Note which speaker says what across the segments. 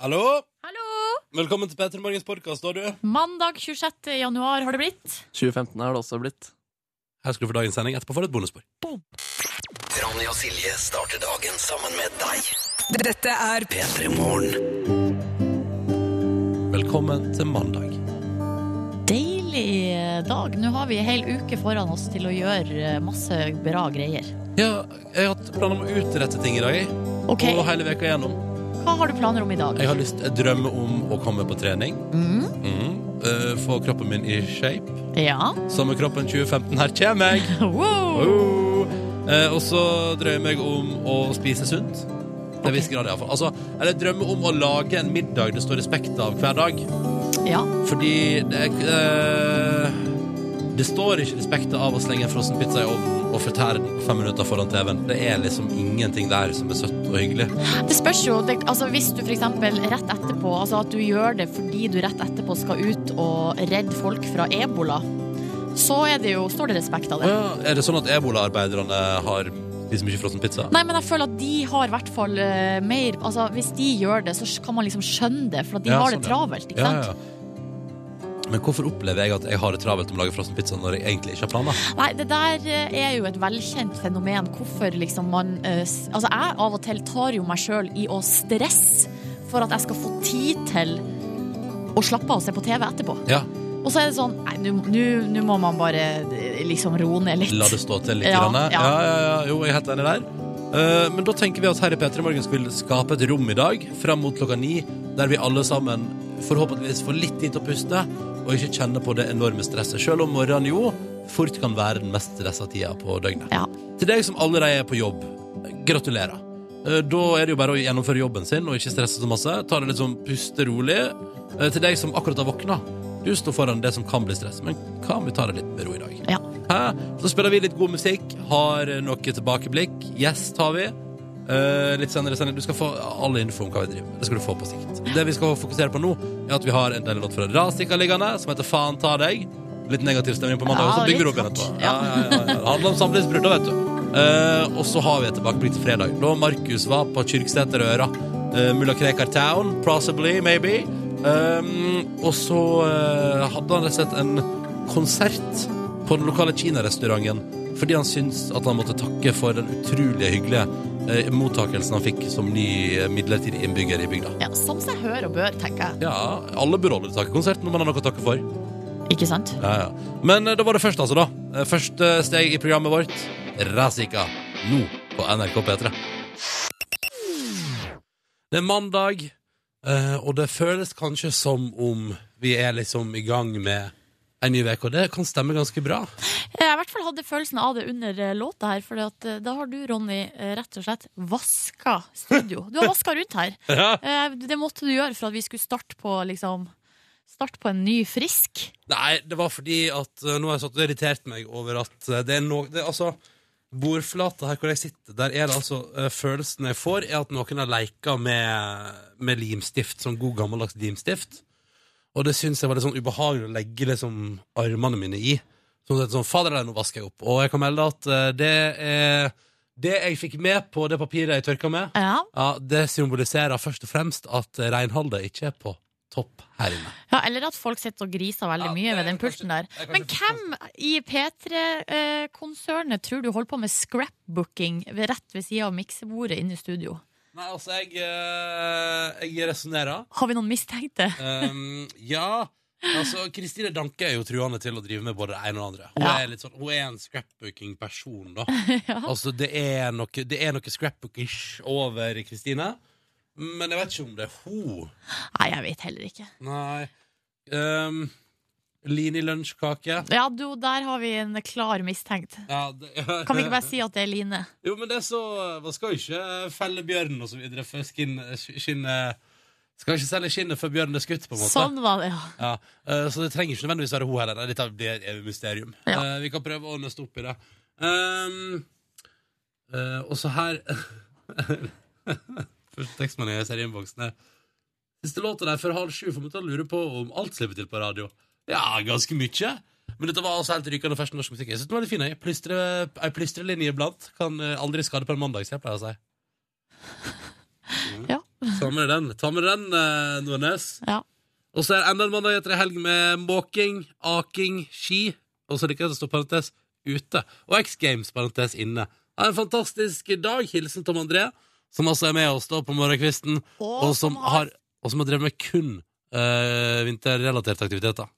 Speaker 1: Hallo?
Speaker 2: Hallo!
Speaker 1: Velkommen til P3 Morgens podkast, da, du.
Speaker 2: Mandag 26. januar har det blitt.
Speaker 3: 2015 har det også blitt.
Speaker 1: Her skal du få dagens sending. Etterpå får du et bonusspor.
Speaker 4: Ronny og Silje starter dagen sammen med deg.
Speaker 5: Dette er
Speaker 4: P3 Morgen.
Speaker 1: Velkommen til mandag.
Speaker 2: Deilig dag. Nå har vi ei hel uke foran oss til å gjøre eh, masse bra greier.
Speaker 1: Ja, jeg har hatt planer om å utrette ting i dag. jeg.
Speaker 2: Ok,
Speaker 1: Og hele veka igjennom.
Speaker 2: Hva har du planer om i dag?
Speaker 1: Jeg har lyst, jeg drømmer om å komme på trening.
Speaker 2: Mm,
Speaker 1: Mhm. Eh, få kroppen min i shape.
Speaker 2: ja.
Speaker 1: Sommerkroppen 2015, her kommer jeg!
Speaker 2: Wow.
Speaker 1: Oh. Eh, og så drømmer jeg om å spise sunt. Til en viss grad, iallfall. Altså, eller jeg drømmer om å lage en middag det står respekt av hver dag.
Speaker 2: Ja.
Speaker 1: Fordi det, er- eh, det står ikke respekt av å slenge en frossen pizza i ovnen og fortære den fem minutter foran TV-en. Det er liksom ingenting der som er søtt og hyggelig.
Speaker 2: Det spørs jo det, altså Hvis du f.eks. rett etterpå Altså at du gjør det fordi du rett etterpå skal ut og redde folk fra ebola, så er det jo, står det respekt av
Speaker 1: Å
Speaker 2: det.
Speaker 1: ja, er det sånn at ebolaarbeiderne har spiser mye frossen pizza?
Speaker 2: Nei, men jeg føler at de har i hvert fall eh, mer Altså, hvis de gjør det, så kan man liksom skjønne det, for at de
Speaker 1: Ja,
Speaker 2: har det
Speaker 1: sånn, ja.
Speaker 2: travelt, ikke
Speaker 1: Ja,
Speaker 2: sant?
Speaker 1: ja. Men hvorfor opplever jeg at jeg har det travelt om å lage frossen pizza når jeg egentlig ikke har planer?
Speaker 2: Nei, det der eh, er jo et velkjent fenomen. Hvorfor liksom man eh, s- Altså, jeg av og til tar jo meg sjøl i å stresse for at jeg skal få tid til å slappe av og se på TV etterpå.
Speaker 1: Ja,
Speaker 2: Og så er det sånn Nei, nå- nå nå må man bare eh, liksom roe ned litt.
Speaker 1: La det stå til litt.
Speaker 2: Ja,
Speaker 1: grann. Ja,
Speaker 2: ja.
Speaker 1: ja, ja. Jo, jeg er helt enig der. Eh, men da tenker vi at Herre Petter i Morgen vil skape et rom i dag, fram mot klokka ni, der vi alle sammen forhåpentligvis får litt tid til å puste, og ikke kjenne på det enorme stresset. Selv om morgenen jo fort kan være den mest stressa tida på døgnet.
Speaker 2: Ja.
Speaker 1: Til deg som allerede er på jobb, gratulerer. Eh, Da er det jo bare å gjennomføre jobben sin og ikke stresse så masse. Ta det litt sånn puste rolig. Eh, Til deg som akkurat har våkna, du står foran det som kan bli stress, men kan vi ta det litt med ro i dag?
Speaker 2: Ja.
Speaker 1: Hæ? Så spiller vi litt god musikk, har eh, noe tilbakeblikk. Gjest har vi. Eh, litt senere, senere. Du skal få alle info om hva vi driver med. Det skal du få på sikt. Det vi skal fokusere på nå, er at vi har en del låt fra Rasika liggende, som heter Faen ta deg. Litt negativ stemning på mandag,
Speaker 2: Ja,
Speaker 1: og så bygger vi
Speaker 2: litt
Speaker 1: opp igjen etterpå.
Speaker 2: hardt.
Speaker 1: Ja,
Speaker 2: Ja.
Speaker 1: ja, ja, ja. Det handler om samlivsbrudd, da, vet du. Eh, og så har vi et tilbakeblikk til fredag, da Markus var på Kyrksæterøra. Uh, Mulla Krekar Town, possibly, maybe. Um, og så eh, hadde han rett og slett en konsert på den lokale kinarestauranten fordi han syntes at han måtte takke for den utrolig hyggelige eh, mottakelsen han fikk som ny eh, midlertidig innbygger i bygda.
Speaker 2: ja Sånn som seg hør og bør, tenker jeg.
Speaker 1: Ja, alle burde holde takkekonsert når man har noe å takke for.
Speaker 2: Ikke sant?
Speaker 1: Ja, ja. Men eh, da var det først, altså, da. Eh, Første steg i programmet vårt. Razika. Nå på NRK P3. Det er mandag, eh, og det føles kanskje som om vi er liksom i gang med en ny uke, og det kan stemme ganske bra.
Speaker 2: Eh, Jeg i hvert fall hadde følelsen av det under eh, låta her, for da har du, Ronny, eh, rett og slett vaska studio. Du har vaska rundt her. Eh, Det måtte du gjøre for at vi skulle starte på liksom Starte på en ny frisk.
Speaker 1: Nei, det var fordi at eh, nå har jeg satt og irritert meg over at eh, det er noe det, er Altså, bordflata her hvor jeg sitter, der er det altså eh, Følelsen jeg får, er at noen har leika med, med limstift, sånn god gammeldags limstift. Og det syns jeg var litt sånn ubehagelig å legge liksom armene mine i. Sånn at sånn, fader, nei, nå vasker jeg opp. Og jeg kan melde at eh, det er det jeg fikk med på det papiret jeg tørka med,
Speaker 2: Ja.
Speaker 1: ja, det symboliserer først og fremst at reinholdet ikke er på topp her inne.
Speaker 2: ja, Eller at folk sitter og griser veldig
Speaker 1: Ja,
Speaker 2: mye
Speaker 1: det er
Speaker 2: ved den
Speaker 1: kanskje-
Speaker 2: pulten der.
Speaker 1: det er kanskje
Speaker 2: Men hvem i P3-konsernet tror du holder på med scrapbooking ved- rett ved sida av miksebordet inne i studio?
Speaker 1: Nei, altså, jeg, eh, jeg resonnerer.
Speaker 2: Har vi noen mistenkte?
Speaker 1: Um, ja, altså, Kristine Danke er jo truende til å drive med både det ene og det andre. Hun,
Speaker 2: Ja.
Speaker 1: er, litt sånn, hun er en scrapbooking-person, da. Altså, det er noe, det er noe scrapbookish over Kristine, men jeg vet ikke om det er hun.
Speaker 2: Nei, jeg vet heller ikke.
Speaker 1: Nei. Um, Line i lunsjkake.
Speaker 2: Ja, du, der har vi en klar mistenkt.
Speaker 1: Ja, det,
Speaker 2: Kan vi ikke bare si at det er Line?
Speaker 1: Jo, men det er så Man skal jo ikke eh, felle bjørnen og så videre før skinn- skinnet Skal ikke selge skinnet før bjørnen er skutt, på en måte.
Speaker 2: Sånn var det, ja.
Speaker 1: Ja, eh, Så det trenger ikke nødvendigvis være hun heller. Nei, Dette blir et evig mysterium.
Speaker 2: Ja.
Speaker 1: Eh, Vi kan prøve å nøste opp i det. Um, eh, og så her Første tekstmelding jeg ser i innboksen, er Siste låta der før halv sju får vi til å lure på om alt slipper til på radio. Ja, ganske mye. Men dette var altså helt rykende fersk norsk musikk. Jeg synes den var litt fin. jeg. Plystre- Ei plystrelinje iblant kan eh, aldri skade på en mandag, som jeg pleier å si.
Speaker 2: Ja,
Speaker 1: Ta med deg den, Ta med deg den eh, Nordnes.
Speaker 2: Ja.
Speaker 1: Og så er det enda en mandag etter en helg med måking, aking, ski, og så liker jeg at det står parentes ute, og X Games parentes inne. Ha en fantastisk dag. Hilsen Tom André, som altså er med oss da på morgenkvisten,
Speaker 2: Og
Speaker 1: og som har, og som har drevet med kun eh, vinterrelaterte aktiviteter.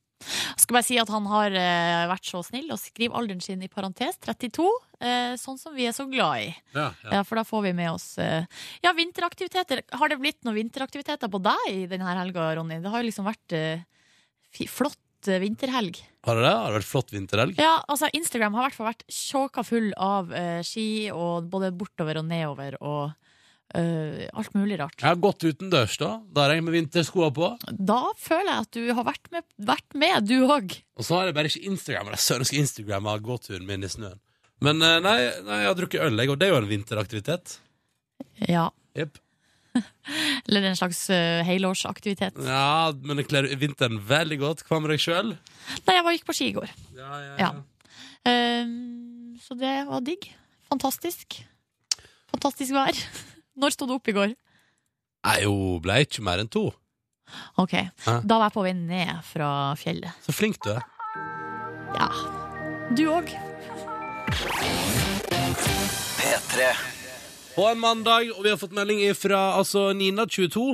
Speaker 2: Skal bare si at han har eh, vært så snill å skrive alderen sin i parentes 32, eh, sånn som vi er så glad i.
Speaker 1: Ja,
Speaker 2: Ja, For da får vi med oss eh, Ja, vinteraktiviteter. Har det blitt noen vinteraktiviteter på deg i denne helga, Ronny? Det har jo liksom vært eh, fi- flott eh, vinterhelg.
Speaker 1: Har du det? Har det vært flott vinterhelg?
Speaker 2: Ja, altså Instagram har i hvert fall vært tjåka full av eh, ski, og både bortover og nedover og eh, alt mulig rart.
Speaker 1: Jeg har gått utendørs, da. Da har jeg med vinterskoa på.
Speaker 2: Da føler jeg at du har vært med, vært med du òg.
Speaker 1: Og så har jeg bare ikke Instagram. Jeg søren skal Instagramme gåturen min i snøen. Men eh, nei, nei, jeg har drukket øl, jeg, og det er jo en vinteraktivitet.
Speaker 2: Ja.
Speaker 1: Jepp.
Speaker 2: Eller en slags eh, helårsaktivitet.
Speaker 1: Ja, men det kler vinteren veldig godt. Hva med deg sjøl?
Speaker 2: Nei, jeg var, gikk på ski i går.
Speaker 1: Ja,
Speaker 2: ja. Ehm, så det var digg. Fantastisk. Fantastisk vær. Når sto du opp i går?
Speaker 1: Jeg jo ble ikke mer enn to.
Speaker 2: Ok, Da var jeg på vei ned fra fjellet.
Speaker 1: Så flink du er.
Speaker 2: Ja. Du òg.
Speaker 4: P3
Speaker 1: På en mandag, og vi har fått melding fra altså, Nina, 22,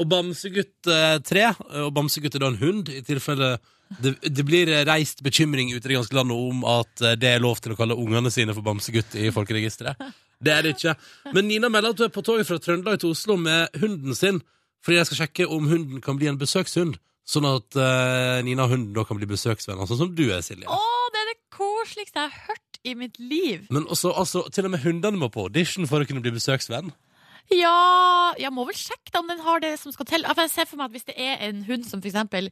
Speaker 1: og Bamsegutt eh, 3. Og Bamsegutt er da en hund, i tilfelle det, det blir eh, reist bekymring ute i det ganske landet om at eh, det er lov til å kalle ungene sine for Bamsegutt i folkeregisteret. Det er det ikke. Men Nina melder at hun er på toget fra Trøndelag til Oslo med hunden sin, fordi jeg skal sjekke om hunden kan bli en besøkshund. Sånn at eh, Nina og hunden da kan bli besøksvenner, sånn som du er, Silje.
Speaker 2: Å, det er det koseligste jeg har hørt i mitt liv.
Speaker 1: Men også, altså, til og med hundene må på audition for å kunne bli besøksvenn.
Speaker 2: Ja, jeg må vel sjekke da om den har det som skal til. Ja, for Jeg ser for meg at Hvis det er en hund som for eksempel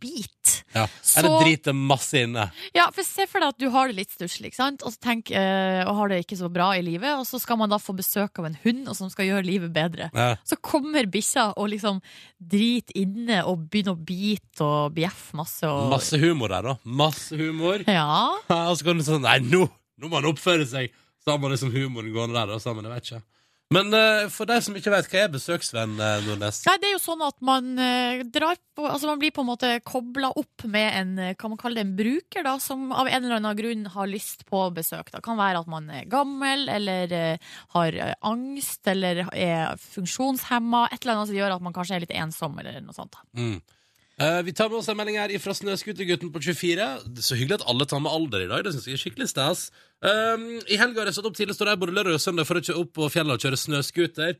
Speaker 2: biter
Speaker 1: Ja.
Speaker 2: Så-
Speaker 1: Eller driter masse inne.
Speaker 2: Ja, for Se for deg at du har det litt stusslig, ikke sant? og så tenk, eh, og har det ikke så bra i livet. Og så skal man da få besøk av en hund og som skal gjøre livet bedre.
Speaker 1: Ja.
Speaker 2: Så kommer bikkja og liksom driter inne og begynner å bite og bjeffe masse. Og,
Speaker 1: Masse humor der, da. Masse humor.
Speaker 2: Ja,
Speaker 1: Ja, og så kan du sånn Nei, nå, nå må han oppføre seg! Så har man liksom humoren gående der, da. Sammen, jeg vet ikke. Men eh, for deg som ikke vet, hva er besøksvenn, eh, Nordnes?
Speaker 2: Nei, det er jo sånn at man eh, drar på Altså man blir på en måte kobla opp med en eh, Kan man kalle det en bruker, da, som av en eller annen grunn har lyst på besøk. Det kan være at man er gammel, eller eh, har eh, angst, eller er funksjonshemma. Et eller annet som gjør at man kanskje er litt ensom, eller noe sånt. da.
Speaker 1: Mm. Eh, vi tar med oss en melding her fra Snøskutergutten på 24. Det er så hyggelig at alle tar med alder i dag. Det synes jeg er skikkelig stas. Um, I helga har jeg stått opp tidlig, står der både lørdag og søndag for å kjøre opp på fjellet og kjøre snøskuter.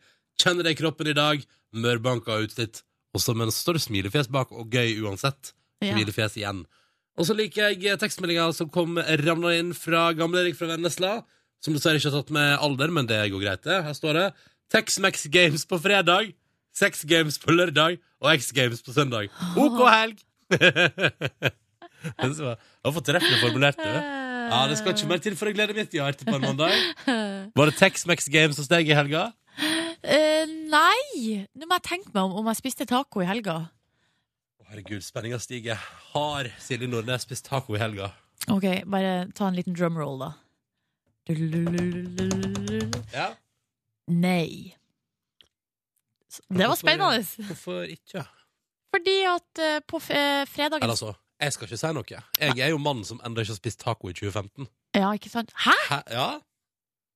Speaker 1: Kjenner det i kroppen i dag. Mørbanka utslitt. Og så men står det smilefjes bak, og gøy uansett.
Speaker 2: Ja.
Speaker 1: Smilefjes igjen. Og så liker jeg tekstmeldinga som kom ramla inn fra Gamle-Erik fra Vennesla. Som dessverre ikke har tatt med alder, men det går greit, det. Her står det Tex-Mex Games på fredag, Sex Games på lørdag og X Games på søndag. OK helg! Det var det var fortreffelig formulert, du. Ja, Det skal ikke mer til for å glede mitt hjerte på en mandag. Var det Tex-Mex Games hos deg i helga?
Speaker 2: Eh, nei! Nå må jeg tenke meg om om jeg spiste taco i helga.
Speaker 1: Å, Herregud, spenninga stiger. Har Silje Nordnes spist taco i helga?
Speaker 2: OK, bare ta en liten drum roll, da. Dulululululul.
Speaker 1: Ja.
Speaker 2: Nei. Så- Det var spennende.
Speaker 1: Hvorfor ikke?
Speaker 2: Fordi at eh, på f- eh, fredagen
Speaker 1: Eller altså, jeg skal ikke si noe. Jeg er jo mannen som ennå ikke har spist taco i 2015.
Speaker 2: Ja, ikke sant? Hæ?
Speaker 1: Hæ? Ja?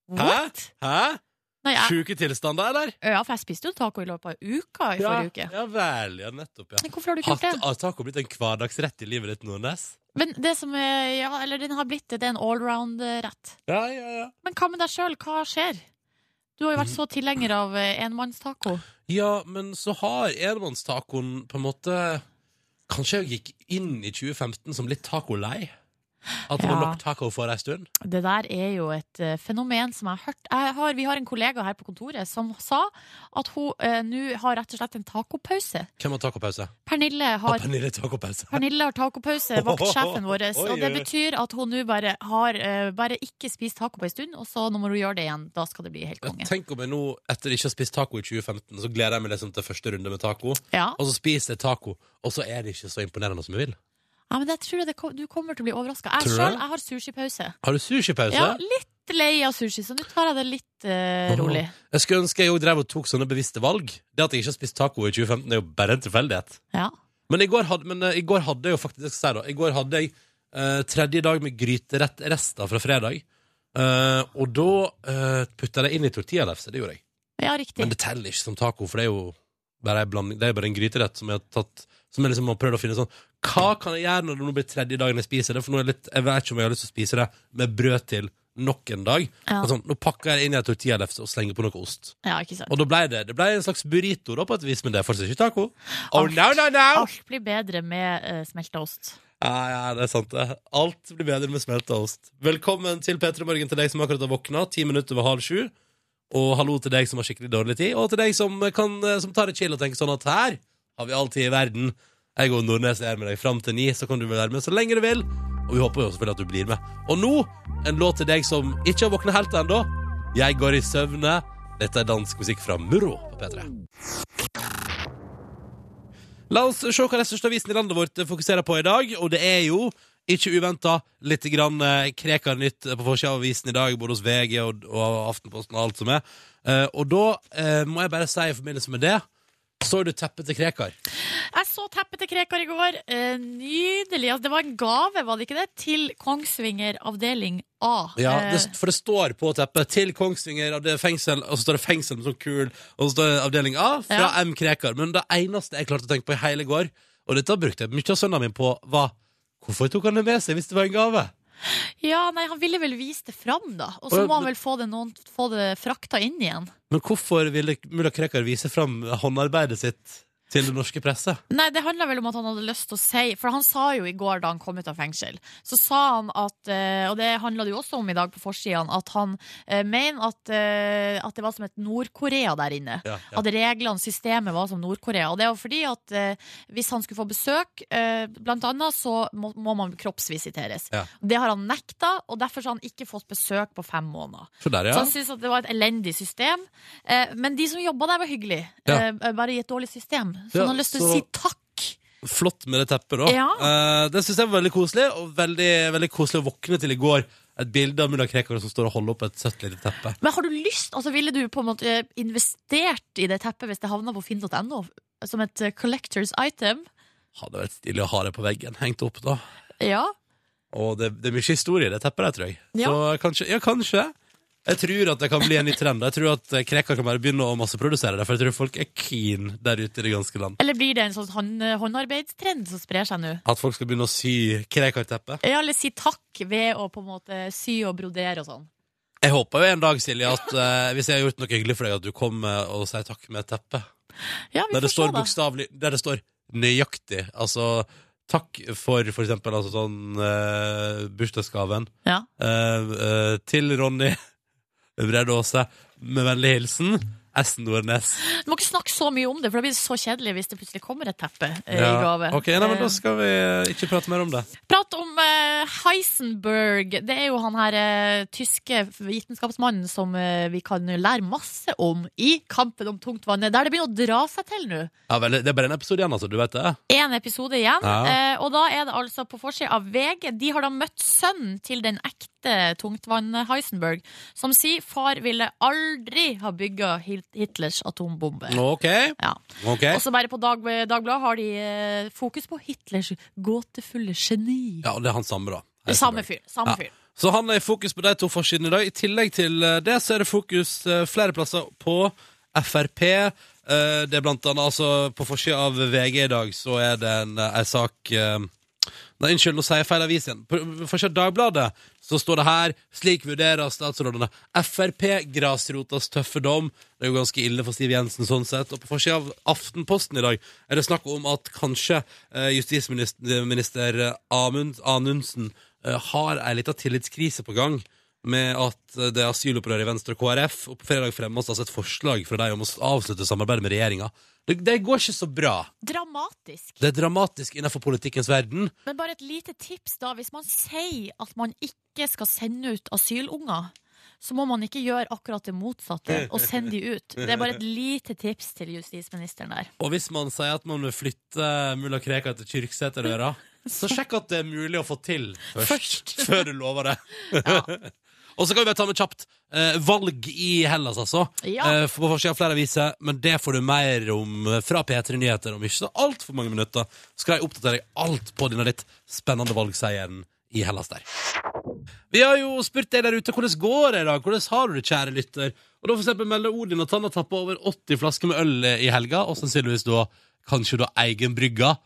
Speaker 2: What?
Speaker 1: Hæ?
Speaker 2: Nei, jeg,
Speaker 1: Sjuke tilstander, eller?
Speaker 2: ja, for jeg spiste jo taco i løpet av uka i forrige uke.
Speaker 1: ja vel. Ja, nettopp, ja.
Speaker 2: Men hvorfor har du ikke
Speaker 1: Har
Speaker 2: gjort det?
Speaker 1: har taco blitt en hverdagsrett i livet ditt, Nordnes?
Speaker 2: Men det som er, ja, eller den har blitt det, det er en allround-rett.
Speaker 1: Ja, ja, ja.
Speaker 2: Men hva med deg sjøl? Hva skjer? Du har jo vært
Speaker 1: Mhm.
Speaker 2: så tilhenger av eh, enmannstaco.
Speaker 1: Ja, men så har enmannstacoen på en måte Kanskje jeg gikk inn i 2015 som litt tacolei? At det var
Speaker 2: Ja.
Speaker 1: nok taco for ei stund?
Speaker 2: Det der er jo et eh, fenomen som jeg har hørt jeg har, Vi har en kollega her på kontoret som sa at hun eh, nå har rett og slett en tacopause.
Speaker 1: Hvem har tacopause?
Speaker 2: Pernille
Speaker 1: Har
Speaker 2: har
Speaker 1: Pernille tacopause?
Speaker 2: Pernille har tacopause, vaktsjefen vår.
Speaker 1: Oi,
Speaker 2: Og det
Speaker 1: oi, oi.
Speaker 2: betyr at hun nå bare har eh, bare ikke spist taco på en stund, og så nå må hun gjøre det igjen. Da skal det bli helt
Speaker 1: Ja,
Speaker 2: konge.
Speaker 1: Tenk om jeg nå, etter ikke å ha spist taco i 2015, så gleder jeg meg liksom til første runde med taco.
Speaker 2: Ja.
Speaker 1: Og så spiser jeg taco, og så er det ikke så imponerende som jeg vil.
Speaker 2: ja, men jeg tror jeg det, kom- du kommer til å bli overraska. Jeg
Speaker 1: Tror du
Speaker 2: sjøl
Speaker 1: det?
Speaker 2: har sushipause.
Speaker 1: Har du sushipause?
Speaker 2: Ja, litt litt lei av sushi, så nå tar jeg det litt eh, rolig.
Speaker 1: Jeg skulle ønske jeg jo drev og tok sånne bevisste valg. Det at jeg ikke har spist taco i 2015, det er jo bare en tilfeldighet.
Speaker 2: Ja.
Speaker 1: Men i går hadde, men, eh, i går hadde jeg jo faktisk jeg skal si da, I går hadde jeg eh, tredje dag med gryterett-rester fra fredag. Eh, og da uh, putta jeg det inn i tortillalefse. Det gjorde jeg.
Speaker 2: ja, riktig.
Speaker 1: Men det teller ikke som taco, for det er jo bare en, blanding, det er bare en gryterett som jeg har tatt som jeg liksom har prøvd å finne sånn Hva kan jeg gjøre når det nå blir tredje dagen jeg spiser det? For nå er jeg litt, jeg vet ikke om jeg har lyst til å spise det med brød til nok en dag.
Speaker 2: Ja.
Speaker 1: Men Sånn, nå pakker jeg det inn i en tortillalefse og slenger på noe ost.
Speaker 2: Ja, ikke sant.
Speaker 1: Og da ble det, det ble en slags burrito, da, på et vis, men det er fortsatt ikke taco. Oh,
Speaker 2: Alt.
Speaker 1: no, no, no!
Speaker 2: Alt blir bedre med uh, smelta ost.
Speaker 1: Ja, ja, det er sant, det. Alt blir bedre med smelta ost. Velkommen til P3 Morgen til deg som akkurat har våkna, ti minutter over halv sju. Og hallo til deg som har skikkelig dårlig tid, og til deg som, kan, som tar et chill og tenker sånn at her har vi all tid i verden. Jeg og Nordnes er med deg fram til ni, så kan du være med så lenge du vil. Og vi håper jo selvfølgelig at du blir med. Og nå en låt til deg som ikke har våkna helt ennå. Jeg går i søvne. Dette er dansk musikk fra Murro på P3. La oss se hva den største avisen i landet vårt fokuserer på i dag, og det er jo ikke uventa litt grann eh, kreka nytt på forsida av avisen i dag, både hos VG og, og Aftenposten og alt som er. Eh, og da eh, må jeg bare si i forbindelse med det så du teppet til Krekar?
Speaker 2: Jeg så teppet til Krekar i går. Eh, nydelig. Altså, det var en gave, var det ikke det? Til Kongsvinger avdeling A.
Speaker 1: Ja,
Speaker 2: Eh,
Speaker 1: det, For det står på teppet 'Til Kongsvinger', av det fengsel, og så står det 'Fengsel' med sånn kul, og så står det avdeling A fra
Speaker 2: Ja.
Speaker 1: M. Krekar. Men det eneste jeg klarte å tenke på i hele går, og dette brukte jeg mye av søndagen min på, var hvorfor tok han det med seg hvis det var en gave?
Speaker 2: Eh, ja, nei, han ville vel vise det fram, da. Og så
Speaker 1: Å, ja,
Speaker 2: må han
Speaker 1: men-
Speaker 2: vel få det, noen, få det frakta inn igjen.
Speaker 1: Men hvorfor ville mulla Krekar vise fram håndarbeidet sitt til den norske presse?
Speaker 2: Nei, det handla vel om at han hadde lyst til å si For han sa jo i går da han kom ut av fengsel, så sa han at eh, Og det handla det jo også om i dag på forsidene, at han eh, mener at, eh, at det var som et Nord-Korea der inne.
Speaker 1: Ja,
Speaker 2: At reglene, systemet, var som Nord-Korea. Og det er jo fordi at eh, hvis han skulle få besøk, eh, blant annet, så må, må man kroppsvisiteres.
Speaker 1: Ja.
Speaker 2: Det har han nekta, og derfor så har han ikke fått besøk på fem måneder.
Speaker 1: Så der,
Speaker 2: Så
Speaker 1: ja.
Speaker 2: han syntes at det var et elendig system. Eh, men de som jobba der, var hyggelige.
Speaker 1: Ja.
Speaker 2: Eh, bare i et dårlig system. Så
Speaker 1: Ja,
Speaker 2: han har lyst til
Speaker 1: så-
Speaker 2: å si takk.
Speaker 1: Flott med det teppet, da.
Speaker 2: Ja.
Speaker 1: Eh, det syns jeg var veldig koselig, og veldig, veldig koselig å våkne til i går. Et bilde av mulla Krekar som står og holder opp et søtt lite teppe.
Speaker 2: Men har du lyst, altså ville du på en måte eh, investert i det teppet hvis det havna på finn.no? Som et eh, collectors item?
Speaker 1: Hadde vært stilig å ha det på veggen, hengt opp da.
Speaker 2: Ja.
Speaker 1: Og det, det er mye historie i det teppet der, tror jeg.
Speaker 2: Ja.
Speaker 1: Så eh, kanskje, ja, kanskje. Jeg tror at det kan bli en ny trend. Jeg tror at eh, Krekar kan bare begynne å masseprodusere det, for jeg tror folk er keen der ute i det ganske land.
Speaker 2: Eller blir det en sånn hånd, håndarbeidstrend som sprer seg nå?
Speaker 1: At folk skal begynne å sy Krekar-teppet.
Speaker 2: Ja, eller si takk ved å på en måte sy og brodere og sånn.
Speaker 1: Jeg håper jo en dag, Silje, at eh, hvis jeg har gjort noe hyggelig for deg, at du kommer og sier takk med et teppe.
Speaker 2: Ja, vi
Speaker 1: Der det
Speaker 2: får se,
Speaker 1: står
Speaker 2: da.
Speaker 1: bokstavelig Der det står nøyaktig. Altså takk for for eksempel altså, sånn eh, bursdagsgaven
Speaker 2: Ja.
Speaker 1: eh, eh, til Ronny Brede Aase. Med vennlig hilsen S. Nordnes.
Speaker 2: Du må ikke snakke så mye om det, for da blir det så kjedelig hvis det plutselig kommer et teppe eh, i
Speaker 1: Ja.
Speaker 2: gave.
Speaker 1: Ok, nei, men Da
Speaker 2: Eh,
Speaker 1: skal vi eh, ikke prate mer om det.
Speaker 2: Prat om eh, Heisenberg. Det er jo han her eh, tyske vitenskapsmannen som eh, vi kan lære masse om i Kampen om tungtvannet, der det begynner å dra seg til nå.
Speaker 1: Ja, vel, Det er bare en episode igjen, altså. Du vet det?
Speaker 2: Én episode igjen,
Speaker 1: Ja.
Speaker 2: eh, og da er det altså på forsida av VG. De har da møtt sønnen til den ekte tungtvann-Heisenberg, som sier far ville aldri ha bygga Hitlers atombombe.
Speaker 1: Ok.
Speaker 2: Ja.
Speaker 1: ok
Speaker 2: Også bare på Dag, Dagbladet har de eh, fokus på Hitlers gåtefulle geni.
Speaker 1: Ja, og det er han samme, da.
Speaker 2: Samme fyr. Samme
Speaker 1: Ja.
Speaker 2: fyr.
Speaker 1: Så han er i fokus på de to forsidene i dag. I tillegg til eh, det så er det fokus eh, flere plasser på Frp. Eh, Det er blant annet altså På forsida av VG i dag så er det en, eh, en sak eh, Nei, unnskyld, nå sier jeg feil avis igjen. På på forsida av Dagbladet så står det her Slik vurderer statsrådene Frp grasrotas tøffe dom. Det er jo ganske ille for Siv Jensen sånn sett. Og på forsida av Aftenposten i dag er det snakk om at kanskje eh, justisminister eh, Amund, Anundsen eh, har ei lita tillitskrise på gang. Med at eh, det er asylopprøret i Venstre og KrF, og på fredag fremmes altså et forslag fra dem om å avslutte samarbeidet med regjeringa. Det, det går ikke så bra.
Speaker 2: Dramatisk.
Speaker 1: Det er dramatisk innenfor politikkens verden.
Speaker 2: Men bare et lite tips, da. Hvis man sier at man ikke skal sende ut asylunger, så må man ikke gjøre akkurat det motsatte og sende de ut. Det er bare et lite tips til justisministeren der.
Speaker 1: Og hvis man sier at man vil flytte mulla Krekar til Kyrksæterøra, så sjekk at det er mulig å få til først,
Speaker 2: Først.
Speaker 1: før du lover det. Og så kan vi bare ta med kjapt eh, valg i Hellas, altså.
Speaker 2: Ja.
Speaker 1: Eh, for på forsida av flere aviser, men det får du mer om eh, fra P3 Nyheter om ikke så altfor mange minutter. Skal jeg oppdatere deg alt på denne litt spennende valgseieren i Hellas der. Vi har jo spurt deg der ute hvordan går det i dag, hvordan har du det, kjære lytter? Og da for eksempel melder Odin at han har tappa over 80 flasker med øl i helga, og sannsynligvis da kanskje da egen brygga.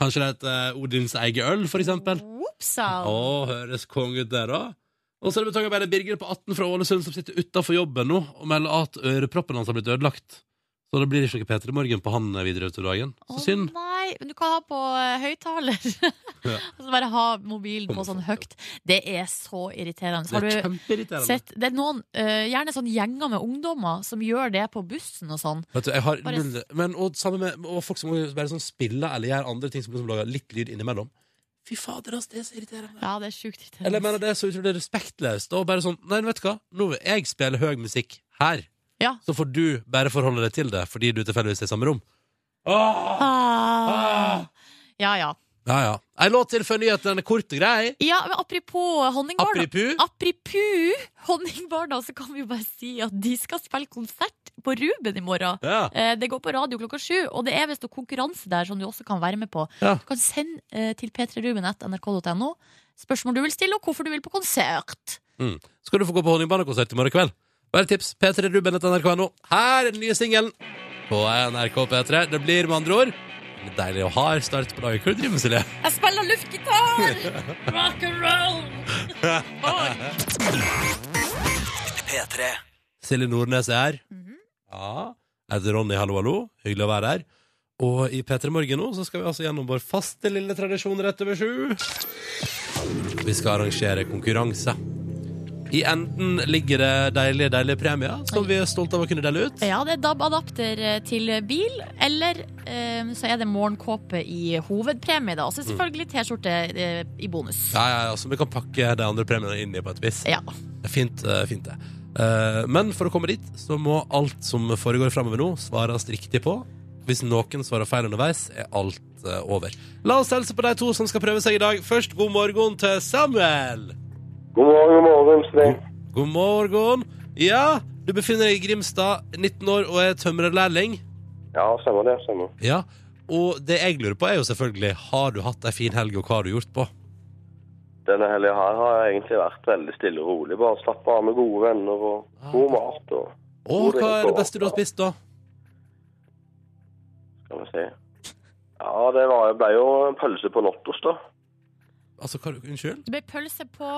Speaker 1: Kanskje det heter Odins eget øl, for eksempel. Å,
Speaker 2: Whoopsal.
Speaker 1: høres konge ut der da Og så er det betongarbeidere Birger på 18 fra Ålesund Som sitter utenfor jobben nå Og melder at øreproppen hans har blitt ødelagt Så det blir ikke noe Peter i morgen på han videre utover dagen Så
Speaker 2: Å,
Speaker 1: synd
Speaker 2: Nei, men du kan ha på eh, høyttaler.
Speaker 1: Ja.
Speaker 2: Og så bare ha mobilen på sånn høyt. Det er så irriterende. Har
Speaker 1: Det er
Speaker 2: du
Speaker 1: kjempeirriterende.
Speaker 2: sett Det er noen, eh, gjerne sånn gjenger med ungdommer, som gjør det på bussen og sånn.
Speaker 1: Vet du, jeg har
Speaker 2: Bare-
Speaker 1: null Men og sammen med og folk som bare sånn spiller Eller gjør andre ting som liksom lager litt lyd innimellom Fy fader, ass, det er så irriterende
Speaker 2: Ja, det er sjukt
Speaker 1: Eller jeg mener
Speaker 2: irriterende.
Speaker 1: det er så utrolig respektløst Og bare sånn, nei, vet du hva Nå vil jeg spille høy musikk her
Speaker 2: Ja.
Speaker 1: Så får du bare forholde deg til det Fordi du tilfelligvis er i samme rom Åh!
Speaker 2: Ah. Ja, ja.
Speaker 1: Ja, ja. Ei låt til før nyheten er kort og grei.
Speaker 2: Ja, men Apropos honningbarna.
Speaker 1: Apripu.
Speaker 2: Apropos honningbarna, så kan vi jo bare si at de skal spille konsert på Ruben i morgen.
Speaker 1: Ja.
Speaker 2: Eh, Det går på radio klokka sju, og det er visst noe konkurranse der som du også kan være med på.
Speaker 1: Ja.
Speaker 2: Du kan sende eh, til p3ruben.nrk.no spørsmål du vil stille, og hvorfor du vil på konsert.
Speaker 1: Mm. Skal du få gå på Honningbarna-konsert i morgen kveld? Bare tips. P3 Ruben etter nrk.no. Her er den nye singelen på NRK P3. Det blir med andre ord en deilig og hard start på dagen. Hva driver du med, Silje?
Speaker 2: Jeg spiller luftgitar! Rock and roll!
Speaker 4: P3
Speaker 1: Silje Nordnes er her. Ja. Jeg heter Ronny, hallo, hallo. Hyggelig å være her. Og i P3 Morgen nå så skal vi altså gjennom vår faste lille tradisjon rett over sju. Vi skal arrangere konkurranse. I enden ligger det deilige, deilige premier som vi er stolte av å kunne dele ut.
Speaker 2: Ja, det er DAB-adapter eh, til bil, eller eh, så er det morgenkåpe i hovedpremie, da. Og så selvfølgelig T-skjorte eh, i bonus.
Speaker 1: Ja, ja, ja, så vi kan pakke de andre premiene inn i på et vis.
Speaker 2: Ja.
Speaker 1: Det er Fint, eh, fint det. Eh, Men for å komme dit, så må alt som foregår framover nå, svares riktig på. Hvis noen svarer feil underveis, er alt eh, over. La oss helse på de to som skal prøve seg i dag. Først god morgen til Samuel.
Speaker 3: God morgen, god morgen, Streng.
Speaker 1: God morgen. Ja, du befinner deg i Grimstad, 19 år og er tømrerlærling.
Speaker 3: Ja, stemmer det. stemmer.
Speaker 1: Ja. Og det jeg lurer på, er jo selvfølgelig har du hatt ei en fin helg, og hva har du gjort på?
Speaker 3: Denne helga her har jeg egentlig vært veldig stille og rolig. Bare slappe av med gode venner og god mat og
Speaker 1: Og hva er det beste du har spist, da?
Speaker 3: skal vi se. Ja, det var, jeg ble jo en pølse på Nottos, da.
Speaker 1: Altså, hva, unnskyld?
Speaker 2: Det ble pølse på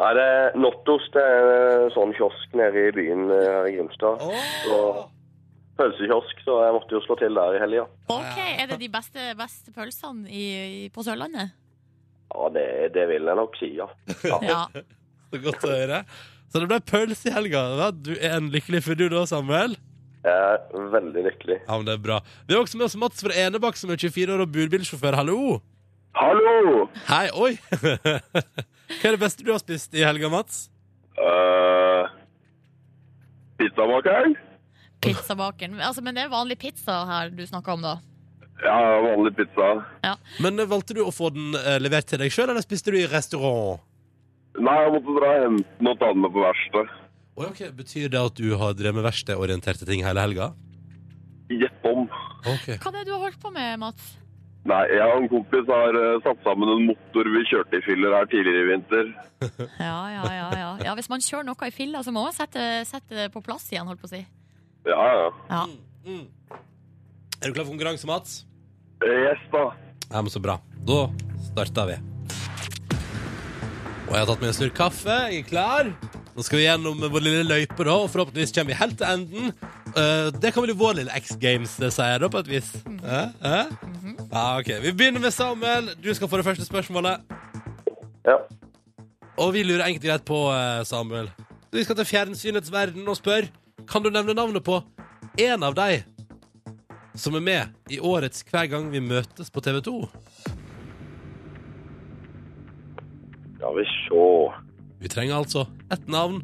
Speaker 3: Nei, det er Nottos det er en sånn kiosk nede i byen eh, her i Grimstad.
Speaker 1: Åh!
Speaker 3: Pølsekiosk, så jeg måtte jo slå til der i helga.
Speaker 2: OK, er det de beste, beste pølsene i, i, på Sørlandet?
Speaker 3: Ja, det, det vil jeg nok si, ja.
Speaker 2: Ja.
Speaker 1: Så godt å høre. Så det ble pølse i helga. da. Du er en lykkelig fyr, du da, Samuel.
Speaker 3: Jeg er veldig lykkelig.
Speaker 1: Ja, men det er bra. Vi har også med oss Mats fra Enebakk, som er 24 år og burbilsjåfør. Hallo!
Speaker 3: Hallo!
Speaker 1: Hei, oi! Hva er det beste du har spist i helga, Mats?
Speaker 3: Uh, Pizzamakeren?
Speaker 2: Pizzabakeren. Altså, men det er vanlig pizza her du snakker om, da.
Speaker 3: Ja, vanlig pizza.
Speaker 1: Men eh, valgte du å få den eh, levert til deg sjøl, eller spiste du i restaurant?
Speaker 3: Nei, jeg måtte dra og hente den og ta den med på verkstedet.
Speaker 1: Oi, ok, Betyr det at du har drevet med verkstedorienterte ting hele helga?
Speaker 3: Gjett om.
Speaker 1: Ok.
Speaker 2: Hva er det du har holdt på med, Mats?
Speaker 3: Nei, jeg og en kompis har eh, satt sammen en motor vi kjørte i fyller her tidligere i vinter.
Speaker 2: Ja, ja, ja. ja. ja hvis man kjører noe i filla, så må man sette, sette det på plass igjen, holdt på å si.
Speaker 3: Ja, ja.
Speaker 2: Ja.
Speaker 1: Mm. Er du klar for konkurranse, Mats?
Speaker 3: Eh, Yes, da.
Speaker 1: Ja, men så bra. Da starter vi. Og jeg har tatt med en slurk kaffe. Jeg er klar. Nå skal vi gjennom vår lille løype, da, og forhåpentligvis kommer vi helt til enden. Eh, det kan bli vår lille X Games, det sier jeg da, på et vis. Eh, eh? Ja, ok. Vi begynner med Samuel. Du skal få det første spørsmålet.
Speaker 3: Ja.
Speaker 1: Og vi lurer egentlig greit på, eh, Samuel. Vi skal til fjernsynets verden og spør Kan du nevne navnet på en av deg som er med i årets Hver gang vi møtes på TV 2?
Speaker 3: Ja, vi sjå.
Speaker 1: Vi trenger altså et navn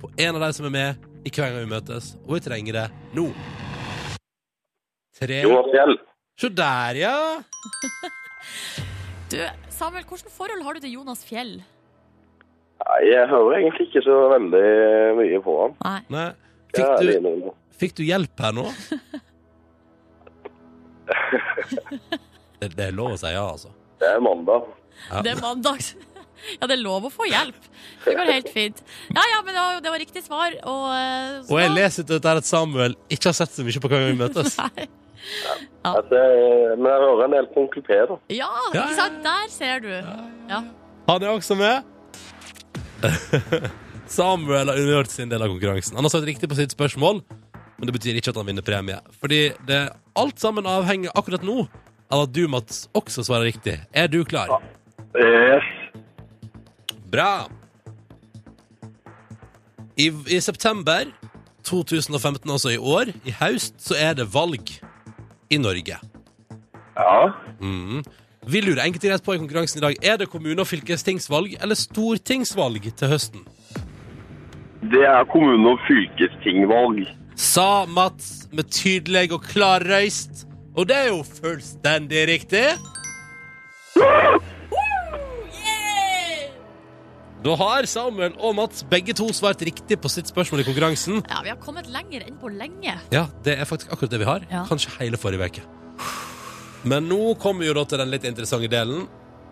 Speaker 1: på en av de som er med i hver gang vi møtes, og vi trenger det nå. Tre
Speaker 3: Jonas Fjell.
Speaker 1: Se der, ja!
Speaker 2: Du, Samuel, hvilket forhold har du til Jonas Fjell?
Speaker 3: Eh, Nei, jeg hører egentlig ikke så veldig mye på han.
Speaker 2: Nei.
Speaker 1: Nei.
Speaker 3: Jeg
Speaker 1: Fikk
Speaker 3: er
Speaker 1: du,
Speaker 3: ærlig innrømme.
Speaker 1: fikk du hjelp her nå? Det, det er lov å si ja, altså.
Speaker 3: Det er mandag.
Speaker 1: Ja.
Speaker 2: Det er mandags. Ja, det er lov å få hjelp. Det går helt fint. Ja, ja, men det var, det var riktig svar. Og, eh, så
Speaker 1: Og jeg
Speaker 2: da-
Speaker 1: leser ut dette her at Samuel ikke har sett så mye på hver gang vi møtes.
Speaker 2: Nei. Ja.
Speaker 3: At jeg, men jeg hører en del på Onkel P, da.
Speaker 2: Ja,
Speaker 1: Ja,
Speaker 2: ikke sant? Der ser du. Ja.
Speaker 1: Han er også med. Samuel har undergjort sin del av konkurransen. Han har svart riktig på sitt spørsmål, men det betyr ikke at han vinner premie. Fordi det alt sammen avhenger akkurat nå av at du, Mats, også svarer riktig. Er du klar?
Speaker 3: Yes.
Speaker 1: Bra. I, I september 2015, altså i år, i haust, så er det valg i Norge.
Speaker 3: Ja.
Speaker 1: Mhm. Vi lurer enkelt og greit på i konkurransen i dag. Er det kommune- og fylkestingsvalg eller stortingsvalg til høsten?
Speaker 3: Det er kommune- og fylkestingvalg.
Speaker 1: sa Mats med tydelig og klar røyst. Og det er jo fullstendig riktig. Da har Samuel og Mats begge to svart riktig på sitt spørsmål i konkurransen.
Speaker 2: ja, vi har kommet lenger enn på lenge.
Speaker 1: Ja, det er faktisk akkurat det vi har.
Speaker 2: Ja.
Speaker 1: Kanskje hele forrige uke. Men nå kommer vi jo da til den litt interessante delen,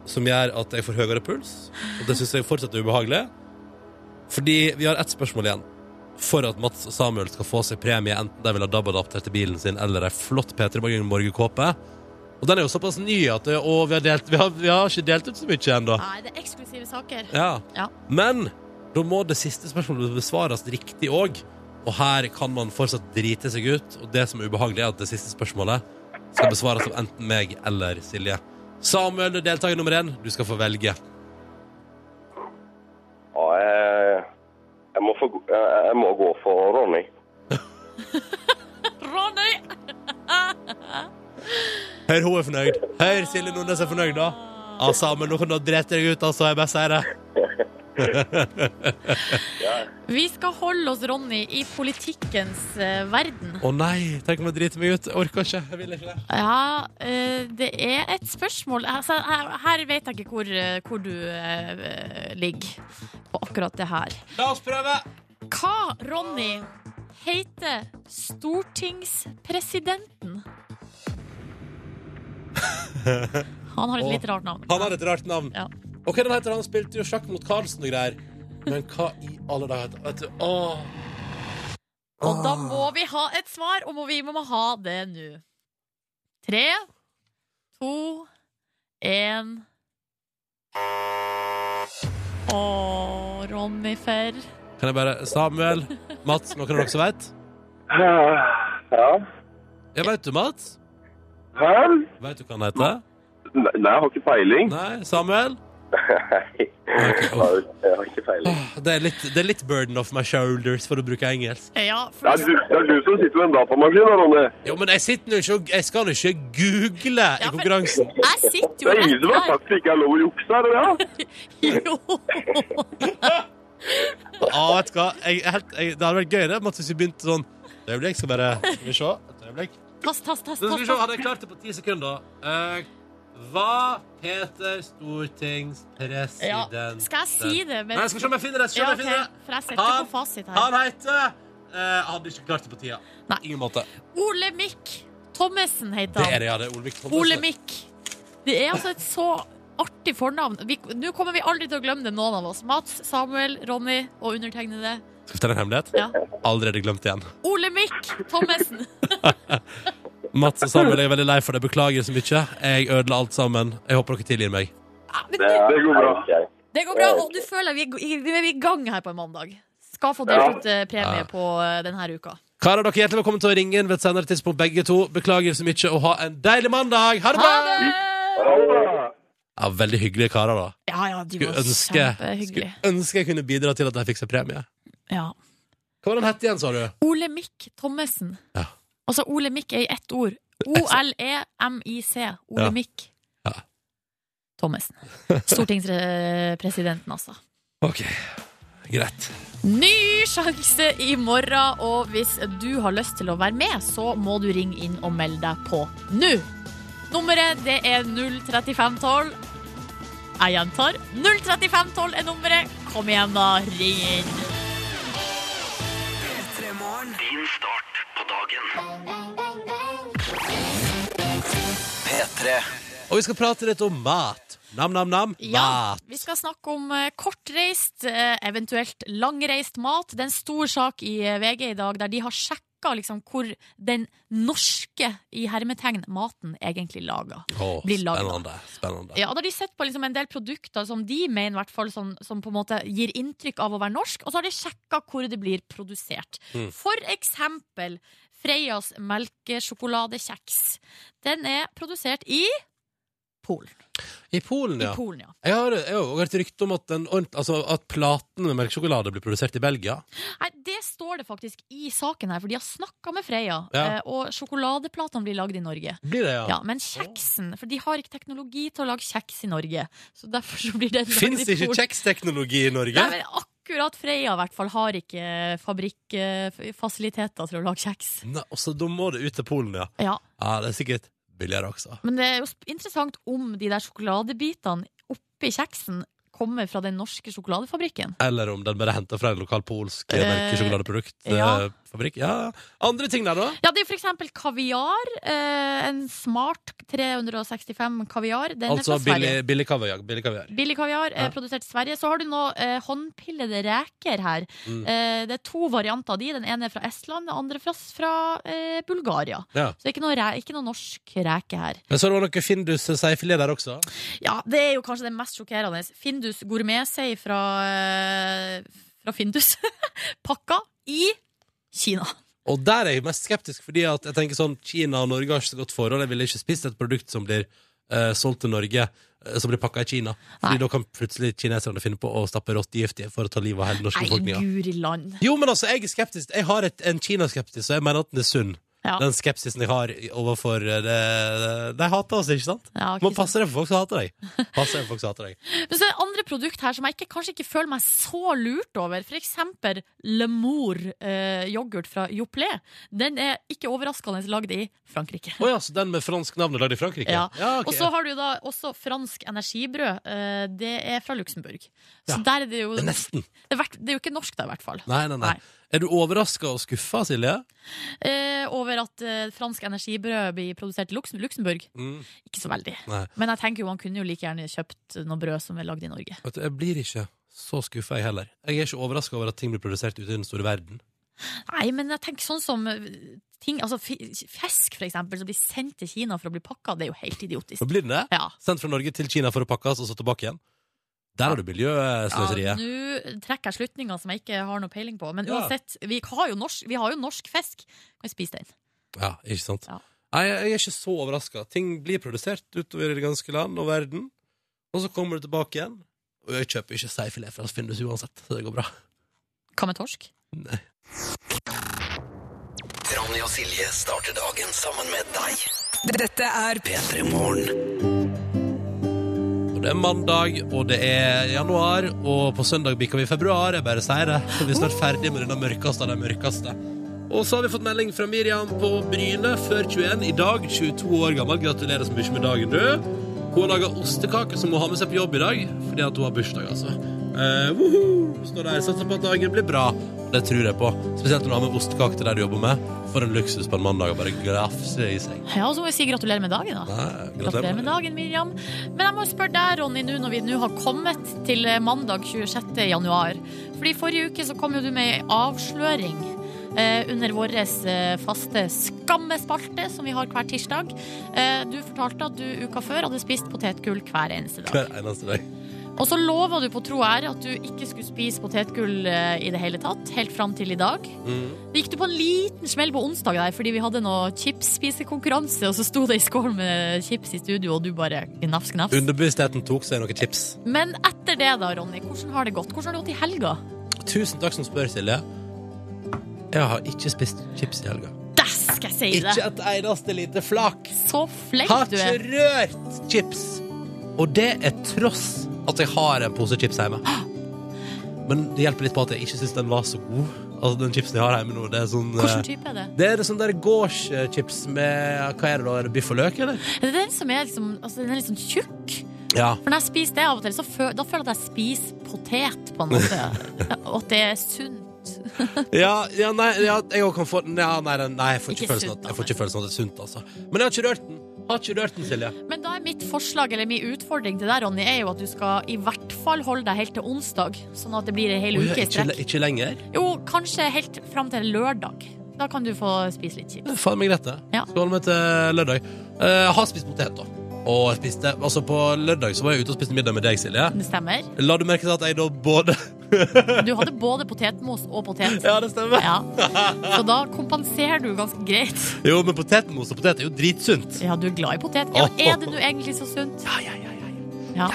Speaker 1: som gjør at jeg får høyere puls. Og det syns jeg fortsatt er ubehagelig. Fordi vi har ett spørsmål igjen for at Mats og Samuel skal få seg premie, enten de vil ha DAB-adapter til bilen sin eller ei flott P3 Morgen-morgenkåpe. Og den er jo såpass ny at det, og vi, har delt, vi, har, vi har ikke delt ut så mye ennå.
Speaker 2: Nei, det er eksklusive saker.
Speaker 1: Ja.
Speaker 2: Ja.
Speaker 1: Men da må det siste spørsmålet besvares riktig òg. Og her kan man fortsatt drite seg ut. Og det som er ubehagelig, er at det siste spørsmålet skal besvares av enten meg eller Silje. Samuel, du er deltaker nummer én. Du skal få velge.
Speaker 3: Ja, jeg, jeg, må, få, jeg, jeg må gå for Ronny.
Speaker 2: Ronny!
Speaker 1: Hør, hun er fornøyd. Hør, Silje Nordnes er fornøyd, da. Ja, Samuel, nå kan du ha drept deg ut, altså. Jeg bare sier det.
Speaker 2: Vi skal holde oss, Ronny, i politikkens eh, verden.
Speaker 1: Å nei, tenk om jeg driter meg ut. Jeg orker ikke. Jeg vil ikke det.
Speaker 2: Ja, eh, det er et spørsmål altså, her, her vet jeg ikke hvor, eh, hvor du eh, ligger på akkurat det her.
Speaker 1: La oss prøve!
Speaker 2: Hva, Ronny, heter stortingspresidenten? Han har et litt rart navn.
Speaker 1: Han har et rart navn.
Speaker 2: Ja.
Speaker 1: Og hva er den heter han? Spilte jo sjakk mot Carlsen og greier. Men hva i alle dager heter Vet du, åh.
Speaker 2: Og da må vi ha et svar, og må vi må ha det nå. Tre, to, én Å, Ronny Ferr.
Speaker 1: Kan jeg bare Samuel, Mats, noen av dere som veit?
Speaker 3: Ja.
Speaker 1: Ja, veit du, Mats?
Speaker 3: Hæ?
Speaker 1: Veit du hva han heter?
Speaker 3: Nei, jeg har ikke peiling.
Speaker 1: Nei? Samuel?
Speaker 3: Nei.
Speaker 1: Ok,
Speaker 3: Jeg har- jeg har ikke peiling.
Speaker 1: Åh, Det er, litt, det er litt burden off my shoulders, for å bruke engelsk.
Speaker 2: Ja,
Speaker 3: Det er,
Speaker 2: for
Speaker 3: du, det er du som sitter med en datamaskin, da, Ronny.
Speaker 1: Jo, men jeg sitter nå ikke og Jeg skal nå ikke google i
Speaker 2: Ja, for-
Speaker 1: konkurransen.
Speaker 2: jeg sitter
Speaker 3: Det
Speaker 2: jo
Speaker 3: er ingen som har
Speaker 2: rett
Speaker 3: sagt det ikke er lov å jukse, er det det?
Speaker 2: her. Jo.
Speaker 1: Ja, vet du hva? Jeg, er helt, jeg, det hadde vært gøy det, Mats, hvis vi begynte sånn Et øyeblikk, skal bare Skal vi se. Et øyeblikk.
Speaker 2: Tast, tast, tast.
Speaker 1: Nå skal vi se,
Speaker 2: tast, tast.
Speaker 1: hadde jeg klart det på ti sekunder. Eh, hva heter stortingspresidenten?
Speaker 2: Ja. Skal jeg si det? Men...
Speaker 1: Nei, skal vi se om jeg finner det. Skal vi se om jeg
Speaker 2: Ja, ok,
Speaker 1: finner det.
Speaker 2: For jeg setter
Speaker 1: Han-
Speaker 2: på fasit her.
Speaker 1: Han heter eh, Hadde ikke klart det på tida.
Speaker 2: Nei.
Speaker 1: Ingen måte.
Speaker 2: Ole Mikk Thommessen
Speaker 1: Det
Speaker 2: heter
Speaker 1: er
Speaker 2: han.
Speaker 1: det, ja. Det er Olemic Thommessen.
Speaker 2: Ole Mikk. Det er altså et så artig fornavn. Vi- Nå kommer vi aldri til å glemme det, noen av oss. Mats, Samuel, Ronny og undertegnede.
Speaker 1: Skal vi ta en hemmelighet?
Speaker 2: Ja.
Speaker 1: Allerede glemt igjen.
Speaker 2: Ole Mikk Thommessen.
Speaker 1: Mats og Samuel, jeg er veldig lei for det. Beklager så mye. Jeg ødela alt sammen. Jeg håper dere tilgir meg.
Speaker 2: Ja, men
Speaker 3: da?
Speaker 2: det,
Speaker 3: Det går bra.
Speaker 2: det går bra. Og du føler vi er i- vi er i gang her på en mandag. Skal få delt ut eh, premie
Speaker 1: Ja.
Speaker 2: på eh, denne uka.
Speaker 1: Karer, dere er hjertelig velkommen til å ringe inn ved et senere tidspunkt, begge to. Beklager så mye, og ha en deilig mandag! Ha det bra!
Speaker 2: Ha det!
Speaker 3: Ha det bra.
Speaker 1: Ja, veldig hyggelige karer, da.
Speaker 2: Ja, ja, de var
Speaker 1: Skulle ønske,
Speaker 2: kjempehyggelige.
Speaker 1: skulle ønske jeg kunne bidra til at de fikk seg premie.
Speaker 2: Ja.
Speaker 1: Hva var den hette igjen, sa du?
Speaker 2: Ole Mikk Thommessen.
Speaker 1: Ja.
Speaker 2: Altså Ole Mikk er i ett ord. E O-L-E-M-I-C. Ole
Speaker 1: Ja.
Speaker 2: Mikk.
Speaker 1: Ja.
Speaker 2: Thommessen. Stortingspresidenten, altså.
Speaker 1: Ok, greit.
Speaker 2: Ny sjanse i morgen, og hvis du har lyst til å være med, så må du ringe inn og melde deg på nå. Nummeret det er 03512. Jeg gjentar. 03512 er nummeret. Kom igjen, da. Ring inn.
Speaker 4: Din start på dagen. P3.
Speaker 1: Og vi skal prate litt om mat. Nam, nam, nam.
Speaker 2: Ja,
Speaker 1: Mat.
Speaker 2: vi skal snakke om eh, kortreist, eh, eventuelt langreist mat. Det er en stor sak i eh, VG i dag, der de har sjekka liksom, hvor den norske i hermetegn maten egentlig lager.
Speaker 1: Å,
Speaker 2: Blir laget.
Speaker 1: spennende. spennende.
Speaker 2: Ja, og da har de sett på liksom en del produkter som de mener i hvert fall som, som på en måte gir inntrykk av å være norsk, og så har de sjekka hvor det blir produsert.
Speaker 1: Mm.
Speaker 2: For eksempel Freias melkesjokoladekjeks. Den er produsert i Polen.
Speaker 1: I Polen, ja.
Speaker 2: I Polen, ja.
Speaker 1: Jeg har, jeg har også hørt rykte om at, den, ordent- altså, at platen med melkesjokolade blir produsert i Belgia.
Speaker 2: Nei, det står det faktisk i saken her, for de har snakka med Freia,
Speaker 1: Ja.
Speaker 2: eh, og sjokoladeplatene blir lagd i Norge.
Speaker 1: Blir det, ja?
Speaker 2: Ja, Men kjeksen, for de har ikke teknologi til å lage kjeks i Norge, så derfor så blir den lagd
Speaker 1: Fins det
Speaker 2: i
Speaker 1: ikke
Speaker 2: Polen.
Speaker 1: kjeksteknologi i Norge?
Speaker 2: Nei, men akkurat Freia i hvert fall har ikke fabrikkfasiliteter til å lage kjeks.
Speaker 1: Nei, og så da må det ut til Polen, ja.
Speaker 2: Ja,
Speaker 1: Ja, Det er sikkert billigere også.
Speaker 2: Men det er jo sp- interessant om de der sjokoladebitene oppi kjeksen kommer fra den norske sjokoladefabrikken.
Speaker 1: Eller om den bare henter fra en lokal polsk
Speaker 2: Eh, ja. Eh,
Speaker 1: melkesjokoladeproduktfabrikk. Ja. ja. Andre ting der, da?
Speaker 2: Ja, det er jo for eksempel kaviar. Eh, en smart 365 kaviar. Den
Speaker 1: altså
Speaker 2: er fra Sverige.
Speaker 1: billig, billig kaviar. Billig kaviar.
Speaker 2: Billig kaviar, eh,
Speaker 1: Ja.
Speaker 2: produsert i Sverige. Så har du nå eh, håndpillede reker her.
Speaker 1: Mm.
Speaker 2: Eh, det er to varianter av de. Den ene er fra Estland, den andre fra, fra eh, Bulgaria.
Speaker 1: Ja.
Speaker 2: Så ikke noe, re ikke noe norsk reke her.
Speaker 1: Men så er det også noe Findus seifilet der også.
Speaker 2: Ja, det er jo kanskje det mest sjokkerende. Findus gourmetsei fra, eh, fra Findus. Pakka i Kina.
Speaker 1: Og der er jeg mest skeptisk, fordi at jeg tenker sånn Kina og Norge har ikke så godt forhold. Jeg ville ikke spist et produkt som blir eh, solgt til Norge, eh, som blir pakka i Kina. Fordi
Speaker 2: Nei.
Speaker 1: da kan plutselig kineserne finne på å stappe råttgift i for å ta livet av hele den norske
Speaker 2: Nei,
Speaker 1: befolkninga.
Speaker 2: guri land.
Speaker 1: Jo, men altså, jeg er skeptisk. Jeg har et, en kinaskeptisk, så jeg mener at den er sunn.
Speaker 2: Ja.
Speaker 1: Den skepsisen jeg har overfor eh, det, De hater oss, ikke sant?
Speaker 2: Ja,
Speaker 1: Må
Speaker 2: ikke sant.
Speaker 1: passe deg for folk som hater deg. Passe deg for folk som hater deg.
Speaker 2: Men så er det andre produkt her som jeg ikke, kanskje ikke føler meg så lurt over. For eksempel Lemour eh, yoghurt fra Joplé. Den er ikke overraskende lagd i Frankrike.
Speaker 1: Å ja, så den med fransk navn er lagd i Frankrike?
Speaker 2: Ja.
Speaker 1: ok.
Speaker 2: Og så har du da også fransk energibrød. eh, det er fra Luxembourg. Så
Speaker 1: Ja.
Speaker 2: der er det jo
Speaker 1: Det er
Speaker 2: det
Speaker 1: Nesten.
Speaker 2: er, hvert- det er jo ikke norsk, da, i hvert fall.
Speaker 1: Nei, nei, nei.
Speaker 2: Nei.
Speaker 1: Er du overraska og skuffa, Silje?
Speaker 2: Eh, over at eh, fransk energibrød blir produsert i Lux Luxembourg.
Speaker 1: Mm.
Speaker 2: Ikke så veldig.
Speaker 1: Nei.
Speaker 2: Men jeg tenker jo man kunne jo like gjerne kjøpt noe brød som er lagd i Norge.
Speaker 1: Vet du, jeg blir ikke så skuffa, jeg heller. Jeg er ikke overraska over at ting blir produsert ute i den store verden.
Speaker 2: Nei, men jeg tenker sånn som eh, ting, altså fi- Fisk, for eksempel, som blir sendt til Kina for å bli pakka, det er jo helt idiotisk.
Speaker 1: Så blir den det.
Speaker 2: Ja.
Speaker 1: Sendt fra Norge til Kina for å pakkes, og så tilbake igjen. Der har du
Speaker 2: Ja,
Speaker 1: miljøsløseriet.
Speaker 2: Nå trekker jeg slutninger som jeg ikke har noe peiling på. Men
Speaker 1: Ja.
Speaker 2: uansett, vi har jo norsk, vi har jo norsk fisk. Kan vi spise den?
Speaker 1: Ja, ikke sant?
Speaker 2: Ja.
Speaker 1: Nei, jeg jeg er ikke så overraska. Ting blir produsert utover i det ganske land og verden, og så kommer du tilbake igjen. Og jeg kjøper ikke seifilet fra Findus uansett, så det går bra.
Speaker 2: Hva med torsk?
Speaker 1: Nei.
Speaker 4: Ronny og Silje starter dagen sammen med deg.
Speaker 5: Dette er
Speaker 4: P3 Morgen.
Speaker 1: Og det er mandag, og det er januar, og på søndag bikker vi februar. Jeg bare sier det. Så vi er snart ferdig med denne mørkeste av de mørkeste. Og så har vi fått melding fra Miriam på Bryne før 21. I dag, 22 år gammel. Gratulerer så mye med dagen, du. Hun har laga ostekake som hun har med seg på jobb i dag, fordi at hun har bursdag, altså. Eh, woho! Står der. Satser på at dagen blir bra. Det tror jeg på. Spesielt når du har med ostekake til der du jobber med. For en luksus på en mandag å bare grafse i seg.
Speaker 2: Ja, og så må vi si gratulerer med dagen, da.
Speaker 1: Nei,
Speaker 2: Gratulerer med dagen, Miriam. Men jeg må jo spørre deg, Ronny, nå når vi nå har kommet til eh, mandag 26. januar. Fordi forrige uke så kom jo du med ei avsløring eh, under vår eh, faste skammespalte som vi har hver tirsdag. Eh, du fortalte at du uka før hadde spist potetgull hver eneste dag.
Speaker 1: Hver eneste dag.
Speaker 2: Og så lova du på tro og ære at du ikke skulle spise potetgull eh, i det hele tatt, helt fram til i dag.
Speaker 1: Mm.
Speaker 2: Da gikk du på en liten smell på onsdag der, fordi vi hadde noe chips-spisekonkurranse, og så sto det i skål med chips i studio, og du bare gnafs, gnafs.
Speaker 1: Underbevisstheten tok seg noen chips.
Speaker 2: Men etter det da, Ronny, hvordan har det gått? Hvordan har det gått i helga?
Speaker 1: Tusen takk som spør, Silje. Jeg har ikke spist chips i helga.
Speaker 2: Der skal jeg si det!
Speaker 1: Ikke et eneste lite flak.
Speaker 2: Så
Speaker 1: Har
Speaker 2: flink du
Speaker 1: ikke
Speaker 2: er.
Speaker 1: rørt chips. Og det er tross at jeg har en pose chips hjemme. Men det hjelper litt på at jeg ikke syns den var så god. Altså Den chipsen jeg har hjemme nå, det er sånn eh,
Speaker 2: Hvilken type er det?
Speaker 1: Det er sånn der gårdschips med Hva er det da? Er det biff og løk, eller?
Speaker 2: Er det den som er liksom, altså, den er litt sånn tjukk?
Speaker 1: Ja.
Speaker 2: For når jeg spiser det av og til, så føl da føler jeg at jeg spiser potet, på en måte. Og at det er sunt.
Speaker 1: Ja, ja, nei, ja, jeg også kan få ja, nei, nei, nei, jeg får ikke,
Speaker 2: Ikke
Speaker 1: følelsen,
Speaker 2: sunt,
Speaker 1: at, jeg får ikke følelsen av at det er sunt, altså. Men jeg har ikke rørt den. Har ikke rørt den, Silje.
Speaker 2: Men da er mitt forslag, eller min utfordring til deg, Ronny, er jo at du skal i hvert fall holde deg helt til onsdag, sånn at det blir en hel
Speaker 1: Å, ja,
Speaker 2: uke i
Speaker 1: ikke, le-
Speaker 2: strekk.
Speaker 1: ikke lenger.
Speaker 2: Jo, kanskje helt fram til lørdag. Da kan du få spise litt chips.
Speaker 1: Det er Faen meg greit, det.
Speaker 2: Ja.
Speaker 1: Skal holde meg til lørdag. Eh, jeg har spist potet, da. Og jeg spiste, altså På lørdag så var jeg ute og spiste middag med deg, Silje.
Speaker 2: Det stemmer.
Speaker 1: La du merke til at jeg da både
Speaker 2: Du hadde både potetmos og potet.
Speaker 1: Ja, det stemmer.
Speaker 2: Ja. Så da kompenserer du ganske greit.
Speaker 1: Jo, men potetmos og potet er jo dritsunt.
Speaker 2: Ja, du er glad i potet. Ja, er det nå egentlig så sunt?
Speaker 1: Ja, ja, ja, ja.
Speaker 2: Ja.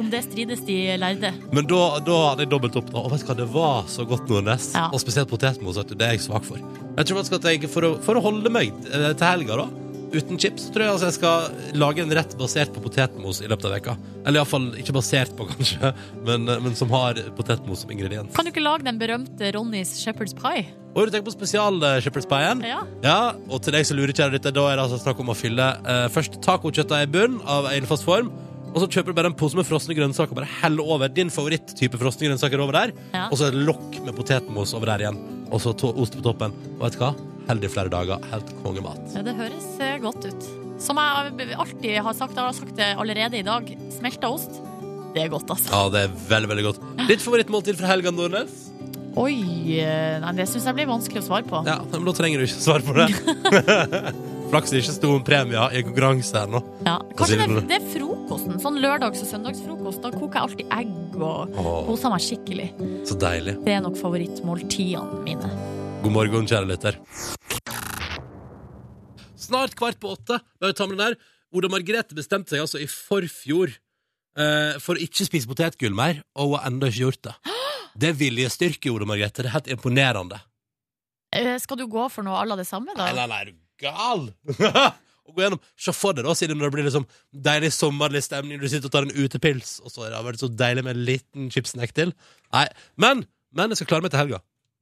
Speaker 2: Om det strides de lærde.
Speaker 1: Men da, da hadde jeg dobbelt opp. da. Og vet du hva, det var så godt, Nordnes.
Speaker 2: Ja.
Speaker 1: Og spesielt potetmos. vet du, Det er jeg svak for. Jeg tror faktisk at jeg, for å, for å holde meg eh, til helga, da, uten chips, så tror jeg altså jeg skal lage en rett basert på potetmos i løpet av veka. Eller iallfall ikke basert på, kanskje, men, eh, men som har potetmos som ingrediens.
Speaker 2: Kan du ikke lage den berømte Ronnys Shepherd's Pie?
Speaker 1: Og du tenker på spesial eh, shepherd's pie-en?
Speaker 2: Ja.
Speaker 1: Ja, og til deg som lurer kjære lytter, da er det altså snakk om å fylle eh, først tacokjøttet i bunn av en fast form, og så kjøper du bare en pose med frosne grønnsaker og bare heller over din favoritttype frosne grønnsaker over der,
Speaker 2: Ja.
Speaker 1: og så et lokk med potetmos over der igjen, og så to ost på toppen. Og vet du hva? Held det i flere dager. Helt kongemat.
Speaker 2: Ja, det høres eh, godt ut. Som jeg alltid har sagt, jeg har sagt det allerede i dag, smelta ost, det er godt, altså.
Speaker 1: Ja, det er veldig, veldig godt. Ditt favorittmåltid fra helga, Nordnes?
Speaker 2: Oi, eh, nei, det syns jeg blir vanskelig å svare på.
Speaker 1: Ja, men da trenger du ikke svare på det. Flaks det ikke sto om premie i en konkurranse her nå.
Speaker 2: Ja.
Speaker 1: sier
Speaker 2: Kanskje det,
Speaker 1: du
Speaker 2: er-
Speaker 1: nå?
Speaker 2: det er frokosten. Sånn lørdags- og søndagsfrokost. Da koker jeg alltid egg og
Speaker 1: Åh,
Speaker 2: koser meg skikkelig.
Speaker 1: så deilig.
Speaker 2: Det er nok favorittmåltidene mine.
Speaker 1: God morgen, kjære lytter. Snart kvart på åtte. Bare ta med den der. Oda Margrethe bestemte seg altså i forfjor eh, for å ikke spise potetgull mer, og hun har ennå ikke gjort det. Det er viljestyrke, Oda Margrethe. Det er helt imponerende.
Speaker 2: Eh, Skal du gå for noe à la det samme,
Speaker 1: Nei, nei,
Speaker 2: da?
Speaker 1: nei, er du gal? Å gå gjennom, Se for deg da, Silje, når det blir liksom deilig sommerlig stemning, du sitter og tar en utepils, og så har det vært så deilig med en liten chipsnack til. Nei, men, men jeg skal klare meg til helga.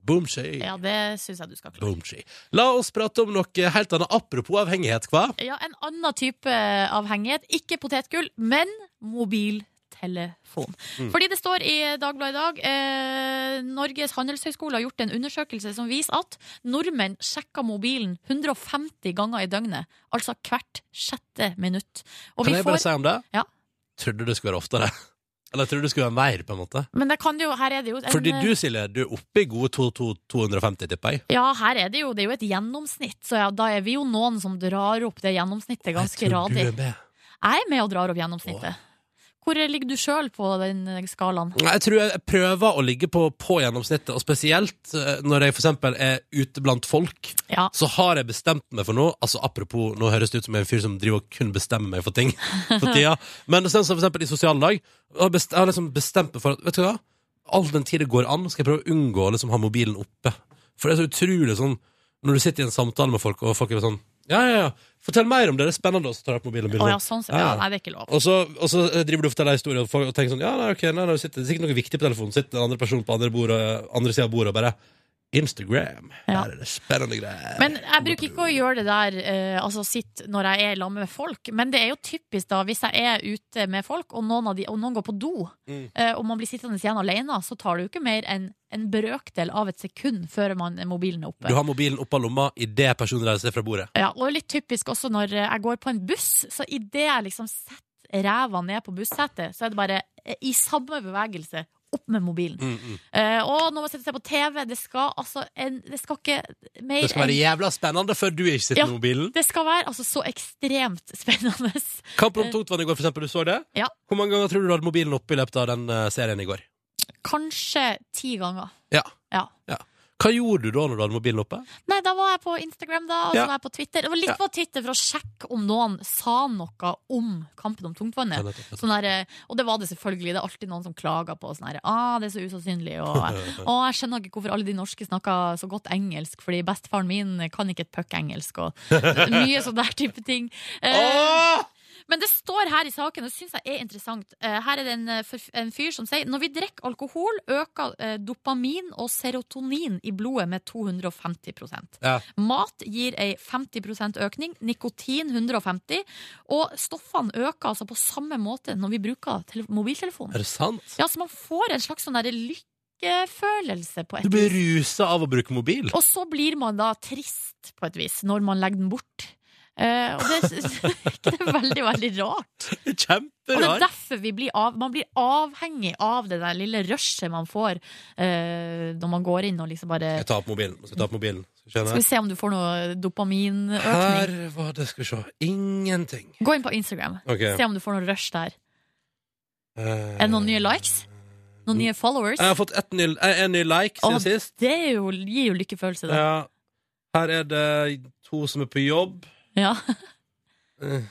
Speaker 1: Boom, shake.
Speaker 2: Ja, det syns jeg du skal klare.
Speaker 1: Boomchi. La oss prate om noe helt annet. Apropos avhengighet, hva?
Speaker 2: Ja, En annen type avhengighet. Ikke potetgull, men mobiltelefon.
Speaker 1: Mm.
Speaker 2: Fordi det står i Dagbladet i dag eh, Norges handelshøyskole har gjort en undersøkelse som viser at nordmenn sjekker mobilen 150 ganger i døgnet. Altså hvert sjette minutt. Og
Speaker 1: Kan
Speaker 2: vi
Speaker 1: jeg
Speaker 2: får-
Speaker 1: bare si om det?
Speaker 2: Ja.
Speaker 1: Trodde det skulle være oftere. Eller trodde det skulle være mer, på en måte.
Speaker 2: Men det kan jo, her er det jo en, eh,
Speaker 1: Fordi du, Silje, du er oppe i gode to- to- 250, tipper jeg.
Speaker 2: Ja, her er det jo, det er jo et gjennomsnitt, så ja, da er vi jo noen som drar opp det gjennomsnittet ganske
Speaker 1: jeg tror
Speaker 2: radig.
Speaker 1: du er med.
Speaker 2: Jeg er med og drar opp gjennomsnittet. Hvor ligger du sjøl på den skalaen?
Speaker 1: Nei, Jeg tror jeg prøver å ligge på, på gjennomsnittet, og spesielt eh, når jeg for eksempel er ute blant folk,
Speaker 2: Ja.
Speaker 1: så har jeg bestemt meg for noe. Altså apropos, nå høres det ut som jeg er en fyr som driver og kun bestemmer meg for ting for tida. Men sånn som for eksempel i sosiale lag, jeg har best- jeg har liksom bestemt meg for at, vet du hva, all den tid det går an, skal jeg prøve å unngå å liksom ha mobilen oppe. For det er så utrolig sånn, når du sitter i en samtale med folk, og folk er sånn, ja, ja, ja, fortell mer om det, det er spennende, og så tar jeg opp mobilen og
Speaker 2: Å
Speaker 1: begynner å-
Speaker 2: ja, sånn.
Speaker 1: Ja,
Speaker 2: Ja,
Speaker 1: ja.
Speaker 2: nei, det er ikke lov.
Speaker 1: og så, og så driver du og forteller historier og folk- og tenker sånn Ja, nei, ok, nei, nei, du sitter, det er sikkert noe viktig på telefonen Sitter den andre personen på andre, bordet, andre siden av bordet og bare Instagram,
Speaker 2: Ja.
Speaker 1: her er det spennende greier
Speaker 2: Men jeg bruker ikke å gjøre det der eh, altså sitt når jeg er sammen med folk. Men det er jo typisk da, hvis jeg er ute med folk, og noen, av de, og noen går på do,
Speaker 1: Mm.
Speaker 2: eh, og man blir sittende igjen alene, så tar det jo ikke mer enn en brøkdel av et sekund før man, mobilen er oppe.
Speaker 1: Du har mobilen opp av lomma i det personen reiser seg fra bordet
Speaker 2: Ja, og litt typisk også når eh, jeg går på en buss, så idet jeg liksom setter ræva ned på bussetet, så er det bare eh, i samme bevegelse opp med mobilen.
Speaker 1: mm, mm.
Speaker 2: Eh, og når man sitter og ser på TV, det skal altså en, Det skal ikke mer
Speaker 1: Det skal være
Speaker 2: enn
Speaker 1: jævla spennende før du ikke sitter
Speaker 2: Ja.
Speaker 1: med mobilen
Speaker 2: det skal være altså så ekstremt spennende.
Speaker 1: Kampen om tungtvann i går, for eksempel, du så det?
Speaker 2: Eh. Ja.
Speaker 1: Hvor mange ganger tror du du hadde mobilen oppe i løpet av den eh, serien i går?
Speaker 2: Kanskje ti ganger.
Speaker 1: Ja.
Speaker 2: Ja.
Speaker 1: Hva gjorde du da når du hadde mobilen oppe?
Speaker 2: Nei, da var jeg på Instagram, da, og så
Speaker 1: Ja.
Speaker 2: var jeg på Twitter. Det var litt
Speaker 1: Ja.
Speaker 2: på Twitter for å sjekke om noen sa noe om kampen om tungtvannet. Sånn der, eh, og det var det selvfølgelig. Det er alltid noen som klager på sånn her, ah, det er så usannsynlig. Og, og jeg skjønner ikke hvorfor alle de norske snakker så godt engelsk, fordi bestefaren min kan ikke et puck engelsk. Og mye sånn der type ting. Eh,
Speaker 1: Åh!
Speaker 2: Men det står her i saken, og det syns jeg er interessant. Eh, Her er det en, eh, forf- en fyr som sier når vi drikker alkohol, øker eh, dopamin og serotonin i blodet med 250
Speaker 1: Ja.
Speaker 2: Mat gir ei 50 økning, nikotin 150 og stoffene øker altså på samme måte når vi bruker tele- mobiltelefonen.
Speaker 1: Er det sant?
Speaker 2: Ja, så man får en slags sånn derre lykkefølelse på
Speaker 1: Du
Speaker 2: et
Speaker 1: blir rusa av å bruke mobil.
Speaker 2: og så blir man da trist på et vis når man legger den bort. Eh, og det, det er veldig, veldig rart. Og det er
Speaker 1: Kjemperar.
Speaker 2: derfor vi blir av, man blir avhengig av det der lille rushet man får eh, når man går inn og liksom bare
Speaker 1: Jeg tar opp mobilen. Skal jeg ta opp mobilen? Skal vi se
Speaker 2: Skal
Speaker 1: her.
Speaker 2: vi se om du får noe dopaminøkning.
Speaker 1: Her var det Skal vi se. Ingenting.
Speaker 2: Gå inn på Instagram.
Speaker 1: Ok.
Speaker 2: Se om du får noe rush der.
Speaker 1: Er
Speaker 2: Er det noen nye likes? Noen nye followers?
Speaker 1: Eh, Jeg har fått ett ny, eh, en ny like siden
Speaker 2: Å,
Speaker 1: sist.
Speaker 2: Det er jo, gir jo lykkefølelse, det.
Speaker 1: Ja. Her er det to som er på jobb.
Speaker 2: Ja.
Speaker 1: Eh,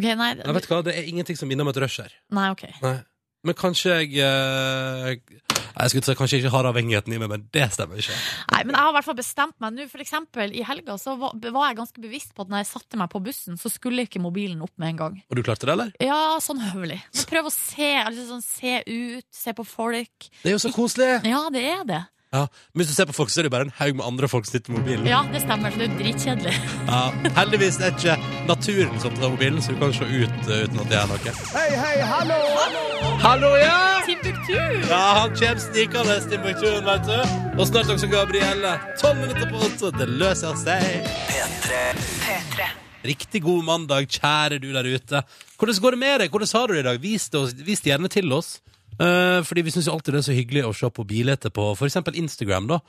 Speaker 2: OK, nei,
Speaker 1: Jeg vet hva, Det er ingenting som minner om et rush her.
Speaker 2: nei OK.
Speaker 1: Nei. Men kanskje jeg eh, Jeg skulle si kanskje jeg ikke har avhengigheten i meg, men det stemmer ikke.
Speaker 2: Nei, men jeg har i hvert fall bestemt meg nå. For eksempel i helga så var, var jeg ganske bevisst på at når jeg satte meg på bussen, så skulle ikke mobilen opp med en gang.
Speaker 1: Og du klarte det, eller?
Speaker 2: Ja, sånn høvelig. Men prøv å se, altså sånn, se ut, se på folk.
Speaker 1: Det er jo så koselig!
Speaker 2: Ja, det er det.
Speaker 1: Ja. Men hvis du ser på folk, så er det jo bare en haug med andre folk som sitter med mobilen.
Speaker 2: Ja, det stemmer, så det er jo dritkjedelig.
Speaker 1: Ja, heldigvis er ikke naturen som tar mobilen, så du kan se ut eh, uten at det er noe.
Speaker 5: Hei, hei, hallo!
Speaker 1: Hallo, ja!
Speaker 2: Timbuktu!
Speaker 1: Ja, han kommer snikende til Timbukturen, vet du. Og snart også Gabrielle. Tolv minutter på åtte, det løser seg. Riktig god mandag, kjære du der ute. Hvordan går det med deg? Hvordan har du det i dag? Vis det, oss, vis det gjerne til oss. Eh, fordi vi syns alltid det er så hyggelig å se på bilder på f.eks. Instagram. da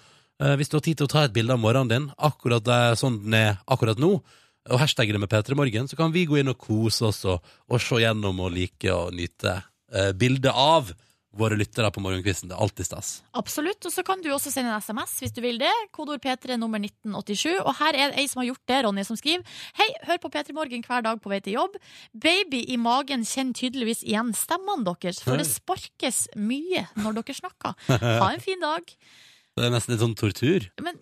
Speaker 1: Eh, Hvis du har tid til å ta et bilde av morgenen din akkurat der, sånn den er akkurat nå, og hashtagge det med P3 Morgen, så kan vi gå inn og kose oss og, og se gjennom og like og nyte eh, bildet av våre lyttere på morgenkvisten. Det er alltid stas.
Speaker 2: Absolutt. Og så kan du også sende en SMS hvis du vil det. Kodeord P3 nummer 1987. Og her er ei som har gjort det, Ronny, som skriver Hei, hør på P3 Morgen hver dag på vei til jobb. Baby i magen kjenner tydeligvis igjen stemmene deres, for det sparkes mye når dere snakker. Ha en fin dag.
Speaker 1: Det er nesten litt sånn tortur.
Speaker 2: Men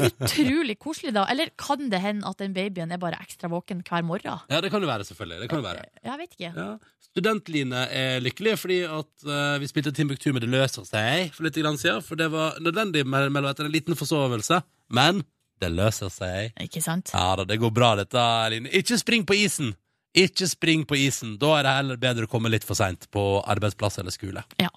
Speaker 2: utrolig koselig, da. Eller kan det hende at den babyen er bare ekstra våken hver morgen?
Speaker 1: Ja, det kan det være, selvfølgelig. Det kan det være.
Speaker 2: Jeg vet ikke.
Speaker 1: Ja. Studentline er lykkelig fordi at eh, vi spilte Timbuktu med Det løser seg for litt grann siden. For det var nødvendig mell- mellom etter en liten forsovelse. Men det løser seg.
Speaker 2: Ikke sant?
Speaker 1: Ja da, det går bra, dette, Line. Ikke spring på isen! Ikke spring på isen. Da er det heller bedre å komme litt for seint på arbeidsplass eller skole.
Speaker 2: Ja.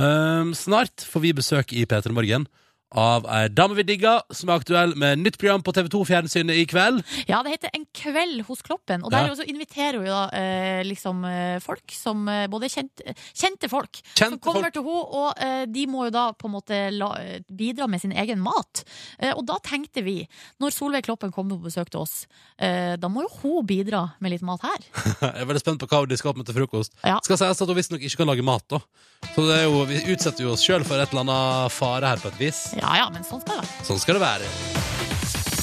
Speaker 1: Um, snart får vi besøk i P3 Morgen av ei dame vi digger, som er aktuell med nytt program på TV2 Fjernsynet i kveld.
Speaker 2: Ja, det heter En kveld hos Kloppen. Og
Speaker 1: Ja.
Speaker 2: der også inviterer hun jo da eh, liksom eh, folk som eh, både er kjent, eh, Kjente folk som
Speaker 1: Kjente
Speaker 2: kommer
Speaker 1: folk.
Speaker 2: til henne, og eh, de må jo da på en måte la, eh, bidra med sin egen mat. Eh, og da tenkte vi, når Solveig Kloppen kom på besøk til oss, eh, da må jo hun bidra med litt mat her.
Speaker 1: Jeg er veldig spent på hva de skal opp med til frokost.
Speaker 2: Ja.
Speaker 1: Skal sies at hun visstnok ikke kan lage mat, da. Så det er jo, vi utsetter jo oss sjøl for et eller annet fare her, på et vis.
Speaker 2: Ja ja, men sånn skal det være.
Speaker 1: Sånn skal det være.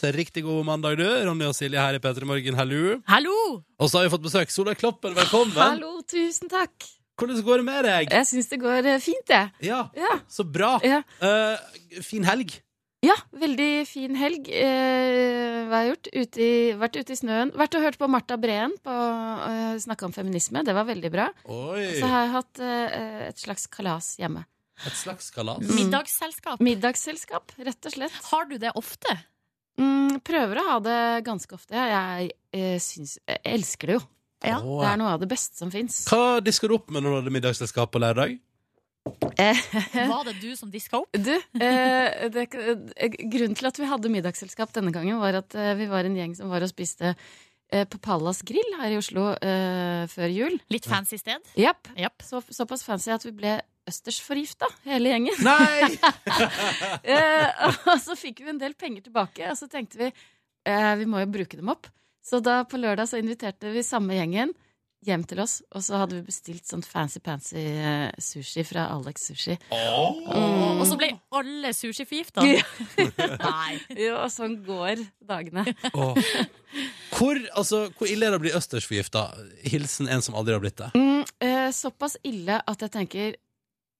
Speaker 1: Så riktig god mandag, du. Ronny og Silje her i P3 Morgen, hallo.
Speaker 2: Hallo!
Speaker 1: Og så har vi fått besøk. Solveig Kloppen, velkommen.
Speaker 6: Hallo, tusen takk.
Speaker 1: Hvordan går det med deg?
Speaker 6: Jeg syns det går eh, fint, jeg.
Speaker 1: Ja,
Speaker 6: Ja.
Speaker 1: så bra.
Speaker 6: Ja.
Speaker 1: Eh, fin helg.
Speaker 6: ja, veldig fin helg. Eh, hva har jeg gjort? Ute i, vært ute i snøen. Vært og hørt på Marta Breen på eh, snakka om feminisme. Det var veldig bra.
Speaker 1: Oi.
Speaker 6: Så har jeg hatt eh, et slags kalas hjemme.
Speaker 1: Et slags kalas.
Speaker 2: Middagsselskap.
Speaker 6: Middagsselskap, rett og slett.
Speaker 2: Har du det ofte?
Speaker 6: Mm, prøver å ha det ganske ofte. Jeg, eh, syns Jeg elsker det jo.
Speaker 2: Ja.
Speaker 1: Å,
Speaker 6: Det er noe av det beste som fins.
Speaker 1: Hva disker du opp med når du hadde middagsselskap på lørdag?
Speaker 2: Var det du som diska opp?
Speaker 6: Du, eh, det, eh, grunnen til at vi hadde middagsselskap denne gangen, var at eh, vi var en gjeng som var og spiste eh, på Pallas Grill her i Oslo eh, før jul.
Speaker 2: Litt fancy sted?
Speaker 6: Japp.
Speaker 2: Japp.
Speaker 6: Så, såpass fancy at vi ble østersforgifta, hele gjengen.
Speaker 1: Nei!
Speaker 6: Eh, og så fikk vi en del penger tilbake, og så tenkte vi eh, vi må jo bruke dem opp. Så da på lørdag så inviterte vi samme gjengen hjem til oss, og så hadde vi bestilt sånn fancy-pancy eh, sushi fra Alex Sushi.
Speaker 2: Og så ble alle sushiforgifta?
Speaker 6: Ja.
Speaker 2: Nei.
Speaker 6: Jo, og sånn går dagene.
Speaker 1: Åh. Hvor, altså, hvor ille er det å bli østersforgifta? Hilsen en som aldri har blitt det.
Speaker 6: Mm, eh, såpass ille at jeg tenker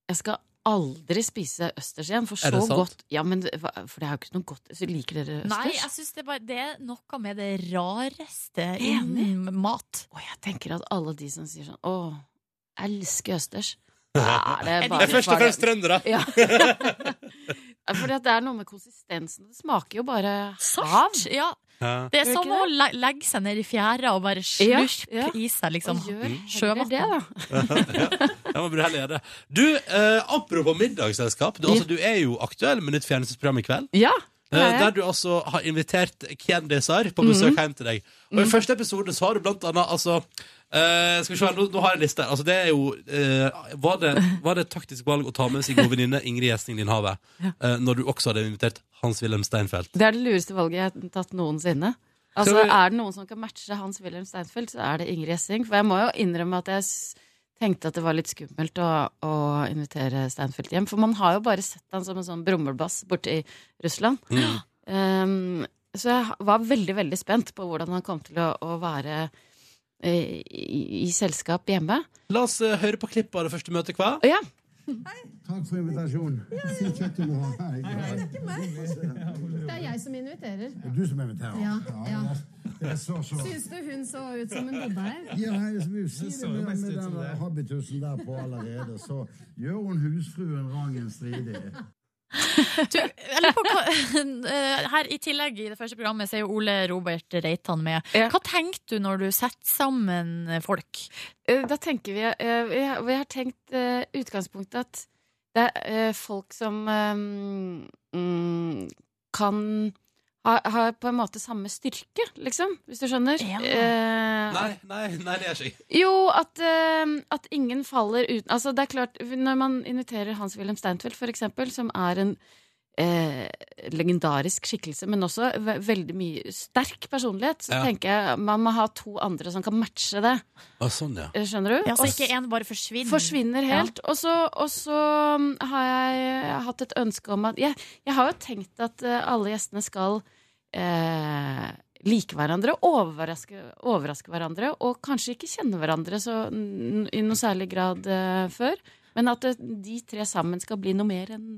Speaker 6: Jeg skal aldri spise østers igjen, for
Speaker 1: Er
Speaker 6: så
Speaker 1: det sant?
Speaker 6: godt Ja, men det- hva- For det er jo ikke noe godt Så Liker dere østers?
Speaker 2: Nei, jeg synes det, er bare, det er noe med det rareste
Speaker 6: Enig.
Speaker 2: innen mat.
Speaker 6: Og jeg tenker at alle de som sier sånn Å, jeg elsker østers Da er det
Speaker 2: Jeg
Speaker 6: bare,
Speaker 1: Det er først og fremst trøndere.
Speaker 6: ja. Fordi at det er noe med konsistensen Det smaker jo bare hav
Speaker 2: Sart! Ja,
Speaker 1: Ja.
Speaker 2: det er
Speaker 6: Gjør
Speaker 2: som
Speaker 6: ikke
Speaker 2: å le legge seg ned i fjæra og bare
Speaker 6: Ja,
Speaker 2: slurpe
Speaker 6: ja.
Speaker 2: i seg, liksom.
Speaker 6: Og gjør
Speaker 1: Mm.
Speaker 6: heller det da
Speaker 1: Jeg må bli heldig gjøre det. Du, eh, apropos middagsselskap. Du, altså, du er jo aktuell med nytt fjernsynsprogram i kveld.
Speaker 6: Ja,
Speaker 1: eh,
Speaker 6: Ja, Mhm. ja.
Speaker 1: Der du altså har invitert kjendiser på besøk hjem til deg. Og i første episode så har du blant annet altså eh, Skal vi se, nå, nå har jeg en liste. her. Altså, det er jo eh, var, det, var det et taktisk valg å ta med sin gode venninne Ingrid Gjesting Lindhave eh, når du også hadde invitert Hans-Wilhelm Steinfeld?
Speaker 6: det er det lureste valget jeg har tatt noensinne Altså,
Speaker 1: Skal vi-
Speaker 6: er det noen som kan matche Hans-Wilhelm Steinfeld Så er det Ingrid Essing For jeg må jo innrømme at jeg s- tenkte at det var litt skummelt å, å invitere Steinfeld hjem For man har jo bare sett han som en sånn brommelbass borte i Russland
Speaker 1: Mm.
Speaker 6: Ehm, så jeg var veldig, veldig spent på hvordan han kom til å, å være eh, i, i selskap hjemme.
Speaker 1: La oss eh, høre på klippet av det første møtet, hva?
Speaker 6: Og ja,
Speaker 5: Takk for invitasjonen. Si kjøtt du må ha. Hei,
Speaker 7: Det er ikke meg. Det er jeg som inviterer.
Speaker 5: Det er du som inviterer.
Speaker 7: Ja, ja.
Speaker 5: Det er så, så.
Speaker 7: Syns du hun så ut som hun bodde her?
Speaker 5: Ja, jeg vil si det med, med den habitusen der på allerede, så gjør hun husfruen Rangen stridig.
Speaker 2: Du, jeg lurer på hva, eh, her I tillegg i det første programmet så er jo Ole Robert Reitan med.
Speaker 6: Ja.
Speaker 2: Hva tenkte du når du setter sammen folk?
Speaker 6: eh, da tenker vi eh, Vi har, vi har tenkt eh, utgangspunktet at det er eh, folk som eh, mm, kan ha, har på en måte samme styrke, liksom, hvis du skjønner.
Speaker 2: Ja.
Speaker 6: Eh,
Speaker 1: Nei, nei, nei, det er ikke jeg.
Speaker 6: Jo, at, eh, at ingen faller uten Altså, det er klart, når man inviterer Hans-Wilhelm Steinfeld, for eksempel, som er en eh, legendarisk skikkelse, men også ve veldig mye sterk personlighet, så
Speaker 1: Ja.
Speaker 6: tenker jeg man må ha to andre som kan matche det.
Speaker 1: Ah, sånn, ja.
Speaker 6: Eh, Skjønner du?
Speaker 2: Ja, så
Speaker 6: Og
Speaker 2: ikke en bare forsvinner.
Speaker 6: Forsvinner helt. Og så, og så mm, har jeg hatt et ønske om at Jeg, jeg har jo tenkt at eh, alle gjestene skal eh, like hverandre, overraske, overraske hverandre, og kanskje ikke kjenne hverandre så, n- i noe særlig grad eh, før. Men at eh, de tre sammen skal bli noe mer enn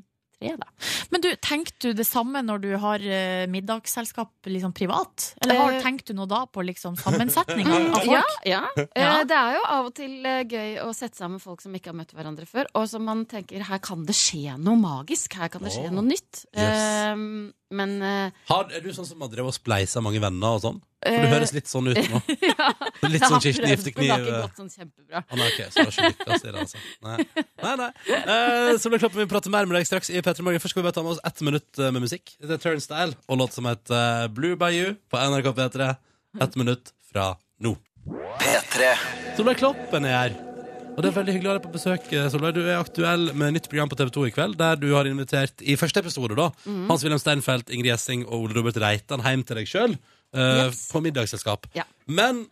Speaker 6: tre, da.
Speaker 2: Men du, tenkte du det samme når du har eh, middagsselskap liksom privat? Eller har,
Speaker 6: Eh.
Speaker 2: tenkte du noe da på liksom sammensetninga av folk?
Speaker 6: Mm, Ja, ja.
Speaker 2: Ja.
Speaker 6: Eh, Det er jo av og til eh, gøy å sette sammen folk som ikke har møtt hverandre før, og som man tenker her kan det skje noe magisk, her kan det skje
Speaker 1: Åh,
Speaker 6: noe nytt.
Speaker 1: yes.
Speaker 6: Eh, Men eh,
Speaker 1: Har, er du sånn som har drevet og spleisa mange venner og sånn? For
Speaker 6: eh,
Speaker 1: du høres litt sånn ut nå.
Speaker 6: ja,
Speaker 1: Litt
Speaker 6: jeg
Speaker 1: sånn
Speaker 6: har
Speaker 1: Kirsti
Speaker 6: prøvd, men Det har
Speaker 1: Giftekniv. eh.
Speaker 6: ikke gått sånn kjempebra.
Speaker 1: Ah, nei, ok, så det har ikke lykkes i det, altså. Nei, nei. nei. Eh, så blir det kloppen vi prater mer med deg straks i Petter Morgen. Først skal vi bare ta med oss ett minutt eh, med musikk. Det er Turnstyle og låt som heter eh, Blue Bayou på NRK P3. Ett minutt fra nå.
Speaker 4: P3
Speaker 1: Solveig Kloppen er her. Og det er veldig hyggelig å ha deg på besøk. eh, Solveig, du er aktuell med nytt program på TV 2 i kveld, der du har invitert i første episode da, Hans-Wilhelm Steinfeld, Ingrid Gjessing og Ole Robert Reitan hjem til deg sjøl
Speaker 6: Yes.
Speaker 1: på middagsselskap.
Speaker 6: Ja.
Speaker 1: Men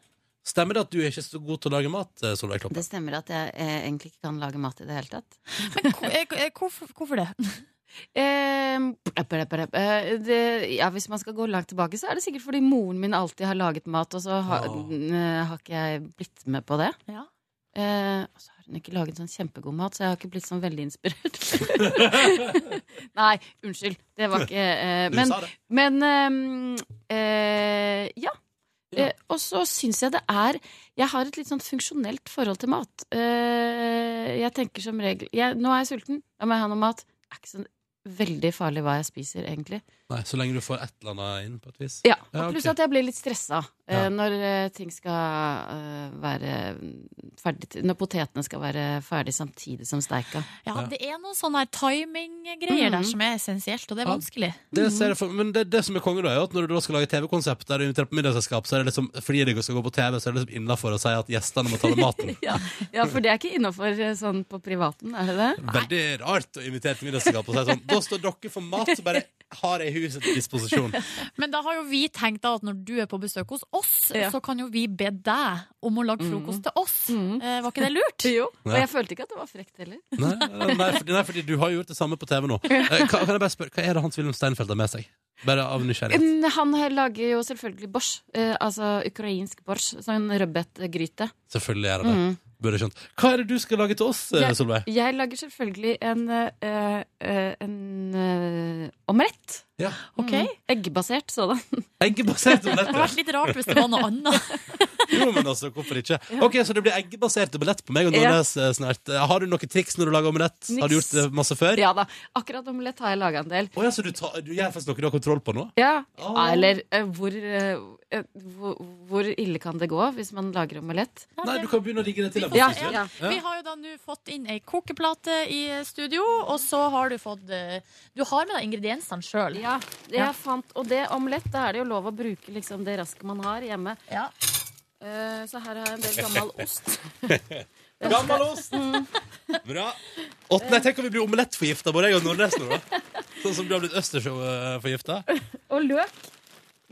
Speaker 1: stemmer det at du er ikke så god til å lage mat, eh, Solveig Kloppen?
Speaker 6: Det stemmer at jeg eh, egentlig ikke kan lage mat i det hele tatt.
Speaker 2: Men ko- eh, eh, hvorfor, hvorfor det?
Speaker 6: Eh, blepp, blepp, blepp. Eh, det, ja, hvis man skal gå langt tilbake, så er det sikkert fordi moren min alltid har laget mat, og så ha,
Speaker 1: Åh.
Speaker 6: n- eh, har ikke jeg blitt med på det.
Speaker 2: Ja.
Speaker 6: Eh, og så har hun ikke laget sånn kjempegod mat, så jeg har ikke blitt sånn veldig inspirert. Nei, unnskyld. Det var ikke eh,
Speaker 1: Du
Speaker 6: Men,
Speaker 1: sa det.
Speaker 6: men eh, eh, ja.
Speaker 1: Ja.
Speaker 6: Eh, og så syns jeg det er Jeg har et litt sånn funksjonelt forhold til mat. Eh, jeg tenker som regel jeg, Nå er jeg sulten, da må jeg ha noe mat. Det er ikke så veldig farlig hva jeg spiser, egentlig.
Speaker 1: Nei, så lenge du får et eller annet inn på et vis.
Speaker 6: Ja,
Speaker 1: Ja,
Speaker 6: og Pluss
Speaker 1: ok.
Speaker 6: at jeg blir litt stressa eh,
Speaker 1: Ja.
Speaker 6: når eh, ting skal eh, være ferdig til- Når potetene skal være ferdig samtidig som steika.
Speaker 2: Ja,
Speaker 1: Ja.
Speaker 2: det er noen sånne her timing-greier der
Speaker 6: Mhm.
Speaker 2: som er essensielt, og det er
Speaker 1: Ja.
Speaker 2: vanskelig.
Speaker 1: Det ser jeg for, men det, det som er konge, da, er at når du da skal lage TV-konsept der du inviterer på middagsselskap, så er det liksom fordi det skal gå på TV, så er det liksom innafor å si at gjestene må ta med maten.
Speaker 6: Ja, for det er ikke innafor sånn på privaten, er det det?
Speaker 1: Veldig rart å invitere til middagsselskap og si sånn Da står dere for mat, så bare har jeg huset til disposisjon.
Speaker 2: Men da har jo vi tenkt da at når du er på besøk hos oss,
Speaker 6: Ja.
Speaker 2: så kan jo vi be deg om å lage frokost til oss. Eh, var ikke det lurt?
Speaker 6: Jo. Og
Speaker 1: Ja.
Speaker 6: jeg følte ikke at det var frekt heller.
Speaker 1: Nei, nei, fordi, nei, fordi du har jo gjort det samme på TV nå. Eh, Hva, kan jeg bare spørre, hva er det Hans-Wilhelm Steinfeld har med seg? Bare av nysgjerrighet.
Speaker 6: Mm, Han lager jo selvfølgelig bors, eh, altså ukrainsk bors, sånn rødbetgryte. Mm.
Speaker 1: Selvfølgelig er det det. burde skjønt. Hva er det du skal lage til oss, eh,
Speaker 6: Jeg-
Speaker 1: Solveig?
Speaker 6: Jeg lager selvfølgelig en, eh, eh, en eh, omelett.
Speaker 1: Ja.
Speaker 2: Ok.
Speaker 6: Mm. Eggbasert sådan.
Speaker 1: Eggebasert
Speaker 2: Det hadde
Speaker 1: omelett.
Speaker 2: vært litt rart hvis det var noe annet.
Speaker 1: Jo, men altså, hvorfor ikke? Ok, Så det blir eggebasert omelett på meg og
Speaker 6: Ja.
Speaker 1: Nordnes eh, snart. Eh, Har du noen triks når du lager omelett? Har du gjort det masse før?
Speaker 6: Ja da. Akkurat omelett har jeg laga en del.
Speaker 1: Å ja, så du, tar, du gjør faktisk noe du har kontroll på nå?
Speaker 6: Ja.
Speaker 1: Ah.
Speaker 6: Eller eh, hvor, eh, eh, hvor, hvor ille kan det gå hvis man lager omelett?
Speaker 1: Nei, du kan begynne å rigge det til.
Speaker 2: Vi
Speaker 1: da, faktisk,
Speaker 2: får se.
Speaker 1: ikke?
Speaker 6: Ja.
Speaker 1: Ja.
Speaker 2: Vi har jo da nå fått inn ei kokeplate i studio, og så har du fått eh, Du har med deg ingrediensene sjøl.
Speaker 6: Ja, det jeg fant. Og det omelett, da er det jo lov å bruke liksom, det rasket man har hjemme.
Speaker 2: Ja.
Speaker 6: Eh, så her har jeg en del gammel ost.
Speaker 1: Gammel ost!
Speaker 6: Mm.
Speaker 1: Bra. Å, nei, tenk om vi blir omelettforgifta, både jeg og Nordnes nå, da. Sånn som du har blitt østersjøforgifta.
Speaker 6: Og løk.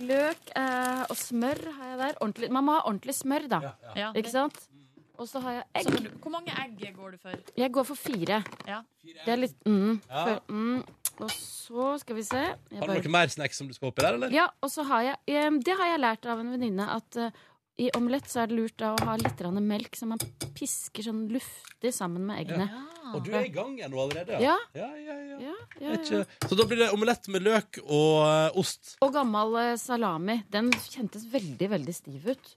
Speaker 6: Løk eh, og smør har jeg der. Ordentlig, man må ha ordentlig smør, da.
Speaker 2: Ja.
Speaker 6: Ikke sant? Og så har jeg egg.
Speaker 2: Så, hvor mange egg går du for?
Speaker 6: Jeg går for fire.
Speaker 2: Ja.
Speaker 6: Det er litt mm,
Speaker 1: Ja.
Speaker 6: for, mm. Og så skal vi se jeg
Speaker 1: Har du
Speaker 6: bare,
Speaker 1: noe mer snacks som du skal oppi der, eller?
Speaker 6: Ja, og så har jeg eh, Det har jeg lært av en venninne, at eh, i omelett så er det lurt da, å ha litt grann melk, så man pisker sånn luftig sammen med eggene.
Speaker 1: Og du er i gang igjen nå allerede?
Speaker 6: Ja.
Speaker 1: ja, ja, ja.
Speaker 6: Ja, ja,
Speaker 1: Det er
Speaker 6: ja.
Speaker 1: Ikke... Så da blir det omelett med løk og eh, ost.
Speaker 6: Og gammel eh, salami. Den kjentes veldig, veldig stiv ut.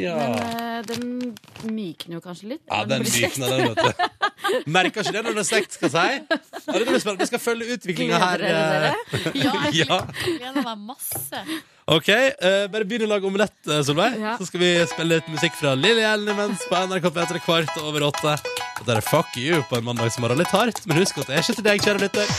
Speaker 1: Ja,
Speaker 6: Men eh, den mykner jo kanskje litt.
Speaker 1: ja
Speaker 6: når
Speaker 1: den
Speaker 6: blir stekt.
Speaker 1: sykner, den, vet du. Merker ikke det når det er stekt, skal jeg si. Ja, det blir spennende. Vi skal følge utviklinga
Speaker 6: Gleder
Speaker 1: her.
Speaker 6: dere
Speaker 1: eh.
Speaker 6: dere?
Speaker 2: Ja, jeg
Speaker 1: Ja.
Speaker 2: gleder meg masse.
Speaker 1: OK, eh, bare begynn å lage omelett, eh, Solveig.
Speaker 6: Ja.
Speaker 1: Så skal vi spille litt musikk fra Lilly Ellen imens på NRK P3 kvart over åtte. Og der er Fuck you på en mandagsmorgen litt hardt, men husk at det er ikke til deg, kjære lytter.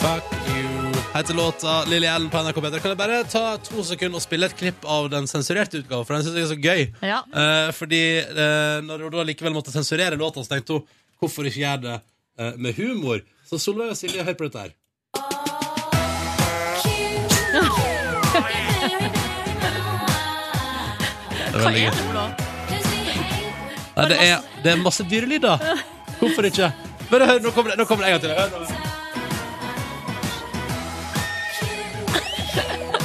Speaker 1: Fuck you heter låta Lilly Ellen på NRK P3. Kan jeg bare ta to sekunder og spille et klipp av den sensurerte utgaven, for den syns jeg er så gøy.
Speaker 2: Ja.
Speaker 1: Eh, fordi eh, når hun da likevel måtte sensurere låta, så tenkte hun hvorfor ikke gjøre det eh, med humor? Så Solveig og Silje, hør på dette her. Det er
Speaker 2: Hva
Speaker 1: veldig gøy.
Speaker 2: er det for noe?
Speaker 1: Nei, det, er, det er masse dyrelyder. Hvorfor ikke? Bare hør, nå kommer det, nå kommer det en gang til. Hør nå.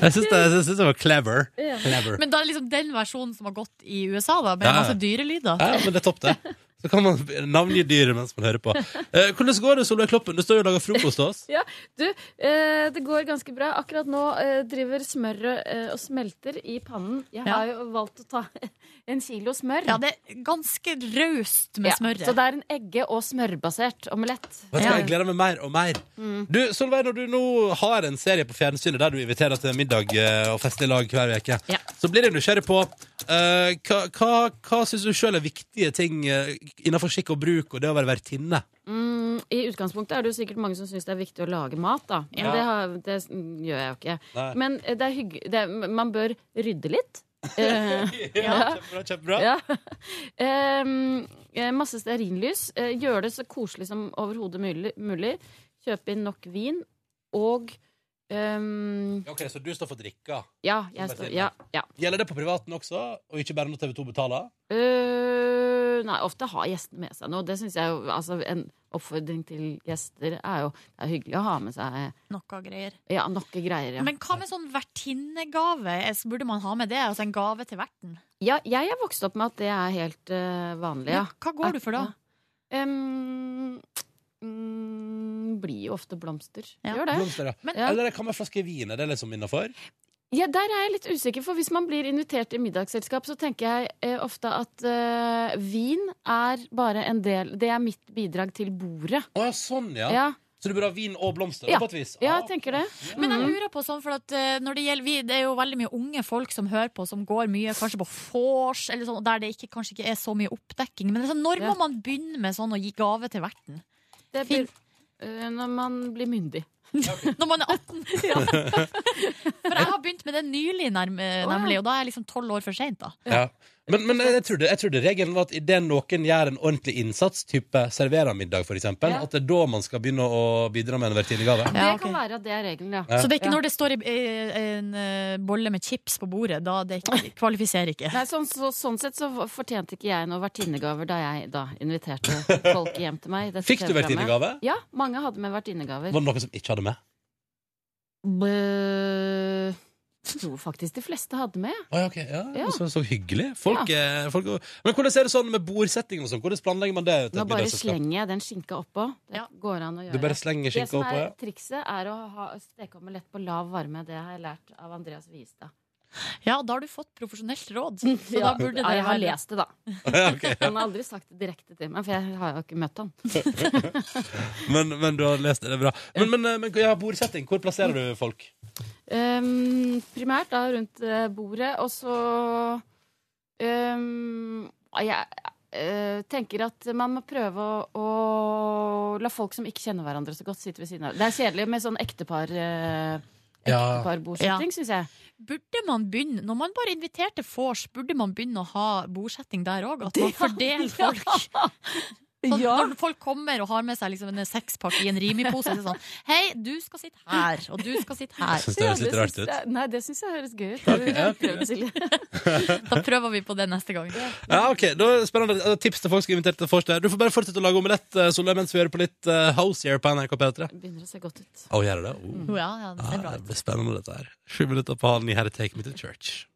Speaker 1: Jeg syns det, jeg syns det var clever. clever.
Speaker 2: Men da er det liksom den versjonen som har gått i USA, da, med
Speaker 1: Ja, ja.
Speaker 2: masse dyrelyder.
Speaker 1: Ja, men det er topp, det. Så kan man navngi dyret mens man hører på. Eh, hvordan går det, Solveig Kloppen? Du står jo og lager frokost til oss.
Speaker 6: Ja, du, eh, det går ganske bra. Akkurat nå eh, driver smøret eh, og smelter i pannen. Jeg
Speaker 2: Ja.
Speaker 6: har jo valgt å ta en kilo smør.
Speaker 2: Ja, det er ganske raust med
Speaker 6: Ja,
Speaker 2: smøret.
Speaker 6: Så det er en egge- og smørbasert omelett.
Speaker 1: Vet du hva, Jeg gleder meg mer og mer.
Speaker 6: Mm.
Speaker 1: Du, Solveig, når du nå har en serie på fjernsynet der du inviterer til middag eh, og fest i lag hver uke,
Speaker 6: Ja.
Speaker 1: så blir jeg nysgjerrig på eh, hva, hva, hva syns du sjøl er viktige ting eh, innenfor skikk og bruk og det å være vertinne?
Speaker 6: Mm, I utgangspunktet er det jo sikkert mange som syns det er viktig å lage mat, da. Men
Speaker 1: Ja.
Speaker 6: det, har, det s- mm, gjør jeg jo ikke.
Speaker 1: Nei.
Speaker 6: Men eh, det er hygg... Det, er- man bør rydde litt. Eh, Ja.
Speaker 1: kjempebra, kjempebra.
Speaker 6: ja. Em, eh, masse stearinlys. Eh, gjør det så koselig som overhodet mulig- mulig. Kjøp inn nok vin. Og em,
Speaker 1: Ok, Så du står for drikka.
Speaker 6: Ja, jeg
Speaker 1: Som
Speaker 6: står
Speaker 1: bare
Speaker 6: Ja. ja.
Speaker 1: Gjelder det på privaten også, og ikke bare når TV2 betaler?
Speaker 6: Øh, nei, ofte har gjestene med seg noe. Det synes jeg jo Altså, en oppfordring til gjester er jo Det er hyggelig å ha med seg
Speaker 2: Noe greier.
Speaker 6: Ja, noe greier, ja.
Speaker 2: Men hva med sånn vertinnegave? Eh, så Burde man ha med det? Altså en gave til verten?
Speaker 6: ja jeg er vokst opp med at det er helt øh, vanlig, ja.
Speaker 2: Men Hva går du for da?
Speaker 6: Em, mm, blir jo ofte blomster.
Speaker 2: Ja.
Speaker 6: Gjør det.
Speaker 1: Blomster, ja.
Speaker 2: Men-
Speaker 1: Eller en kammerflaske vin, er det liksom innafor?
Speaker 6: Ja, Der er jeg litt usikker, for hvis man blir invitert i middagsselskap, så tenker jeg eh, ofte at eh, vin er bare en del Det er mitt bidrag til bordet.
Speaker 1: Å ja, sånn, ja.
Speaker 6: Ja,
Speaker 1: Så du burde ha vin og blomster?
Speaker 6: Ja.
Speaker 1: på et vis?
Speaker 6: ja
Speaker 1: Ah,
Speaker 6: jeg tenker det.
Speaker 2: Men jeg lurer på sånn, for at eh, når det gjelder vi, Det er jo veldig mye unge folk som hører på, som går mye kanskje på vors, eller sånn, der det ikke, kanskje ikke er så mye oppdekking. Men det er sånn, når
Speaker 6: Ja.
Speaker 2: må man begynne med sånn å gi gave til verten?
Speaker 6: det blir, eh, når man blir myndig.
Speaker 2: Når man er 18? For jeg har begynt med det nylig, nærme,
Speaker 6: ja.
Speaker 2: nemlig, og da er jeg liksom tolv år for seint.
Speaker 1: Ja. Men, men jeg, trodde, jeg trodde regelen var at idet noen gjør en ordentlig innsats, type serverer middag f.eks., eksempel
Speaker 6: Ja.
Speaker 1: at det er da man skal begynne å bidra med en vertinegave.
Speaker 2: Ja,
Speaker 6: det
Speaker 2: ok.
Speaker 6: kan være at det er regelen, ja.
Speaker 2: Så det er ikke
Speaker 6: Ja.
Speaker 2: når det står i, eh, en eh, bolle med chips på bordet, da det ikke, kvalifiserer ikke.
Speaker 6: Nei, sånn, så, sånn sett så fortjente ikke jeg noen vertinnegaver da jeg da inviterte folk hjem til meg. i dette
Speaker 1: Fikk du
Speaker 6: TV-programmet.
Speaker 1: vertinegave?
Speaker 6: Ja, mange hadde med vertinnegaver.
Speaker 1: Var det noen som ikke hadde med?
Speaker 6: Bø... tror faktisk de fleste hadde med.
Speaker 1: Å, ja, ok. ja,
Speaker 6: Ja.
Speaker 1: Så, så hyggelig. Folk, er- folk, er- men hvordan er det sånn med bordsetting og sånn? Hvordan planlegger man det? ut til
Speaker 6: Nå
Speaker 1: et
Speaker 6: bare
Speaker 1: middagsselskap?
Speaker 6: slenger jeg den skinka oppå. Det
Speaker 2: Ja.
Speaker 6: går an å gjøre.
Speaker 1: Du bare slenger
Speaker 6: det
Speaker 1: skinka
Speaker 6: som
Speaker 1: oppå?
Speaker 6: er sånn
Speaker 1: Ja.
Speaker 6: trikset, er å ha, steke omelett på lav varme. Det har jeg lært av Andreas Wiestad.
Speaker 2: Ja, da har du fått profesjonelt råd. Så da burde
Speaker 6: Ja,
Speaker 2: det
Speaker 6: jeg har
Speaker 2: være-
Speaker 6: lest det, da.
Speaker 1: Ja, ok, ja.
Speaker 6: Han har aldri sagt det direkte til meg, for jeg har jo ikke møtt han.
Speaker 1: men, men du har lest det, det er bra. Men, men, eh, men ja, bordsetting, hvor plasserer du folk?
Speaker 6: Ehm, primært da rundt eh, bordet, og så ehm, Jeg eh, tenker at man må prøve å, å la folk som ikke kjenner hverandre så godt, sitte ved siden av. Det er kjedelig med sånn ektepar. eh,
Speaker 1: Ja.
Speaker 6: Ekteparbordsetting, syns jeg.
Speaker 2: Burde man begynne, Når man bare inviterer til vors, burde man begynne å ha bordsetting der òg? At man fordeler folk? Sånn, Når folk kommer og har med seg liksom en sekspakk i en Rimi-pose, så er det sånn Hei, du skal sitte her, og du skal sitte
Speaker 1: Jeg
Speaker 2: her.
Speaker 1: synes det høres litt
Speaker 6: Ja,
Speaker 1: rart
Speaker 6: syns
Speaker 1: ut.
Speaker 6: jeg- Nei, det syns jeg høres gøy ut. Har du prøvd, Silje?
Speaker 2: Da prøver vi på det neste gang.
Speaker 1: Ja, ok, da er det Spennende Eh, tips til folk som er invitert til vors der. Du får bare fortsette å lage omelett, eh, Solveig, mens vi hører på litt eh, Houseier på NRK P3.
Speaker 6: Begynner å se godt ut.
Speaker 1: Å, gjør det? Oh.
Speaker 2: Ja, ja, det ser
Speaker 1: Ja,
Speaker 2: bra
Speaker 1: det
Speaker 2: ut.
Speaker 1: blir spennende dette her. Sju minutter på halv ni her i Take Me to Church.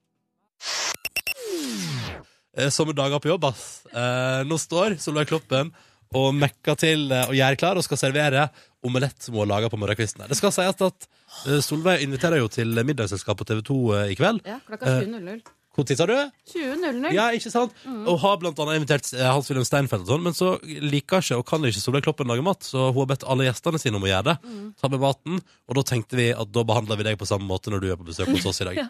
Speaker 1: Eh, Sommerdager på jobb, ass. Eh, nå står Solveig Kloppen og mekka til eh, og gjør klar og skal servere omelett som hun har laga på morgenkvisten. her. Det skal sies at eh, Solveig inviterer jo til middagsselskap på TV 2 i kveld.
Speaker 6: Ja, klokka
Speaker 1: Eh,
Speaker 6: 20.00.
Speaker 1: Hvor tid sa du?
Speaker 6: 20.00?
Speaker 1: Ja, ikke sant? Og har blant annet invitert eh, Hans-Wilhelm Steinfeld og sånn, men så liker ikke og kan ikke Solveig Kloppen lage mat, så hun har bedt alle gjestene sine om å gjøre det. Ta med maten, og da tenkte vi at da behandler vi deg på samme måte når du er på besøk hos oss i dag.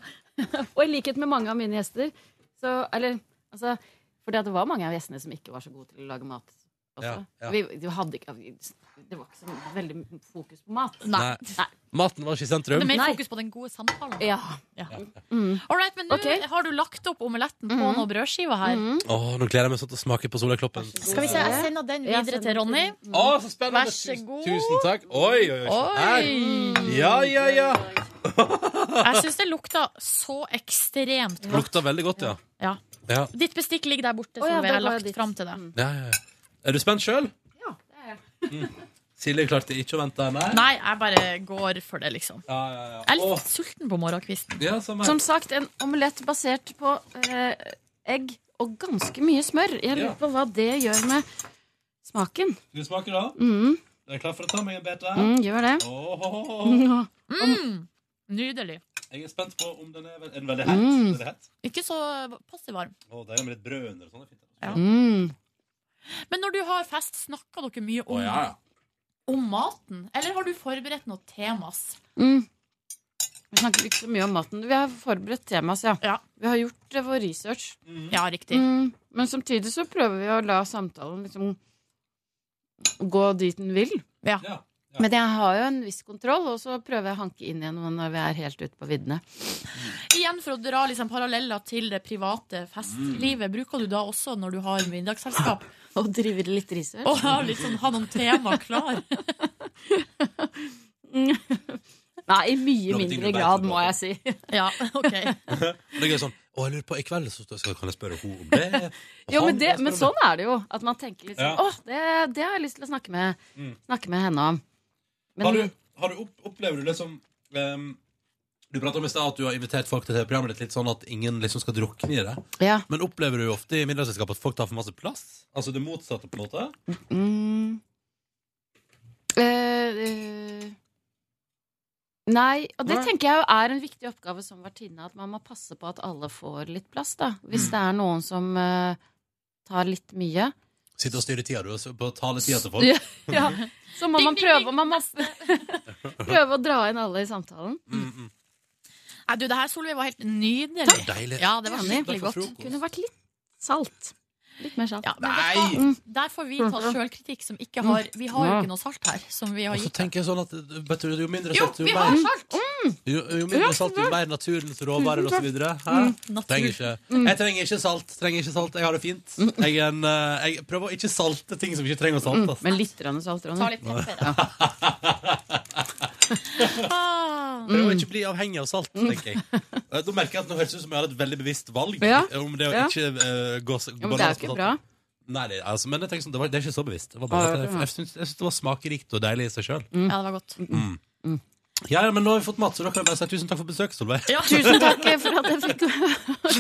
Speaker 6: Og i likhet med mange av mine gjester så, Eller altså For det var mange av gjestene som ikke var så gode til å lage mat. Også.
Speaker 1: Ja, ja.
Speaker 6: Vi, vi hadde ikke vi, Det var ikke så veldig fokus på mat.
Speaker 2: Nei.
Speaker 1: Nei. Maten var ikke i
Speaker 2: Det er
Speaker 1: sentrum.
Speaker 2: mer
Speaker 6: Nei.
Speaker 2: fokus på den gode samtalen.
Speaker 6: Ja.
Speaker 2: Ja.
Speaker 6: Mm.
Speaker 2: All right, men nå
Speaker 6: Ok. Mhm.
Speaker 2: har du lagt opp omeletten på noen brødskiver her.
Speaker 1: Åh, nå gleder jeg meg sånn til å smake på Solveig Kloppen.
Speaker 2: Skal vi se, Jeg sender den
Speaker 6: Ja,
Speaker 2: videre
Speaker 6: send
Speaker 2: til
Speaker 6: den
Speaker 2: Ronny.
Speaker 6: til-
Speaker 1: Å, så spennende!
Speaker 2: Vær så
Speaker 1: Tusen-
Speaker 2: god.
Speaker 1: Tusen takk. Oi, oi, oi. se her.
Speaker 2: Oi!
Speaker 1: Ja, ja, ja.
Speaker 2: Jeg syns det lukta så ekstremt godt.
Speaker 1: Lukta veldig godt, ja.
Speaker 2: Ja.
Speaker 1: Ja,
Speaker 2: Ditt bestikk ligger der borte,
Speaker 6: Å, ja,
Speaker 2: Solveig.
Speaker 6: der
Speaker 2: Jeg har
Speaker 6: var
Speaker 2: lagt
Speaker 6: ditt.
Speaker 2: fram til deg.
Speaker 1: ja, ja. ja. Er du spent sjøl?
Speaker 6: Ja, det er jeg.
Speaker 1: Silje klarte ikke å vente. Nei.
Speaker 2: Nei, jeg bare går for det, liksom.
Speaker 1: Ja, ja, ja.
Speaker 2: Jeg er litt
Speaker 1: Åh,
Speaker 2: sulten på morgenkvisten.
Speaker 1: ja, samme her.
Speaker 6: Som sagt, en omelett basert på eh, egg og ganske mye smør. Jeg
Speaker 1: Ja.
Speaker 6: lurer på hva det gjør med smaken.
Speaker 1: Skal du smake, da?
Speaker 6: Mm,
Speaker 1: Er du klar for å ta meg en bete?
Speaker 6: mm, gjør det.
Speaker 1: Åh,
Speaker 2: Nydelig.
Speaker 1: jeg er spent på om den er, vel- er den veldig het.
Speaker 6: Mm.
Speaker 1: Er det het?
Speaker 2: Ikke så passe varm.
Speaker 1: Åh, det er med litt brød under. og Sånn, det er fint.
Speaker 6: Mm.
Speaker 2: Men når du har fest, snakker dere mye om,
Speaker 1: Åh, ja, ja.
Speaker 2: om maten? Eller har du forberedt noen temas?
Speaker 6: Mm. Vi snakker ikke så mye om maten. Vi har forberedt tema, så ja.
Speaker 2: Ja.
Speaker 6: Vi har gjort eh, vår research.
Speaker 2: Ja, riktig.
Speaker 6: Mm, men samtidig så prøver vi å la samtalen liksom gå dit den vil.
Speaker 2: Ja.
Speaker 1: Ja, ja.
Speaker 6: Men jeg har jo en viss kontroll, og så prøver jeg å hanke inn igjen når vi er helt ute på viddene.
Speaker 2: Igjen for å dra liksom paralleller til det private
Speaker 1: Mm.
Speaker 2: festlivet. Bruker du da også når du har middagsselskap?
Speaker 6: Og driver litt research.
Speaker 2: Å ha, litt sånn- ha noen tema klar?
Speaker 6: Nei, i mye
Speaker 1: Nå betyr
Speaker 6: mindre
Speaker 1: det
Speaker 6: grad,
Speaker 1: bare-
Speaker 6: må jeg si.
Speaker 2: Ja,
Speaker 1: Og
Speaker 2: ok.
Speaker 1: Det er gøy sånn, åh, jeg lurer på, i kveld så skal jeg, kan jeg spørre henne om det? Og
Speaker 6: Jo,
Speaker 1: han,
Speaker 6: men,
Speaker 1: kan jeg
Speaker 6: det, men
Speaker 1: spørre om
Speaker 6: sånn er det jo. At man tenker litt sånn
Speaker 1: Ja.
Speaker 6: Å, det, det har jeg lyst til å snakke med,
Speaker 1: Mm.
Speaker 6: snakke med henne om.
Speaker 1: det? Har
Speaker 6: Men
Speaker 1: du, har du opp, opplever du det som... ehm, du pratet om i sted at du har invitert folk til TV-programmet ditt litt sånn at ingen liksom skal drukne i det.
Speaker 6: ja.
Speaker 1: Men opplever du ofte i middagsselskapet at folk tar for masse plass? Altså det motsatte på en måte?
Speaker 6: Mm. Eh, eh. Nei, og det
Speaker 1: Nei.
Speaker 6: tenker jeg jo er en viktig oppgave som vertinne. At man må passe på at alle får litt plass, da. Hvis det er noen som eh, tar litt mye.
Speaker 1: Sitte og styre tida du, og så- på å ta litt tida til folk.
Speaker 6: Ja, ja. Så må
Speaker 2: Ding,
Speaker 6: man
Speaker 2: ding,
Speaker 6: prøve,
Speaker 2: ding,
Speaker 6: man må prøve å dra inn alle i samtalen.
Speaker 1: Mm, mm.
Speaker 2: Nei, du, det her, Solveig, var helt
Speaker 1: Det er
Speaker 2: nydelig.
Speaker 1: deilig.
Speaker 2: Ja, det var
Speaker 6: Enig.
Speaker 2: skikkelig godt.
Speaker 1: Frokost.
Speaker 6: Kunne vært litt salt. Litt mer salt.
Speaker 2: Ja, men vet du hva?
Speaker 1: Nei!
Speaker 2: Der får vi ta sjølkritikk som ikke har
Speaker 8: Mm.
Speaker 2: Vi har jo ikke noe salt her. Som vi har
Speaker 1: Og så
Speaker 2: gitt.
Speaker 1: tenker jeg sånn at vet du, jo mindre
Speaker 2: Jo,
Speaker 1: salt, jo
Speaker 2: vi har
Speaker 1: mer,
Speaker 2: salt!
Speaker 1: jo,
Speaker 6: Mm.
Speaker 1: jo, mindre salt, jo mer naturens råvarer osv. Trenger ikke.
Speaker 6: Mm.
Speaker 1: Jeg trenger ikke salt. Trenger ikke salt. Jeg har det fint. Jeg, er en, eh, jeg prøver å ikke salte ting som ikke trenger å saltes.
Speaker 6: Mm. Men litt grann salt,
Speaker 2: Ta
Speaker 6: Ronny.
Speaker 2: litt pepper, da. Ah,
Speaker 1: Prøver å ikke bli avhengig av salt,
Speaker 6: Mm.
Speaker 1: tenker jeg. Eh, Nå merker jeg at nå høres det ut som jeg hadde et veldig bevisst valg
Speaker 6: Ja,
Speaker 1: eh, om det å
Speaker 6: ja.
Speaker 1: ikke eh, gå s-
Speaker 6: Ja, men det er jo
Speaker 1: balanse på
Speaker 6: ikke
Speaker 1: salten.
Speaker 6: bra.
Speaker 1: Nei, det, altså, men jeg tenker sånn, det, var, sånn
Speaker 8: Mm.
Speaker 1: det er ikke så bevisst. Det var bare, at jeg jeg syns jeg syns det var smakerikt og deilig i seg sjøl.
Speaker 2: ja, det var godt.
Speaker 6: Mm.
Speaker 1: Ja, ja, men nå har vi fått mat, så da kan jeg bare si tusen takk for besøket, Solveig.
Speaker 6: Tusen takk for at jeg fikk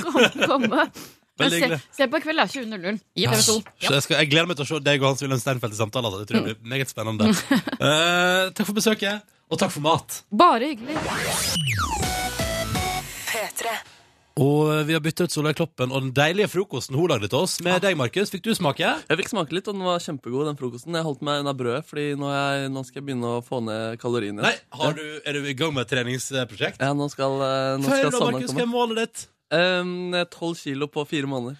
Speaker 6: komme- komme. Men
Speaker 1: Veldig
Speaker 6: se,
Speaker 1: hyggelig.
Speaker 6: se på i kveld, da. 20.00.
Speaker 1: Ja. Så Jeg, skal, jeg gleder meg til å se deg og Hans Wilhelm Steinfeld i samtale. Altså. Det tror jeg blir meget spennende. Eh, takk for besøket, og takk for mat.
Speaker 6: Bare hyggelig.
Speaker 1: Og vi har byttet ut Solveig Kloppen og den deilige frokosten hun lagde til oss. Med deg, Markus. Fikk du smake?
Speaker 8: Jeg fikk smake litt, og den var kjempegod, den frokosten. Jeg holdt meg unna brødet, fordi nå, er jeg, nå skal jeg begynne å få ned kaloriene.
Speaker 1: Nei, har du, er du i gang med et treningsprosjekt?
Speaker 8: Ja, nå skal, eh, nå
Speaker 1: Før
Speaker 8: skal
Speaker 1: da,
Speaker 8: Sanna
Speaker 1: Markus, hva
Speaker 8: komme.
Speaker 1: er målet ditt?
Speaker 8: Um, 12 kilo på fire måneder.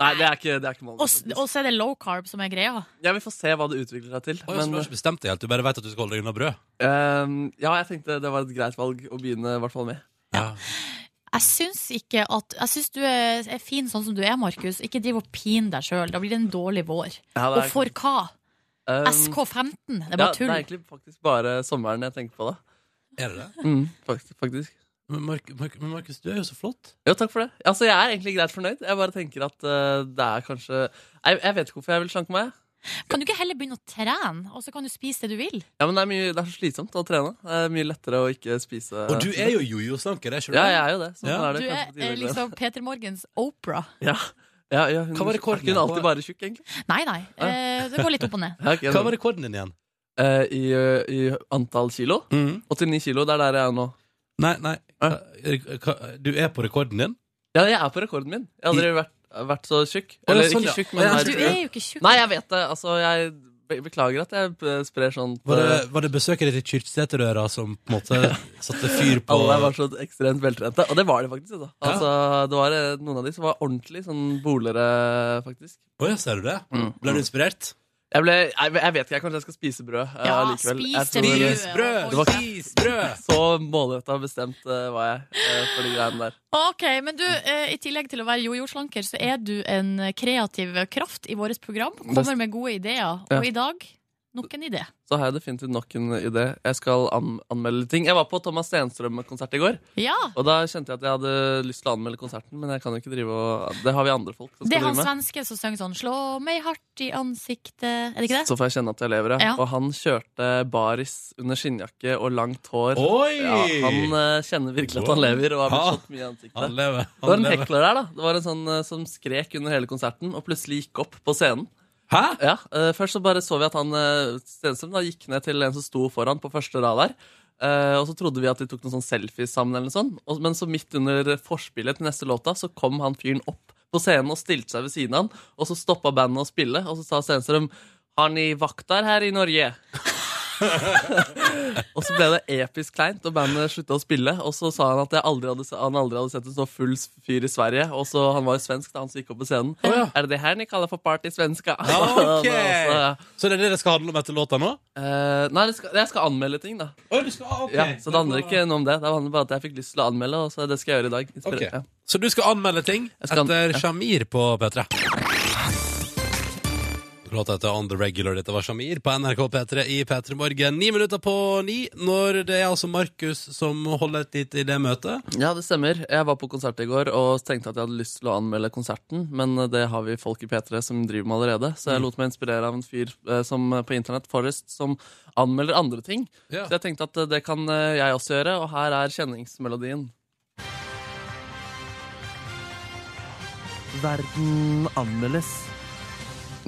Speaker 8: Nei, det er ikke, det er ikke målet.
Speaker 2: Og s- og så er det low carb som er greia.
Speaker 8: Jeg vil få se hva det utvikler seg til.
Speaker 1: Oi, så du har ikke bestemt deg helt, du bare vet at du skal holde deg unna brød?
Speaker 8: um, ja, jeg tenkte det var et greit valg å begynne i hvert fall med.
Speaker 1: Ja.
Speaker 2: Jeg syns ikke at Jeg syns du er, er fin sånn som du er, Markus. Ikke driv og pin deg sjøl. Da blir det en dårlig vår.
Speaker 8: Ja,
Speaker 2: Og
Speaker 8: det er-
Speaker 2: for hva?
Speaker 8: um,
Speaker 2: SK15? Det er
Speaker 8: ja,
Speaker 2: bare
Speaker 8: Det
Speaker 2: tull.
Speaker 8: er egentlig faktisk bare sommeren jeg tenker på, da.
Speaker 1: Er det det?
Speaker 8: Mm, faktisk, faktisk.
Speaker 1: Men Mark- Mark- men Markus, du er jo så flott.
Speaker 8: Jo, takk for det. Altså, Jeg er egentlig greit fornøyd. Jeg bare tenker at eh, det er kanskje jeg, jeg vet ikke hvorfor jeg vil slanke meg.
Speaker 2: Kan du ikke heller begynne å trene, og så kan du spise det du vil?
Speaker 8: Ja, men det er, mye, det er så slitsomt å trene. Det er mye lettere å ikke spise
Speaker 1: Og du er jo jojo-slanker, er ikke du?
Speaker 8: Ja, jeg er jo det. Så
Speaker 1: Ja.
Speaker 8: da er
Speaker 2: Du
Speaker 8: det
Speaker 2: er
Speaker 8: kanskje på
Speaker 2: eh,
Speaker 8: tide å glemme.
Speaker 2: liksom Peter Morgens Opera.
Speaker 8: ja. Ja, ja, hun,
Speaker 1: Hva var rekorden
Speaker 8: Er ikke hun
Speaker 1: igjen?
Speaker 8: alltid bare tjukk, egentlig?
Speaker 2: Nei, nei. eh, Det går litt opp og ned.
Speaker 8: Ja, ok,
Speaker 1: Hva var rekorden din igjen?
Speaker 8: Eh, i, eh, I antall kilo? 89 kilo, det er der jeg er nå.
Speaker 1: Nei, nei. hva- hva- Du er på rekorden din?
Speaker 8: Ja, jeg er på rekorden min. Jeg har aldri vært, vært så tjukk.
Speaker 1: ja,
Speaker 8: Eller
Speaker 1: sånn,
Speaker 8: ikke
Speaker 1: ja.
Speaker 8: tjukk,
Speaker 1: Å,
Speaker 8: men
Speaker 1: ja,
Speaker 8: er
Speaker 2: Du
Speaker 8: tjukk.
Speaker 2: er jo ikke tjukk.
Speaker 8: Nei, jeg vet det. Altså, jeg be- beklager at jeg eh, sprer sånt
Speaker 1: Var
Speaker 8: eh,
Speaker 1: det, var det besøket ditt i Kyrksæterøra som på en måte satte fyr på
Speaker 8: Alle var så ekstremt veltrente. Og det var de faktisk. Da. Altså, det var eh, Noen av de som var ordentlig sånn bolere, faktisk.
Speaker 1: Å ja, ser du det?
Speaker 8: Mm.
Speaker 1: Ble du inspirert?
Speaker 8: Jeg, ble, jeg, jeg vet ikke, jeg kanskje jeg skal spise brød eh,
Speaker 2: Ja,
Speaker 8: likevel. Jeg
Speaker 2: spis det brødet. Spis
Speaker 8: tror-
Speaker 2: brød!
Speaker 8: Det var
Speaker 1: Spis brød!
Speaker 8: så målretta bestemt eh, var jeg eh, for de greiene der.
Speaker 2: Ok, men du, eh, I tillegg til å være jojo-slanker, så er du en kreativ kraft i vårt program. Kommer med gode ideer.
Speaker 8: Ja.
Speaker 2: Og i dag nok en idé.
Speaker 8: Så har jeg definitivt nok en idé. Jeg skal an anmelde ting. Jeg var på Thomas Stenstrøm-konsert i går,
Speaker 2: Ja!
Speaker 8: og da kjente jeg at jeg hadde lyst til å anmelde konserten, men jeg kan jo ikke drive og Det har vi andre folk
Speaker 2: Det
Speaker 8: som skal
Speaker 2: er han
Speaker 8: drive med.
Speaker 2: svenske som synger sånn 'Slå meg hardt i ansiktet'. Er det ikke det?
Speaker 8: Så får jeg kjenne at jeg lever, ja.
Speaker 2: Ja.
Speaker 8: Og han kjørte baris under skinnjakke og langt hår.
Speaker 1: Oi!
Speaker 8: Ja, han eh, kjenner virkelig at han lever og har blitt
Speaker 1: Ja.
Speaker 8: slått mye i ansiktet.
Speaker 1: Han lever.
Speaker 8: det
Speaker 1: Han
Speaker 8: var en
Speaker 1: lever.
Speaker 8: hekler der, da. Det var en sånn eh, som skrek under hele konserten, og plutselig gikk opp på scenen.
Speaker 1: Hæ?
Speaker 8: Ja, eh, Først så bare så vi at han eh, Stenstrøm da gikk ned til en som sto foran på første rad der. Eh, og så trodde vi at de tok noen sånn selfies sammen, eller noe sånt. Og, men så midt under forspillet til neste låta så kom han fyren opp på scenen og stilte seg ved siden av han. Og så stoppa bandet å spille, og så sa Stenstrøm har ni vakter her i Norge? og så ble det episk kleint, og bandet slutta å spille. Og så sa han at jeg aldri hadde, han aldri hadde sett en så full fyr i Sverige. Og så Han var jo svensk, da han som gikk opp på scenen.
Speaker 1: Å, ja.
Speaker 8: Er det det her ni kaller for party svenska?
Speaker 1: Ja, ok.
Speaker 8: Det er altså, ja.
Speaker 1: Så det er det det skal handle om etter låta nå?
Speaker 8: Eh, nei, det skal, jeg skal anmelde ting, da.
Speaker 1: Å, du skal, ah, ok.
Speaker 8: Ja, så det handler ikke noe om det. Det handler bare om at jeg fikk lyst til å anmelde, og så det skal jeg gjøre i dag. Inspirert,
Speaker 1: Ok.
Speaker 8: ja.
Speaker 1: Så du skal anmelde ting
Speaker 8: Jeg skal an-
Speaker 1: etter
Speaker 8: ja.
Speaker 1: Shamir på P3. Låta heter On The Regular. Dette var Shamir på NRK P3 i P3 Morgen. Ni minutter på ni, når det er altså Markus som holder et lite i det møtet.
Speaker 8: ja, det stemmer. Jeg var på konsert i går og tenkte at jeg hadde lyst til å anmelde konserten, men eh, det har vi folk i P3 som driver med allerede, så jeg lot meg inspirere av en fyr eh, som, eh, på internett, Forrest, som anmelder andre ting.
Speaker 1: Ja.
Speaker 8: Så jeg tenkte at eh, det kan eh, jeg også gjøre, og her er kjenningsmelodien. Verden anmeldes.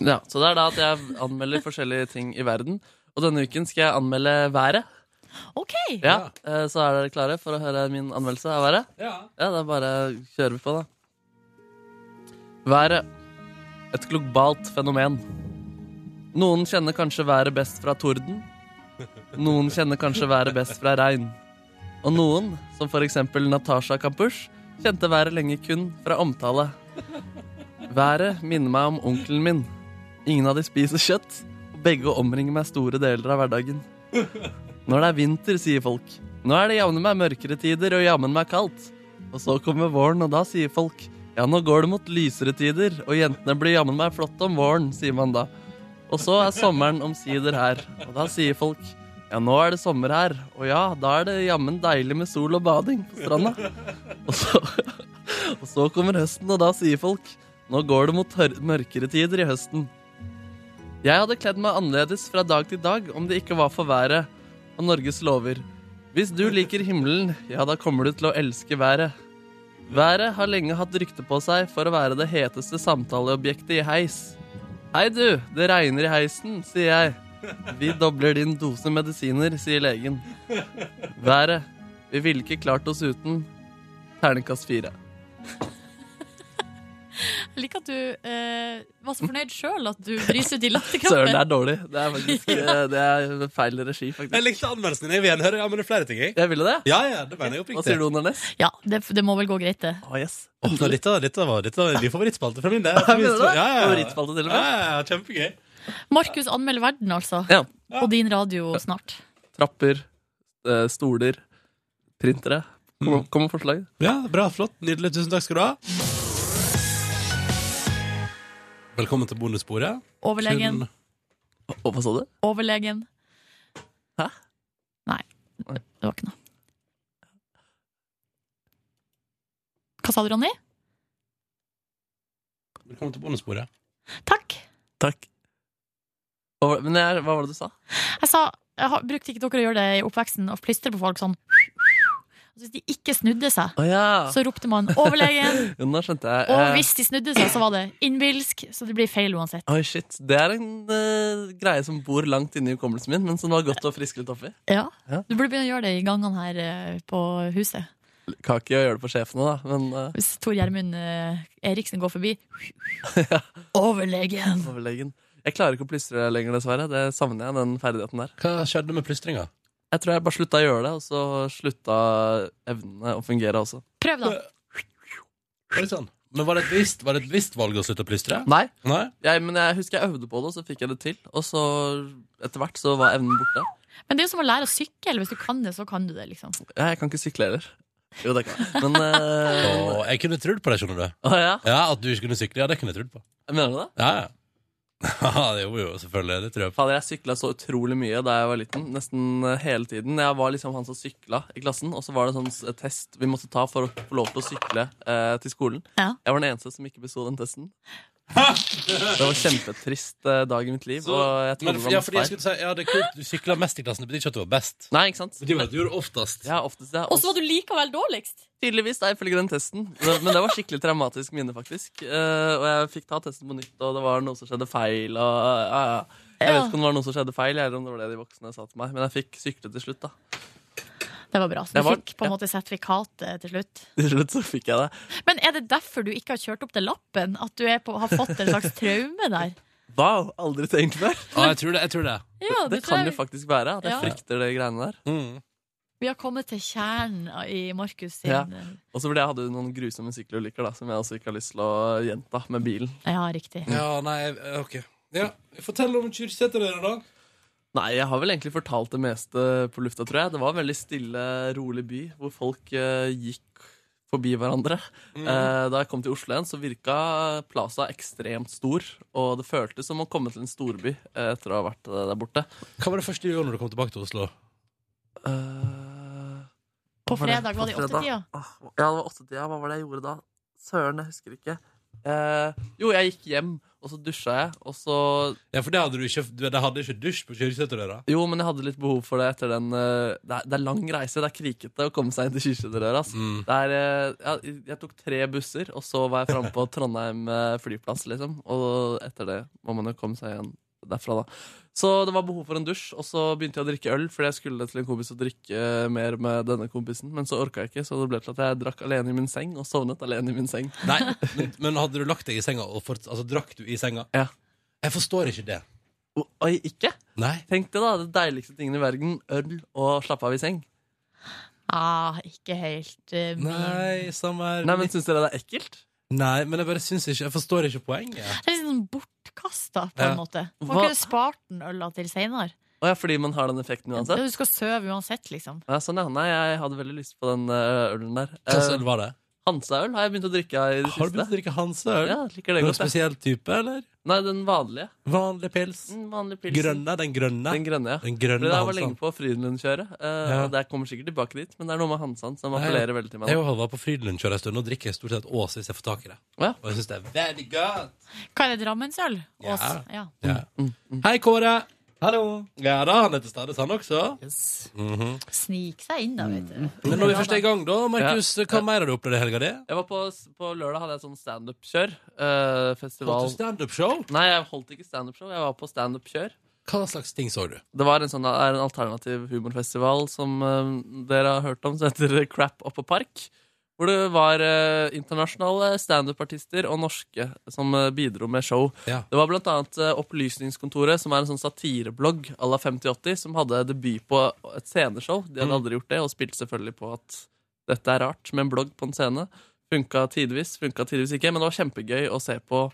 Speaker 8: Ja, så det er da at jeg anmelder forskjellige ting i verden. Og denne uken skal jeg anmelde været.
Speaker 2: OK!
Speaker 8: Ja, eh, Så er dere klare for å høre min anmeldelse av været? Ja, da bare kjører vi på, da. Været. Et globalt fenomen. Noen kjenner kanskje været best fra torden. Noen kjenner kanskje været best fra regn. Og noen, som for eksempel Natasha Kampusch, kjente været lenge kun fra omtale. Været minner meg om onkelen min. Ingen av de spiser kjøtt, og begge omringer meg store deler av hverdagen. Når det er vinter, sier folk. Nå er det jammen meg mørkere tider og jammen meg kaldt. Og så kommer våren, og da sier folk Ja, nå går det mot lysere tider, og jentene blir jammen meg flotte om våren, sier man da. Og så er sommeren omsider her, og da sier folk Ja, nå er det sommer her, og ja, da er det jammen deilig med sol og bading på stranda. Og så, og så kommer høsten, og da sier folk Nå går det mot tør- mørkere tider i høsten. Jeg hadde kledd meg annerledes fra dag til dag om det ikke var for været og Norges lover. Hvis du liker himmelen, ja, da kommer du til å elske været. Været har lenge hatt rykte på seg for å være det heteste samtaleobjektet i heis. Hei, du, det regner i heisen, sier jeg. Vi dobler din dose medisiner, sier legen. Været. Vi ville ikke klart oss uten. Terningkast fire.
Speaker 2: Jeg liker at du eh, var så fornøyd sjøl at du bryser ut i
Speaker 8: Søren, det
Speaker 2: latterkrampen.
Speaker 8: er dårlig. Det er faktisk eh, det er feil regi,
Speaker 1: Jeg
Speaker 8: faktisk.
Speaker 1: likte anmeldelsen din. Jeg vil gjerne høre. Ja, men det er flere ting, jeg.
Speaker 8: Jeg ville det.
Speaker 1: Ja, ja, det mener jeg
Speaker 8: Hva sier
Speaker 1: oppriktig.
Speaker 8: du, Nornes?
Speaker 2: Ja, det, det må vel gå greit, det.
Speaker 8: Å, Ah, yes.
Speaker 1: Åh, nå, dette, dette var, dette var en ny favorittspalte fra min. Det.
Speaker 8: Mener du det?
Speaker 1: Ja, ja, ja.
Speaker 8: Favorittspalte til og
Speaker 1: Ja,
Speaker 8: med.
Speaker 1: ja, ja, kjempegøy.
Speaker 2: Markus anmelder verden, altså.
Speaker 8: Ja.
Speaker 2: På din radio snart.
Speaker 8: Trapper, eh, stoler, printere. Kom, kom med forslag.
Speaker 1: Ja, bra, flott. Nydelig. Tusen takk skal du ha. Velkommen til bonussporet.
Speaker 2: Overlegen.
Speaker 1: Kun-
Speaker 8: Å, hva sa du?
Speaker 2: Overlegen.
Speaker 8: Hæ?
Speaker 2: Nei, det det var ikke noe. Hva sa du, Ronny?
Speaker 1: Velkommen til bonussporet.
Speaker 2: Takk.
Speaker 8: Takk. Hva var, men jeg, hva var det du sa?
Speaker 2: Jeg sa jeg har, Brukte ikke dere å gjøre det i oppveksten, å plystre på folk sånn? Altså, Hvis de ikke snudde seg,
Speaker 8: Å ja.
Speaker 2: så ropte man 'overlegen'.
Speaker 8: Jo, Nå skjønte jeg.
Speaker 2: Og
Speaker 8: Eh,
Speaker 2: hvis de snudde seg, så var det innbilsk, så det blir feil uansett.
Speaker 8: Oi, shit. Det er en eh, greie som bor langt inne i hukommelsen min, men som det var godt å friske litt opp i.
Speaker 2: Ja.
Speaker 8: Ja.
Speaker 2: Du burde begynne å gjøre det i gangene her eh, på huset.
Speaker 8: Kan ikke gjøre det på sjefen òg, da, men eh,
Speaker 2: Hvis Tor Gjermund eh, Eriksen går forbi. Overlegen!
Speaker 8: overlegen. Jeg klarer ikke å plystre lenger, dessverre. Det savner jeg, den ferdigheten der.
Speaker 1: Hva skjedde med plystringa?
Speaker 8: Jeg tror jeg bare slutta å gjøre det, og så slutta evnene å fungere også.
Speaker 2: Prøv, da.
Speaker 1: Var det sånn? Men var det et bevisst, var det et bevisst valg å slutte å plystre?
Speaker 8: Nei,
Speaker 1: Nei?
Speaker 8: jeg, men jeg husker jeg øvde på det, og så fikk jeg det til. Og så etter hvert så var evnen borte.
Speaker 2: Men det er jo som å lære å sykle. Hvis du kan det, så kan du det. liksom
Speaker 8: Ja, jeg kan ikke sykle heller. Jo, det kan jeg. Men eh,
Speaker 1: Åh, jeg kunne trodd på det, skjønner du.
Speaker 8: Å ja.
Speaker 1: Ja, At du ikke kunne sykle, ja, det kunne jeg trodd på.
Speaker 8: Mener du det?
Speaker 1: Ja, ja. Ja, det gjorde jo selvfølgelig. Det tror jeg på.
Speaker 8: Fader, jeg sykla så utrolig mye da jeg var liten. Nesten eh, hele tiden. Jeg var liksom han som sykla i klassen, og så var det sånn s- test vi måtte ta for å få lov til å sykle eh, til skolen.
Speaker 2: Ja.
Speaker 8: Jeg var den eneste som ikke besto den testen. Det var en kjempetrist eh, dag i mitt liv,
Speaker 1: Så-
Speaker 8: og jeg
Speaker 1: Men,
Speaker 8: trodde det
Speaker 1: ja,
Speaker 8: var
Speaker 1: fordi jeg
Speaker 8: masse feil.
Speaker 1: skulle si, ja, det er kult, du sykla mest i klassen, det betyr ikke at du var best.
Speaker 8: Nei, ikke sant?
Speaker 1: Det betyr at du gjorde oftest.
Speaker 8: Ja, oftest ja.
Speaker 2: Og så var du likevel dårligst!
Speaker 8: Tydeligvis, da, ifølge den testen. Men men det var skikkelig traumatisk minne, faktisk. Eh, og jeg fikk ta testen på nytt, og det var noe som skjedde feil. Og, ja, ja. Jeg
Speaker 2: Ja.
Speaker 8: vet ikke om det var noe som skjedde feil, eller om det var det de voksne sa til meg. Men jeg fikk sykle til slutt, da.
Speaker 2: Det var bra. Så
Speaker 8: Jeg
Speaker 2: du
Speaker 8: var-
Speaker 2: fikk på en måte sertifikat eh, til slutt.
Speaker 8: Til slutt så fikk jeg det.
Speaker 2: Men er det derfor du ikke har kjørt opp til lappen? At du er på, har fått en slags traume der?
Speaker 8: Wow, aldri tenkt mer.
Speaker 1: Ja, jeg tror det. jeg tror det
Speaker 2: Ja,
Speaker 8: det
Speaker 2: det tror
Speaker 8: kan jo
Speaker 2: jeg.
Speaker 8: faktisk være at jeg
Speaker 2: Ja.
Speaker 8: frykter de greiene der.
Speaker 1: Mm.
Speaker 2: Vi har kommet til kjernen i Markus sin
Speaker 8: Ja.
Speaker 2: Ja,
Speaker 8: Og så fordi jeg hadde noen grusomme sykkelulykker da, som jeg også ikke har lyst til å gjenta med bilen.
Speaker 2: riktig.
Speaker 1: Ja, nei, eh, ok. Ja, Fortell om Kyrksæter, dere, da.
Speaker 8: Nei, jeg har vel egentlig fortalt det meste på lufta, tror jeg. Det var en veldig stille, rolig by, hvor folk eh, gikk forbi hverandre. Eh, da jeg kom til Oslo igjen, så virka Plaza ekstremt stor, og det føltes som å komme til en storby eh, etter å ha vært eh, der borte.
Speaker 1: Hva var det første du gjorde når du kom tilbake til Oslo?
Speaker 8: Eh,
Speaker 2: På
Speaker 8: hva var det?
Speaker 2: fredag var det i
Speaker 8: På fredag?
Speaker 2: åttetida.
Speaker 8: Åh, Ja, det var åttetida. Hva var det jeg gjorde da? Søren, jeg husker ikke. Eh, jo, jeg gikk hjem, og så dusja jeg, og så
Speaker 1: Ja, for det hadde du ikke, du- det hadde ikke dusj på Kyrksæterdøra.
Speaker 8: Jo, men jeg hadde litt behov for det etter den eh, det, er, det er lang reise, det er krikete å komme seg inn til Kirkedøra. ass.
Speaker 1: Mm.
Speaker 8: Det er, eh, ja, jeg tok tre busser, og så var jeg framme på Trondheim eh, flyplass, liksom. Og etter det må man jo komme seg igjen derfra, da. Så det var behov for en dusj, og så begynte jeg å drikke øl, fordi jeg skulle til en kompis og drikke eh, mer med denne kompisen, men så orka jeg ikke, så det ble til at jeg drakk alene i min seng, og sovnet alene i min seng.
Speaker 1: Nei, men, men hadde du lagt deg i senga, og fort, altså, drakk du i senga?
Speaker 8: Ja.
Speaker 1: Jeg forstår ikke det.
Speaker 8: O- Oi, ikke?
Speaker 1: Nei.
Speaker 8: Tenk det, da. Det deiligste tingen i verden. Øl og slappe av i seng.
Speaker 2: Ah, ikke helt eh, min.
Speaker 1: Nei, samme her.
Speaker 8: Nei, men Syns dere det er ekkelt?
Speaker 1: Nei, men jeg bare syns ikke Jeg forstår ikke poenget.
Speaker 2: Det er litt sånn bortkasta, på en
Speaker 1: Ja.
Speaker 2: måte. Man
Speaker 8: Hva-
Speaker 2: kunne spart den øla til seinere.
Speaker 8: Å ja, fordi man har den effekten uansett?
Speaker 2: Du skal sove uansett, liksom.
Speaker 8: Ja, sånn, ja. Nei, jeg hadde veldig lyst på den eh, ølen der.
Speaker 1: Hva
Speaker 8: Eh,
Speaker 1: selv var det?
Speaker 8: Hansaøl har jeg begynt å drikke av i det
Speaker 1: Har du begynt å
Speaker 8: siste.
Speaker 1: drikke Hansa-øl?
Speaker 8: Ja, liker det
Speaker 1: Noen
Speaker 8: godt. jeg.
Speaker 1: spesiell type, eller?
Speaker 8: Nei, den vanlige.
Speaker 1: Vanlig pils?
Speaker 8: Den vanlige Mm, pilsen.
Speaker 1: Grønne? Den grønne?
Speaker 8: Den grønne, ja.
Speaker 1: Den
Speaker 8: Fordi
Speaker 1: grønne
Speaker 8: jeg var lenge
Speaker 1: Hansan.
Speaker 8: på Frydenlund-kjøret. eh,
Speaker 1: Ja.
Speaker 8: Og jeg kommer sikkert tilbake dit, men det er noe med Hansan som
Speaker 1: Nei,
Speaker 8: appellerer veldig til meg.
Speaker 1: Jeg
Speaker 8: nå.
Speaker 1: og Halvard på Frydenlundkjøret en stund. Nå drikker jeg stort sett Ås hvis jeg får tak i det.
Speaker 8: Ja.
Speaker 1: Og jeg synes det er veldig godt.
Speaker 8: Mm,
Speaker 2: Hva er det, Drammensøl? Ås? Ja.
Speaker 1: Ja. Hei, Kåre.
Speaker 9: Hallo!
Speaker 1: Ja da, han er til stede, han også.
Speaker 2: Snik seg inn, da, vet
Speaker 8: Mm.
Speaker 2: du.
Speaker 1: Men når vi først er i gang, da, Markus, hva mer har du opplevd i helga di?
Speaker 8: Jeg var på, på lørdag hadde jeg sånn standup-kjør. eh, festival
Speaker 1: Standup-show?
Speaker 8: Nei, jeg holdt ikke standup-show. Jeg var på standup-kjør.
Speaker 1: Hva slags ting så du?
Speaker 8: Det var en sånn er en alternativ humorfestival som eh, dere har hørt om, som heter Crap Oppå Park. Hvor det var eh, internasjonale standup-artister og norske som eh, bidro med show.
Speaker 1: Ja.
Speaker 8: Det var blant annet eh, Opplysningskontoret, som er en sånn satireblogg à la 5080, som hadde debut på et sceneshow. De
Speaker 1: Mm.
Speaker 8: hadde aldri gjort det, og spilte selvfølgelig på at dette er rart med en blogg på en scene. Funka tidvis, funka tidvis ikke, men det var kjempegøy å se på.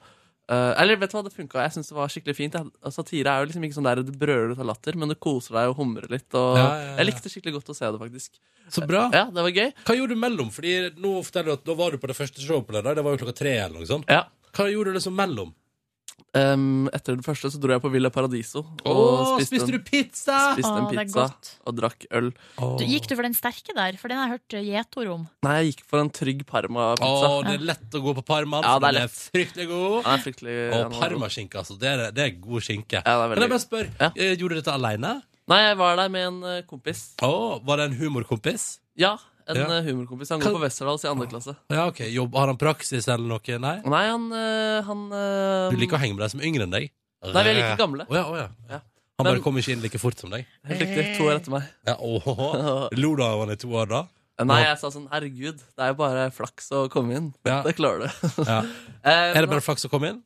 Speaker 8: Eh, eller vet du hva, det funka. Jeg synes det var skikkelig fint. Jeg, altså, satire er jo liksom ikke sånn der du brøler ut av latter, men du koser deg og humrer litt. Og
Speaker 1: Ja, ja, ja.
Speaker 8: Jeg likte skikkelig godt å se det, faktisk.
Speaker 1: Så bra.
Speaker 8: Ja, det var gøy.
Speaker 1: Hva gjorde du mellom? Fordi nå forteller du at Da var du på det første showet på lørdag. Det var jo klokka tre. eller noe sånt
Speaker 8: Ja.
Speaker 1: Hva gjorde du liksom mellom?
Speaker 8: Em, etter det første så dro jeg på Villa Paradiso og spiste, en,
Speaker 1: pizza?
Speaker 8: spiste en
Speaker 2: Å, det er
Speaker 8: pizza
Speaker 2: godt.
Speaker 8: og drakk øl.
Speaker 2: Du, gikk du for den sterke der? For den har jeg hørt eh, gjetord om.
Speaker 8: Nei, jeg gikk for en trygg
Speaker 1: Å,
Speaker 8: Parma-pizza.
Speaker 1: det er lett å gå på parma.
Speaker 8: Ja, det er
Speaker 1: den er fryktelig god.
Speaker 8: Den er fryktelig den
Speaker 1: Og
Speaker 8: var god.
Speaker 1: parmaskinke, altså. Det er, det er god skinke.
Speaker 8: Ja, den er
Speaker 1: Kan jeg
Speaker 8: veldig
Speaker 1: bare spørre,
Speaker 8: Ja.
Speaker 1: eh, gjorde du dette aleine?
Speaker 8: Nei, jeg var der med en eh, kompis.
Speaker 1: var det en humorkompis?
Speaker 8: Ja, en
Speaker 1: Ja.
Speaker 8: eh, humorkompis. Han
Speaker 1: Kan-
Speaker 8: går på Westerdals i andre klasse.
Speaker 1: Ja, ok, Jobb, Har han praksis eller noe? Nei?
Speaker 8: Nei, han, eh, han eh,
Speaker 1: Du liker å henge med de som er yngre enn deg?
Speaker 8: Nei, vi er like gamle.
Speaker 1: Å ja, å ja.
Speaker 8: Ja.
Speaker 1: Han bare
Speaker 8: Men-
Speaker 1: kom ikke inn like fort som deg?
Speaker 8: Helt riktig. To år etter meg.
Speaker 1: Ja, åhåhå. Lo du av han i to år da?
Speaker 8: Nei, jeg sa sånn Herregud, det er jo bare flaks å komme inn.
Speaker 1: Ja.
Speaker 8: Det klarer du.
Speaker 1: Ja.
Speaker 8: Eh,
Speaker 1: Er det bare flaks å komme inn?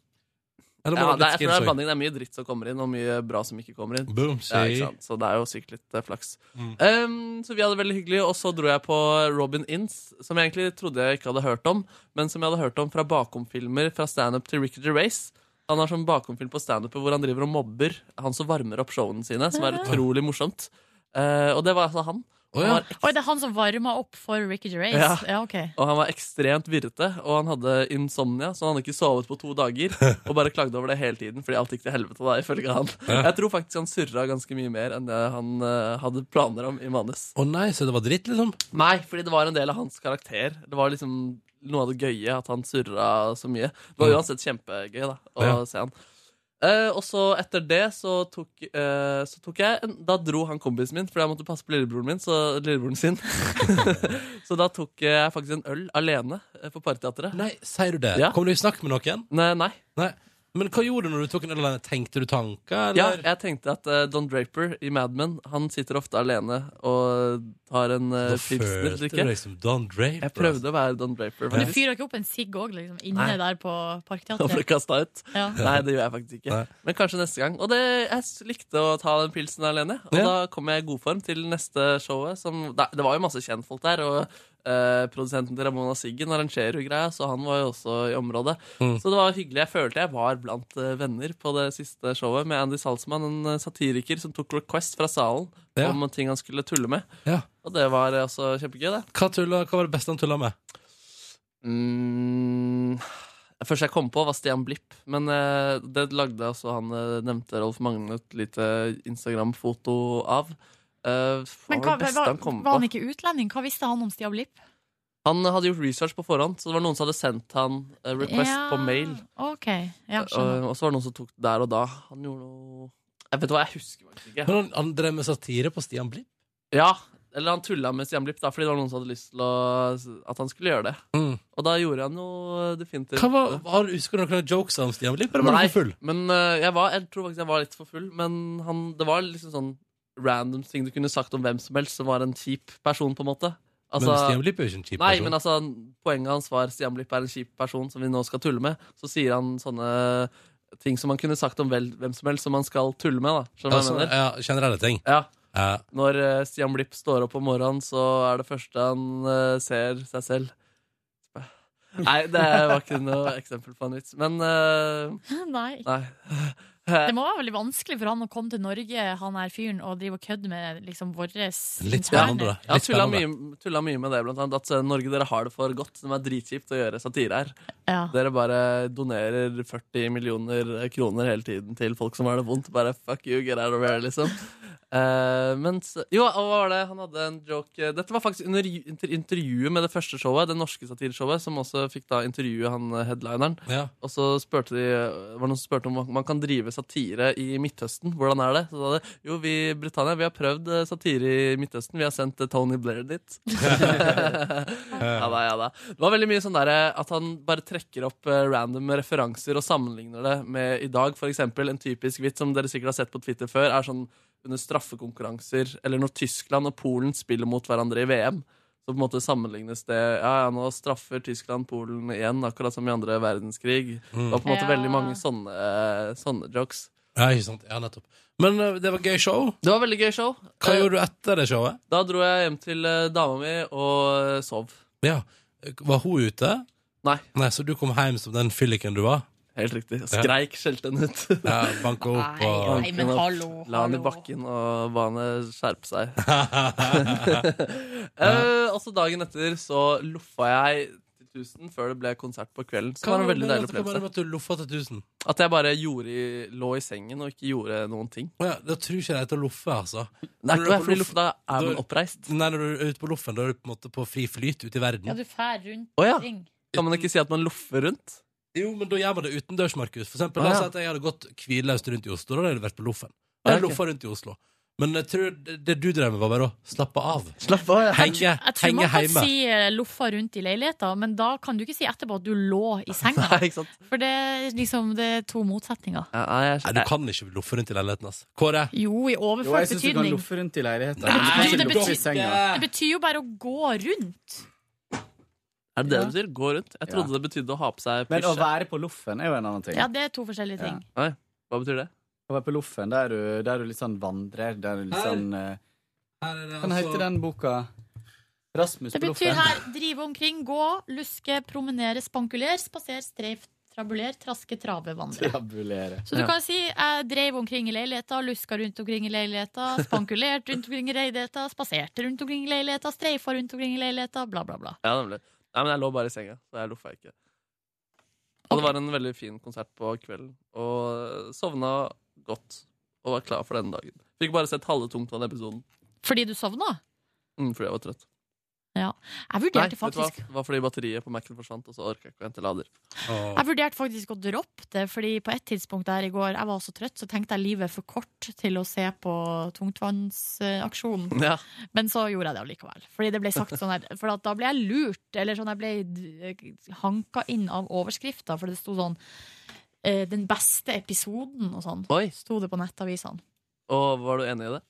Speaker 1: Eller
Speaker 8: ja,
Speaker 1: må
Speaker 8: det, er, jeg tror det er
Speaker 1: skills også?
Speaker 8: blanding. Det er mye dritt som kommer inn, og mye bra som ikke kommer inn.
Speaker 1: Boom,
Speaker 8: Ja,
Speaker 1: si.
Speaker 8: ikke sant? Så det er jo sikkert litt eh, flaks.
Speaker 1: Mm.
Speaker 8: Ehm, så vi hadde det veldig hyggelig, og så dro jeg på Robin Inns, som jeg egentlig trodde jeg ikke hadde hørt om, men som jeg hadde hørt om fra bakomfilmer, fra standup til Ricky Gervais. Han har sånn bakomfilm på standupet hvor han driver og mobber han som varmer opp showene sine, som er utrolig morsomt. Eh, og det var altså han.
Speaker 1: Å, ja.
Speaker 8: Han var
Speaker 2: Oi, det er han som varma opp for Ricky Gervais? Ja,
Speaker 8: Ja.
Speaker 2: ok.
Speaker 8: Og han var ekstremt virrete, og han hadde insomnia, så han hadde ikke sovet på to dager. Og bare klagde over det hele tiden, fordi alt gikk til helvete da, ifølge han. Jeg tror faktisk han surra ganske mye mer enn det han eh, hadde planer om i manus.
Speaker 1: Å nei, så det var dritt, liksom?
Speaker 8: Nei, fordi det var en del av hans karakter. Det var liksom noe av det gøye at han surra så mye. Det var
Speaker 1: Mm.
Speaker 8: uansett kjempegøy da, å
Speaker 1: Ja.
Speaker 8: se han. Eh, og så etter det så tok, eh, så tok jeg en, Da dro han kompisen min, fordi jeg måtte passe på lillebroren min. Så lillebroren sin Så da tok jeg faktisk en øl alene eh, på Parteatret.
Speaker 1: Nei, sier du det?
Speaker 8: Ja.
Speaker 1: Kom du i snakk med noen?
Speaker 8: Nei, nei.
Speaker 1: Nei. Men hva gjorde du når du tok en alene? Tenkte du tanker,
Speaker 8: Ja,
Speaker 1: eller?
Speaker 8: jeg tenkte at eh, Don Draper i Mad Men Han sitter ofte alene og tar en uh,
Speaker 1: Da følte du
Speaker 8: pilsner-drikke.
Speaker 1: deg som Don Draper.
Speaker 8: Jeg prøvde å være Don Draper.
Speaker 2: Du
Speaker 8: faktisk.
Speaker 2: fyrer ikke opp en sigg òg, liksom, inne
Speaker 8: Nei.
Speaker 2: der på
Speaker 8: Og ble
Speaker 2: Parkteatret?
Speaker 8: kastet ut.
Speaker 2: Ja.
Speaker 8: Nei, det gjør jeg faktisk ikke.
Speaker 1: Nei.
Speaker 8: Men kanskje neste gang. Og det, jeg s- likte å ta den pilsen alene. Og
Speaker 1: Ja.
Speaker 8: da kom jeg i god form til neste showet. Som, da- det var jo masse kjentfolk der, og eh, produsenten til Ramona Siggen arrangerer jo greia, så han var jo også i området.
Speaker 1: Mm.
Speaker 8: Så det var hyggelig. Jeg følte jeg var blant eh, venner på det siste showet med Andy Salzman, en eh, satiriker som tok request fra salen
Speaker 1: Ja.
Speaker 8: om ting han skulle tulle med.
Speaker 1: Ja.
Speaker 8: Og det var eh, også kjempegøy, det.
Speaker 1: Hva, tulla, hva var det beste han tulla med?
Speaker 8: Mm, det første jeg kom på, var Stian Blipp. Men eh, det lagde altså han eh, nevnte Rolf Magne et lite Instagram-foto av. Eh, hva
Speaker 2: Men hva,
Speaker 8: var det beste
Speaker 2: var,
Speaker 8: han kom
Speaker 2: var
Speaker 8: på?
Speaker 2: han ikke utlending? Hva visste han om Stian Blipp?
Speaker 8: Han hadde gjort research på forhånd, så det var noen som hadde sendt han eh, request
Speaker 2: Ja,
Speaker 8: på mail. Eh,
Speaker 2: Ok, ja, skjønner.
Speaker 8: Og, og så var det noen som tok det der og da. Han gjorde noe Jeg vet hva, jeg husker faktisk ikke.
Speaker 1: Men han, han drev med satire på Stian Blipp.
Speaker 8: Ja, eller han tulla med Stian Blipp, da, fordi det var noen som hadde lyst til å, at han skulle gjøre det.
Speaker 1: Mm.
Speaker 8: Og da gjorde han noe definitivt.
Speaker 1: Hva var, har, husker du noen jokes om Stian Blipp? Eller var
Speaker 8: Nei,
Speaker 1: du for full?
Speaker 8: Men eh, jeg, var, jeg tror faktisk jeg var litt for full. Men han, det var liksom sånn random ting du kunne sagt om hvem som helst som var en kjip person, på en måte. Altså,
Speaker 1: men Stian Blipp er jo ikke en kjip
Speaker 8: nei,
Speaker 1: person.
Speaker 8: men altså Poenget hans var Stian Blipp er en kjip person som vi nå skal tulle med. Så sier han sånne ting som han kunne sagt om vel, hvem som helst som han skal tulle med. da Skjønner du
Speaker 1: ja,
Speaker 8: hva jeg
Speaker 1: sånn-
Speaker 8: mener?
Speaker 1: ja, generelle ting.
Speaker 8: Ja,
Speaker 1: Ja.
Speaker 8: Når eh, Stian Blipp står opp om morgenen, så er det første han eh, ser seg selv. Nei, det var ikke noe eksempel på en vits. Men eh,
Speaker 2: Nei.
Speaker 8: nei.
Speaker 2: Det må være veldig vanskelig for han å komme til Norge, han her fyren, og drive og kødde med liksom vår
Speaker 1: Litt spennende, da.
Speaker 8: Jeg har
Speaker 1: Litt
Speaker 8: tulla
Speaker 1: spennende.
Speaker 8: mye, tulla mye med det, blant annet. At eh, Norge, dere har det for godt. Det er dritkjipt å gjøre satire her.
Speaker 2: Ja.
Speaker 8: Dere bare donerer 40 millioner kroner hele tiden til folk som har det vondt. Bare fuck you, get out of here, liksom. Eh, mens, jo, og hva var det? Han hadde en joke eh, Dette var faktisk under ju- inter- intervjuet med det første showet, det norske satirshowet, som også fikk da intervjue han eh, headlineren.
Speaker 1: Ja.
Speaker 8: Og så spurte de, eh, var det noen som spurte om man- man kan drive satire i Midtøsten. Hvordan er det? Så sa de jo, vi i Britannia vi har prøvd eh, satire i Midtøsten. Vi har sendt eh, Tony Blair dit. ja da, ja da. Det var veldig mye sånn der, eh, at han bare trekker opp eh, random referanser og sammenligner det med i dag. For eksempel en typisk vits som dere sikkert har sett på Twitter før, er sånn under straffekonkurranser, eller når Tyskland og Polen spiller mot hverandre i VM. Så på en måte sammenlignes det Ja, ja, nå straffer Tyskland Polen igjen, akkurat som i andre verdenskrig. Det var på en måte
Speaker 2: Ja.
Speaker 8: veldig mange sånne, eh, sånne jokes.
Speaker 1: Ja, ikke sant. Ja, nettopp. Men eh, det var gøy show.
Speaker 8: Det var veldig gøy show.
Speaker 1: Hva
Speaker 8: Eh,
Speaker 1: gjorde du etter det showet?
Speaker 8: Da dro jeg hjem til eh, dama mi og eh, sov.
Speaker 1: Ja. Var hun ute?
Speaker 8: Nei.
Speaker 1: Nei, Så du kom hjem som den fylliken du var?
Speaker 8: Helt riktig. Jeg Skreik, skjelte henne ut.
Speaker 1: Ja, Banka opp og
Speaker 2: Nei, men hallo,
Speaker 8: La han i
Speaker 2: hallo.
Speaker 8: bakken og ba henne skjerpe seg. Eh, og så dagen etter så loffa jeg til 1000 før det ble konsert på kvelden. Så det var en veldig deilig
Speaker 1: Hva var det
Speaker 8: opplevelse.
Speaker 1: med at du loffa til 1000?
Speaker 8: At jeg bare gjorde i, lå i sengen og ikke gjorde noen ting.
Speaker 1: Å ja, da tror ikke jeg det heter loffe, altså.
Speaker 8: Nei,
Speaker 1: Når du
Speaker 8: ikke
Speaker 1: er
Speaker 8: bare
Speaker 1: på
Speaker 8: fordi
Speaker 1: loff-
Speaker 8: lofta er
Speaker 1: da-
Speaker 8: man oppreist.
Speaker 1: Nei, når du er ute på loffen, da er du på en måte på fri flyt ute i verden.
Speaker 2: Ja, du fær rundt
Speaker 8: Å ja.
Speaker 2: omkring.
Speaker 8: Kan man ikke si at man loffer rundt?
Speaker 1: Jo, men da gjør man det utendørs, Markus. For eksempel,
Speaker 8: Ah,
Speaker 1: la oss
Speaker 8: ja.
Speaker 1: si at jeg hadde gått hvileløst rundt i Oslo. Da hadde jeg vært på loffen. Da hadde jeg
Speaker 8: Ja, ok.
Speaker 1: loffa rundt i Oslo. Men jeg tror det, det du drev med, var bare å slappe av.
Speaker 8: Slapp av. Ja.
Speaker 1: Henge,
Speaker 2: Jeg tror
Speaker 1: henge
Speaker 2: man kan
Speaker 1: hjemme.
Speaker 2: si eh, loffa rundt i leiligheta, men da kan du ikke si etterpå at du lå i senga.
Speaker 8: Nei, ikke sant?
Speaker 2: For det, er liksom, det er to motsetninger.
Speaker 8: Ja, nei, jeg,
Speaker 1: Nei, du kan ikke loffe rundt i leiligheten, ass. Kåre?
Speaker 2: Jo, i
Speaker 9: Jo, jeg
Speaker 2: overført
Speaker 9: syns du kan
Speaker 2: betydning.
Speaker 9: loffe rundt i leiligheten.
Speaker 2: Nei,
Speaker 9: Du kan
Speaker 2: det
Speaker 9: ikke loffe i
Speaker 2: betyr-
Speaker 9: senga.
Speaker 2: Det betyr jo bare å gå rundt.
Speaker 8: er det det du sier? Gå rundt? Jeg trodde det betydde å ha på seg
Speaker 9: Men å
Speaker 8: pysje.
Speaker 9: være på loffen er jo en annen ting.
Speaker 2: Ja, det er to forskjellige ting.
Speaker 8: Hva betyr det?
Speaker 9: Å være på loffen, der du, der du litt sånn vandrer, der du litt
Speaker 1: Her. Altså-
Speaker 9: sånn eh, Hva heter den boka? Rasmus
Speaker 2: Det
Speaker 9: på
Speaker 2: betyr
Speaker 9: loffen.
Speaker 2: her drive omkring, gå, luske, promenere, spankulere, spasere, streif, trabulere, traske, trave, vandre.
Speaker 9: Trabulere.
Speaker 2: Så du
Speaker 8: Ja.
Speaker 2: kan si jeg dreiv omkring i leiligheta, luska rundt omkring i leiligheta, spankulert rundt omkring i leiligheta, spaserte rundt omkring i leiligheta, streifa rundt omkring i leiligheta, bla, bla, bla.
Speaker 8: Ja, nemlig. Nei, men jeg lå bare i senga, så jeg loffa ikke. Og det var en veldig fin konsert på kvelden, og sovna godt. Og var klar for denne dagen. Fikk bare sett halve Tungtvann-episoden
Speaker 2: Fordi du sovna?
Speaker 8: mm, fordi jeg var trøtt.
Speaker 2: Jeg
Speaker 8: Nei,
Speaker 2: vurderte
Speaker 8: vet du hva?
Speaker 2: faktisk
Speaker 8: Det var fordi batteriet på Mac-en forsvant, og så orka jeg ikke å hente lader.
Speaker 2: Jeg vurderte faktisk å droppe det, fordi på et tidspunkt der i går jeg var så trøtt, så tenkte jeg livet er for kort til å se på tungtvannsaksjonen.
Speaker 8: Ja,
Speaker 2: Men så gjorde jeg det allikevel. Fordi det ble sagt sånn her, for at da ble jeg lurt, eller sånn jeg ble d- hanka inn av overskrifta, for det sto sånn eh, 'Den beste episoden' og sånn.
Speaker 8: Oi.
Speaker 2: Sto det på nettavisene.
Speaker 8: Og var du enig i det?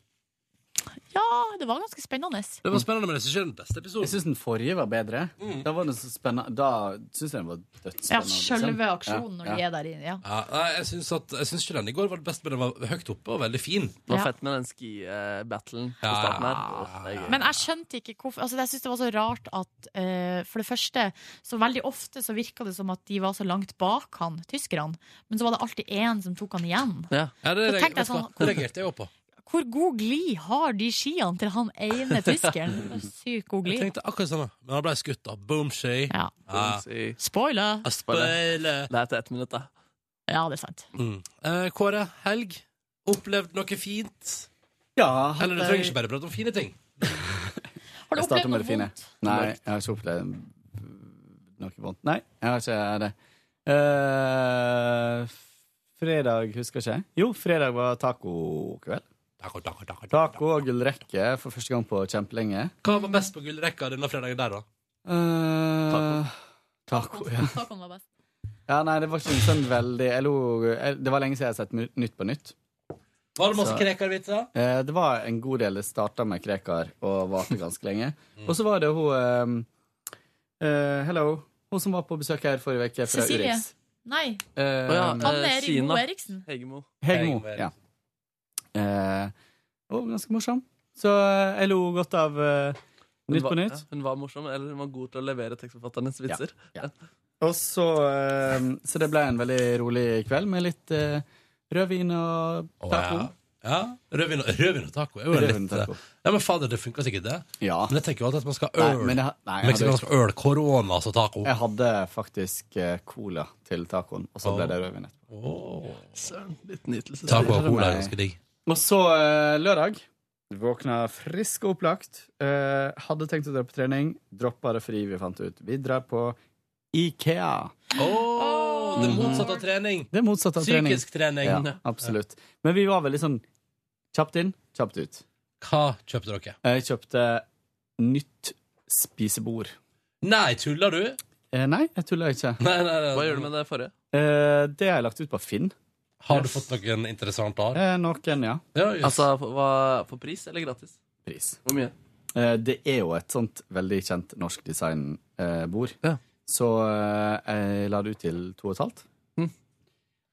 Speaker 2: Ja, Ah, det var ganske spennende.
Speaker 1: Det var spennende, men jeg syns ikke det er den beste
Speaker 9: Jeg
Speaker 1: episoden.
Speaker 9: syns den forrige var bedre.
Speaker 1: Mm.
Speaker 9: Da var den så spennende Da syns jeg den var dødsspennende.
Speaker 2: Ja, Sjølve
Speaker 9: liksom.
Speaker 2: aksjonen når
Speaker 9: Ja,
Speaker 2: de
Speaker 9: ja.
Speaker 2: er der inne. Ja.
Speaker 1: Ja, nei, jeg syns at- jeg syns ikke den i går var det beste, men den var høyt oppe og veldig fin.
Speaker 8: Det var
Speaker 2: Ja.
Speaker 8: fett med den ski-battlen på
Speaker 1: Ja.
Speaker 8: starten her. Åh, det er gøy.
Speaker 2: Men jeg skjønte ikke hvorfor altså, Jeg synes det var så rart at eh, For det første, så veldig ofte så virka det som at de var så langt bak han, tyskerne. Men så var det alltid én som tok han igjen.
Speaker 1: Ja, det reag-
Speaker 2: Så tenkte jeg
Speaker 1: vet du hva?
Speaker 2: sånn-
Speaker 1: Det reagerte jeg òg på.
Speaker 2: Hvor god glid har de skiene til han ene tyskeren? Det var Sykt god
Speaker 1: Jeg
Speaker 2: glid.
Speaker 1: tenkte akkurat det samme, men han ble skutt, da. Boomshay.
Speaker 2: Ja.
Speaker 1: Ja.
Speaker 8: Si-
Speaker 2: Spoiler!
Speaker 1: Spøyle.
Speaker 8: Det er etter ett minutt, da.
Speaker 2: Ja, det er sant.
Speaker 1: Mm. Eh, Kåre, helg. Opplevd noe fint?
Speaker 9: ja
Speaker 1: Eller du
Speaker 9: hadde
Speaker 1: trenger
Speaker 9: jeg-
Speaker 1: ikke bare prate om fine ting.
Speaker 2: Har du
Speaker 9: Jeg
Speaker 2: opplevd
Speaker 9: starter med
Speaker 2: noe
Speaker 9: det fine.
Speaker 2: vondt?
Speaker 9: Nei, jeg har ikke opplevd noe vondt. Nei, jeg har ikke det. Eh, fredag husker ikke jeg. Jo, fredag var tacokveld.
Speaker 1: Taco, taco, taco, taco.
Speaker 9: Taco og gullrekke for første gang på kjempelenge.
Speaker 1: Hva var best på gullrekka denne fredagen der, da?
Speaker 9: Eh, taco, ja.
Speaker 2: Tacoen var best.
Speaker 9: Ja, nei, det var ikke en sånn veldig jeg lo, jeg, Det var lenge siden jeg har sett Ny- Nytt på nytt.
Speaker 1: Var det masse
Speaker 9: Så-
Speaker 1: krekervitser?
Speaker 9: Eh, det var en god del det starta med Krekar og varte ganske lenge.
Speaker 2: Mm.
Speaker 9: Og så var det hun eh, eh, Hello. Hun som var på besøk her forrige uke fra
Speaker 2: Cecilie.
Speaker 9: Urix.
Speaker 2: Nei.
Speaker 9: Eh,
Speaker 8: Å ja, eh,
Speaker 2: Anne Erik
Speaker 8: Kina.
Speaker 2: Moe Eriksen.
Speaker 8: Hegemo.
Speaker 9: Hegmo.
Speaker 1: Hegmo,
Speaker 9: Ja. Eh, og ganske morsom. Så eh, jeg lo godt av eh,
Speaker 8: Hun
Speaker 9: Nytt
Speaker 8: var-
Speaker 9: på
Speaker 8: ja,
Speaker 9: nytt.
Speaker 8: Hun var morsom, eller hun var god til å levere tekstforfatternes vitser.
Speaker 9: Og så eh, Så det ble en veldig rolig kveld med litt eh, rødvin og
Speaker 1: Å,
Speaker 9: taco.
Speaker 1: ja. Ja, Rødvin og, rødvin og taco er jo
Speaker 9: Rødvin og
Speaker 1: litt eh,
Speaker 9: taco.
Speaker 1: Ja, men fader, det funka sikkert, det.
Speaker 9: Ja.
Speaker 1: Men jeg tenker jo alltid at man skal ha
Speaker 9: Nei,
Speaker 1: øl.
Speaker 9: men jeg, nei, jeg,
Speaker 1: Liksom, man
Speaker 9: hadde,
Speaker 1: skal ha øl, korona, altså taco.
Speaker 9: jeg hadde faktisk eh, cola til tacoen, og så ble det rødvin etterpå.
Speaker 1: Åh.
Speaker 8: Søren, liten nytelse.
Speaker 1: Taco og
Speaker 9: meg.
Speaker 1: cola er ganske digg.
Speaker 9: Og så eh, lørdag våkna frisk og opplagt. Eh, hadde tenkt å dra på trening, droppa det fordi vi fant ut. Vi drar på Ikea.
Speaker 10: Åh, det motsatte av trening.
Speaker 9: Det er motsatt av trening.
Speaker 10: Psykisk trening.
Speaker 9: Ja, absolutt. Men vi var veldig sånn kjapt inn, kjapt ut.
Speaker 1: Hva kjøpte dere?
Speaker 9: Jeg kjøpte nytt spisebord.
Speaker 10: Nei, tuller du?
Speaker 9: Eh, nei, jeg tuller ikke.
Speaker 10: Nei, nei, nei.
Speaker 8: Hva gjør du med det forrige?
Speaker 9: Eh, det har jeg lagt ut på Finn.
Speaker 1: Har du fått noen interessant ar?
Speaker 9: Eh, noen, ja.
Speaker 1: Ja, jøss.
Speaker 8: Altså, hva, For pris eller gratis?
Speaker 9: Pris.
Speaker 8: Hvor mye?
Speaker 9: Eh, det er jo et sånt veldig kjent norsk designbord.
Speaker 8: Ja.
Speaker 9: Så eh, jeg la det ut til to og et halvt.
Speaker 8: Mm.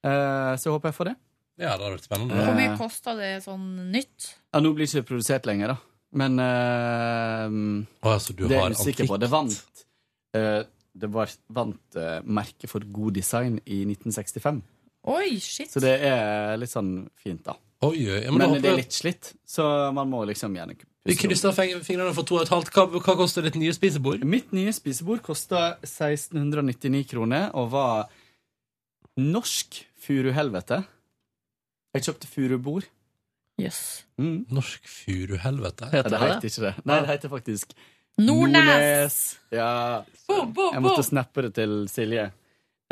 Speaker 9: Eh, så håper jeg får det.
Speaker 1: ja, det hadde vært spennende.
Speaker 2: Hvor mye
Speaker 9: Eh,
Speaker 2: kosta det sånn nytt?
Speaker 9: ja, nå blir det ikke produsert lenger, da. Men eh,
Speaker 1: Å, altså, du
Speaker 9: det
Speaker 1: har
Speaker 9: er jeg usikker på.
Speaker 1: antikt.
Speaker 9: Det vant eh, Det var, vant eh, merket for god design i 1965.
Speaker 2: Oi, shit!
Speaker 9: Så det er litt sånn fint, da.
Speaker 1: Oi, oi. Ja, men
Speaker 9: Men,
Speaker 1: da
Speaker 9: det
Speaker 1: håper
Speaker 9: er
Speaker 1: jeg-
Speaker 9: litt slitt, så man må liksom gjerne
Speaker 1: Vi krysser fing- fingrene for to og et halvt. Hva, hva koster ditt nye spisebord?
Speaker 9: Mitt nye spisebord kosta 1699 kroner og var norsk furuhelvete. Jeg kjøpte furubord.
Speaker 2: Jøss.
Speaker 9: Mm.
Speaker 1: Norsk furuhelvete.
Speaker 9: Nei,
Speaker 8: Heter
Speaker 9: det
Speaker 8: det det?
Speaker 9: heter ikke det. Nei, det heter faktisk
Speaker 2: Nordnes!
Speaker 9: Ja,
Speaker 2: Boom, boom,
Speaker 9: jeg måtte snappe det til Silje.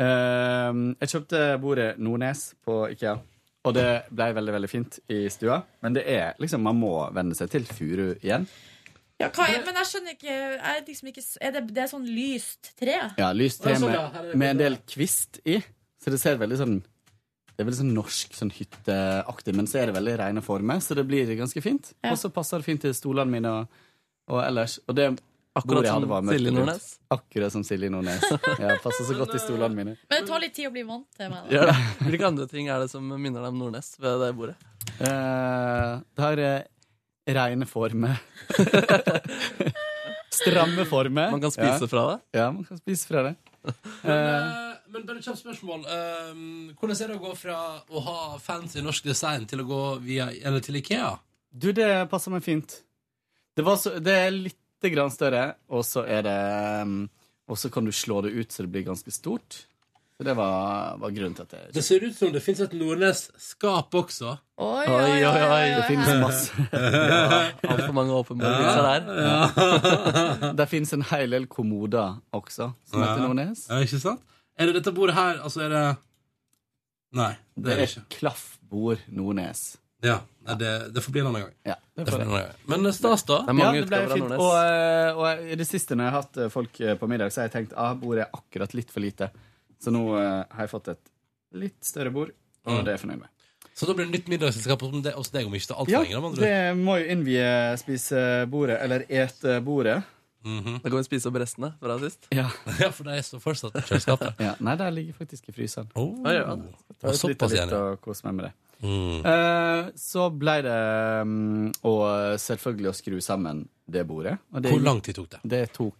Speaker 9: Ehm, jeg kjøpte bordet Nordnes på Ikea, og det ble veldig veldig fint i stua. Men det er liksom, man må venne seg til furu igjen.
Speaker 2: Ja, hva er, men jeg skjønner ikke, jeg er liksom ikke s- er det, det er sånn lyst tre?
Speaker 9: Ja, lyst
Speaker 10: Ja,
Speaker 9: te
Speaker 10: sånn,
Speaker 9: med,
Speaker 10: ja. Her er det
Speaker 9: med en
Speaker 10: bildet.
Speaker 9: del kvist i. Så det ser veldig sånn Det er veldig sånn norsk, sånn hytteaktig, men så er det veldig rene former, så det blir ganske fint.
Speaker 2: Ja.
Speaker 9: Og så passer det fint til stolene mine og, og ellers. Og det bordet
Speaker 8: Akkurat
Speaker 9: jeg hadde var
Speaker 8: som
Speaker 9: mørkt
Speaker 8: Silje
Speaker 9: og brunt.
Speaker 8: Nordnes.
Speaker 9: Akkurat som Silje Nordnes. Ja, passer så godt til stolene mine.
Speaker 2: Men det tar litt tid å bli vant til meg. da.
Speaker 8: Gjør det. Hvilke andre ting er det som minner deg om Nordnes ved det bordet?
Speaker 9: Eh, det har eh, rene former. Stramme former.
Speaker 8: Man kan spise fra det?
Speaker 9: Ja, ja man kan spise fra det. Eh,
Speaker 1: Men bare et kjapt spørsmål. Ehm, hvordan er det å gå fra å ha fancy norsk design til å gå via, eller til Ikea?
Speaker 9: Du, det passer meg fint. Det, var så, det er litt grann større, og så er det um, Og så kan du slå det ut så det blir ganske stort. Så det var, var grunnen til at
Speaker 1: Det
Speaker 9: jeg
Speaker 1: ser ut som det fins et Nordnes-skap også.
Speaker 2: Oi,
Speaker 8: Oi, oi, oi,
Speaker 9: Det finnes masse.
Speaker 8: Altfor mange åpenbare vitser der.
Speaker 9: Det finnes en hel del kommoder også, som heter
Speaker 1: Ja.
Speaker 9: Nordnes.
Speaker 1: Ja, ikke sant? Er det dette bordet her, altså er det Nei, det
Speaker 9: Det
Speaker 1: er det
Speaker 9: er
Speaker 1: ikke.
Speaker 9: klaffbord Nordnes.
Speaker 1: Ja, nei, det, det får bli en annen gang.
Speaker 9: Ja, det
Speaker 1: Det får
Speaker 9: får
Speaker 1: bli
Speaker 9: jeg.
Speaker 1: en annen gang. Men eh, stas, da.
Speaker 8: Det er
Speaker 9: Ja,
Speaker 8: mange
Speaker 9: det ble
Speaker 8: utgaver av
Speaker 9: fint. Og,
Speaker 8: Nordnes.
Speaker 9: eh, og i det siste når jeg har hatt eh, folk eh, på middag, så har jeg tenkt at ah, bordet er akkurat litt for lite. Så nå eh, har jeg fått et litt større bord, og
Speaker 1: Mm.
Speaker 9: det er jeg fornøyd med.
Speaker 1: Så da blir det nytt middagsselskap hos deg- hos deg om ikke altfor
Speaker 9: Ja,
Speaker 1: lenge. da, med andre
Speaker 9: det må jo innvie spisebordet, eller etebordet.
Speaker 1: ord. Mhm.
Speaker 8: Da kan vi spise opp restene fra sist.
Speaker 9: Ja.
Speaker 1: Ja, for de står fortsatt i kjøleskapet.
Speaker 9: Nei, det ligger faktisk i fryseren.
Speaker 1: Oh,
Speaker 8: Ja, ja.
Speaker 9: Ta et lite
Speaker 1: såpass,
Speaker 9: litt
Speaker 1: gjerne.
Speaker 9: og kose meg med det.
Speaker 1: Mm.
Speaker 9: Eh, så ble det mm, Og selvfølgelig å skru sammen det bordet. Og det,
Speaker 1: Hvor lang tid tok det?
Speaker 9: det tok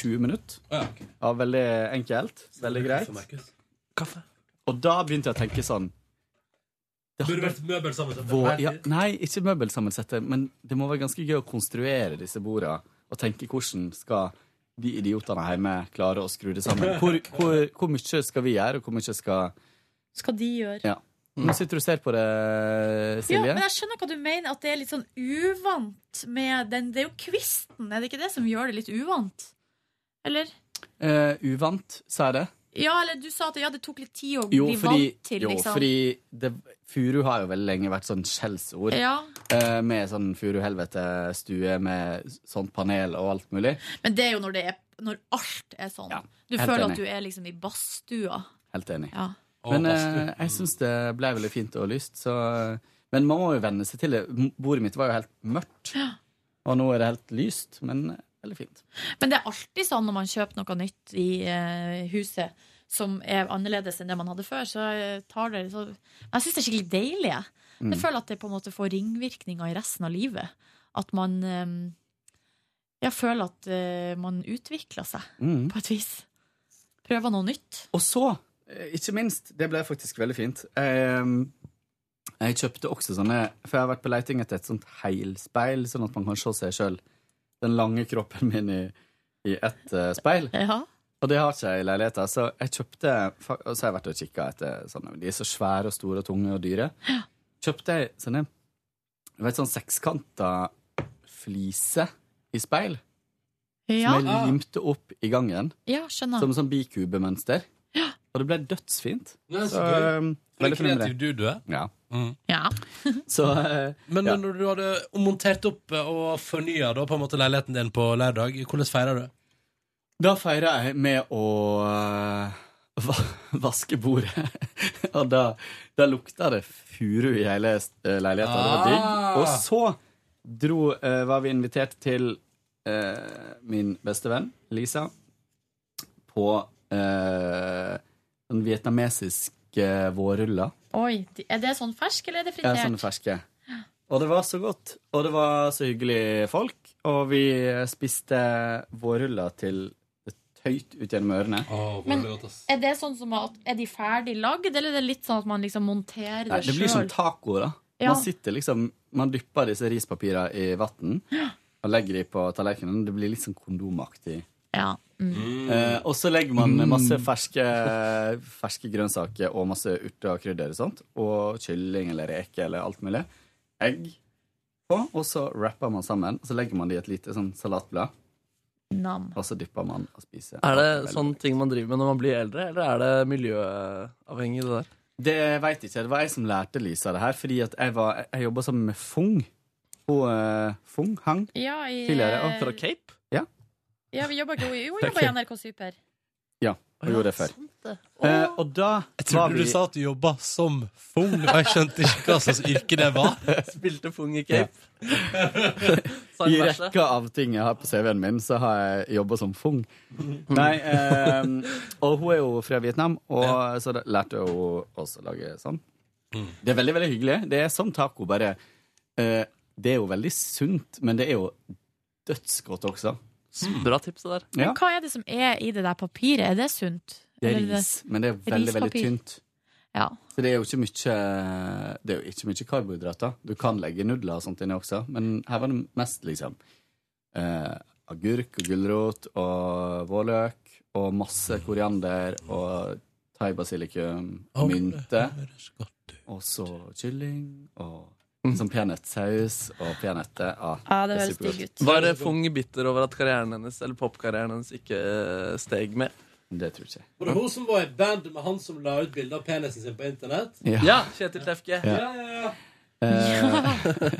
Speaker 9: 20 minutter.
Speaker 1: Å, ja, ok.
Speaker 9: Ja, veldig enkelt. Veldig greit.
Speaker 8: Kaffe.
Speaker 9: Og da begynte jeg å tenke sånn det
Speaker 1: Burde
Speaker 9: hadde
Speaker 1: vært møbelsammensatt.
Speaker 9: Vår, ja, nei, ikke møbelsammensetter, men det må være ganske gøy å konstruere disse borda og tenke hvordan skal de idiotene hjemme klare å skru det sammen. Hvor, hvor, hvor mye skal vi gjøre, og hvor mye skal
Speaker 2: Skal de gjøre?
Speaker 9: Ja. Nå sitter du og ser på det,
Speaker 2: Ja,
Speaker 9: Silje.
Speaker 2: men jeg skjønner hva du mener, at det er litt sånn uvant med den Det er jo kvisten, er det ikke det som gjør det litt uvant? Eller?
Speaker 9: Eh, uvant, sa jeg det.
Speaker 2: Ja, eller du sa at ja, det tok litt tid å
Speaker 9: Jo,
Speaker 2: bli
Speaker 9: fordi,
Speaker 2: vant til,
Speaker 9: jo,
Speaker 2: liksom.
Speaker 9: fordi det, furu har jo veldig lenge vært sånn skjellsord.
Speaker 2: Ja,
Speaker 9: Eh, med sånn furuhelvete-stue med sånt panel og alt mulig.
Speaker 2: Men det er jo når det er Når alt er sånn.
Speaker 9: Ja,
Speaker 2: du
Speaker 9: helt
Speaker 2: føler
Speaker 9: enig.
Speaker 2: at du er liksom i badstua.
Speaker 9: Helt enig.
Speaker 2: Ja.
Speaker 9: Men eh, jeg syns det ble veldig fint og lyst. Så, men man må jo venne seg til det. M- Bordet mitt var jo helt mørkt, og nå er det helt lyst, men eh, veldig fint.
Speaker 2: Men det er alltid sånn når man kjøper noe nytt i eh, huset som er annerledes enn det man hadde før. Så eh, tar det så Jeg syns det er skikkelig deilig. Jeg.
Speaker 9: Mm.
Speaker 2: jeg føler at det på en måte får ringvirkninger i resten av livet. At man eh, Jeg føler at eh, man utvikler seg
Speaker 9: Mm.
Speaker 2: på et vis. Prøver noe nytt.
Speaker 9: Og så, eh, ikke minst, det ble faktisk veldig fint. Jeg, jeg kjøpte også sånne For jeg har vært på leiting etter et sånt heilspeil, sånn at man kan se seg sjøl, den lange kroppen min, i, i ett eh, speil.
Speaker 2: Ja.
Speaker 9: Og det har ikke jeg i leiligheten, så jeg kjøpte fa- Og så har jeg vært og kikket etter sånne De er så svære og store og tunge og dyre. Kjøpte jeg sånne Du vet sånn sekskanta flise i speil?
Speaker 2: Ja.
Speaker 9: Som jeg limte opp i gangen.
Speaker 2: Ja, skjønner.
Speaker 9: Som sånn bikubemønster. Og det ble dødsfint.
Speaker 10: Nei, så gøy.
Speaker 9: um,
Speaker 10: For en
Speaker 9: veldig fornøyd med
Speaker 10: kreativ du du er.
Speaker 9: det. Ja.
Speaker 2: Ja.
Speaker 9: Så, eh,
Speaker 10: Men
Speaker 9: Mm. ja.
Speaker 10: når du hadde montert opp eh, og fornya da, på en måte leiligheten din på lørdag, hvordan feirer du?
Speaker 9: Da feirer jeg med å eh, va- vaske bordet. og da, da lukta det furu i hele eh, leiligheten. Det var digg.
Speaker 10: Ah.
Speaker 9: Og så dro, eh, var vi invitert til eh, min beste venn, Lisa, på eh, en vietnamesisk eh, vårrulle.
Speaker 2: Oi, de- er det sånn fersk, eller er det
Speaker 9: Ja, sånn
Speaker 2: fritert?
Speaker 9: sånne ferske. Og det var så godt. Og det var så hyggelig folk. Og vi spiste vårruller til det tøyt ut gjennom ørene.
Speaker 2: Men- det Er det sånn som at Er de ferdig lagd, eller er det litt sånn at man liksom monterer
Speaker 9: Nei,
Speaker 2: det
Speaker 9: det blir
Speaker 2: sjøl?
Speaker 9: sånn som taco, da.
Speaker 2: Ja.
Speaker 9: Man sitter liksom Man dypper disse rispapirene i vann og legger de på tallerkenen. Det blir litt sånn kondomaktig.
Speaker 2: Ja. Mm.
Speaker 9: Eh, og så legger man
Speaker 8: Mm.
Speaker 9: masse ferske, ferske grønnsaker og masse urter og krydder og sånt. Og kylling eller reke eller alt mulig. Egg på. Og så wrapper man sammen. Og så legger man det i et lite sånn salatblad.
Speaker 2: Nam.
Speaker 9: Og så dypper man og spiser.
Speaker 8: Er
Speaker 9: Veldig
Speaker 8: det sånn
Speaker 9: godt.
Speaker 8: ting man driver med når man blir eldre, eller er det miljøavhengig, det der?
Speaker 9: Det veit ikke. Det var jeg som lærte Lisa det her, fordi at jeg, var- jeg jobba sammen med Fung. Hun eh, Fung Hang
Speaker 2: Ja, i,
Speaker 9: tidligere. Og
Speaker 8: Fra Cape?
Speaker 2: ja, vi jobber ikke Jo, vi jobber i NRK Super.
Speaker 9: Ja, hun gjorde det før.
Speaker 2: Sant det.
Speaker 9: Eh, og da
Speaker 10: Jeg
Speaker 9: var
Speaker 10: trodde
Speaker 9: vi
Speaker 10: du sa at du jobba som fung, og jeg skjønte ikke hva slags yrke det var.
Speaker 8: Spilte fung i Cape. Sang
Speaker 9: I
Speaker 8: verset.
Speaker 9: rekka av ting jeg har på CV-en min, så har jeg jobba som fung. Nei, ehm, og hun er jo fra Vietnam, og så da lærte jeg henne også å lage sånn. Det er veldig, veldig hyggelig. Det er som taco, bare eh, Det er jo veldig sunt, men det er jo dødsgodt også. Mm.
Speaker 8: Bra tips, det der.
Speaker 9: Ja.
Speaker 2: Hva er det som er i det der papiret? Er det sunt?
Speaker 9: Det er
Speaker 2: Eller
Speaker 9: ris, men det er veldig, veldig
Speaker 2: Rispapir.
Speaker 9: tynt.
Speaker 2: Ja.
Speaker 9: Så det er jo ikke mye Det er jo ikke mye karbohydrater. Du kan legge nudler og sånt inni også, men her var det mest liksom eh, agurk og gulrot og vårløk og masse koriander og thaibasilikum og mynte. Og så kylling og sånn peanøttsaus og peanøtter. Ah,
Speaker 2: ja, det
Speaker 9: det er
Speaker 2: høres digg
Speaker 9: supergodt.
Speaker 2: ut.
Speaker 8: Var Fung bitter over at karrieren hennes, eller popkarrieren hennes ikke eh, steg mer?
Speaker 9: det tror ikke jeg.
Speaker 10: Var det hun som var i band med han som la ut bilde av penisen sin på internett?
Speaker 8: Ja, Kjetil Tefke.
Speaker 9: Ja.
Speaker 10: Ja, ja, ja.
Speaker 9: Eh,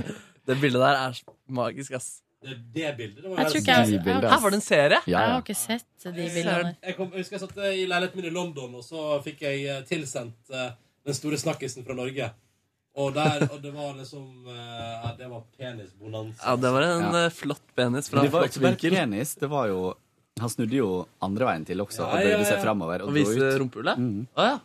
Speaker 8: Det bildet der er magisk, ass.
Speaker 10: Det, det bildet. Det var
Speaker 2: Jeg
Speaker 10: det
Speaker 2: tror
Speaker 10: som-
Speaker 2: ikke jeg,
Speaker 9: syke
Speaker 2: jeg,
Speaker 9: bilder,
Speaker 8: Her var det en serie!
Speaker 9: Ja,
Speaker 2: jeg
Speaker 9: ja.
Speaker 2: har ikke sett de bildene.
Speaker 10: Jeg, kom, jeg husker jeg satt eh, i leiligheten min i London, og så fikk jeg eh, tilsendt eh, den store snakkisen fra Norge. Og, der, og det var liksom eh, ja, Det var penisbonanza.
Speaker 8: Ja, Det var en
Speaker 9: Ja.
Speaker 8: eh, flott penis fra
Speaker 9: Men det var jo
Speaker 8: flott
Speaker 9: ikke bare
Speaker 8: vinkel.
Speaker 9: penis. Det var jo Han snudde jo andre veien til også
Speaker 10: Ja,
Speaker 9: og
Speaker 10: ja,
Speaker 9: bøyde
Speaker 10: ja.
Speaker 9: seg framover
Speaker 8: Å
Speaker 9: og dro
Speaker 8: vise
Speaker 9: ut.
Speaker 8: rumpehullet? Å
Speaker 9: Mhm.
Speaker 8: ja.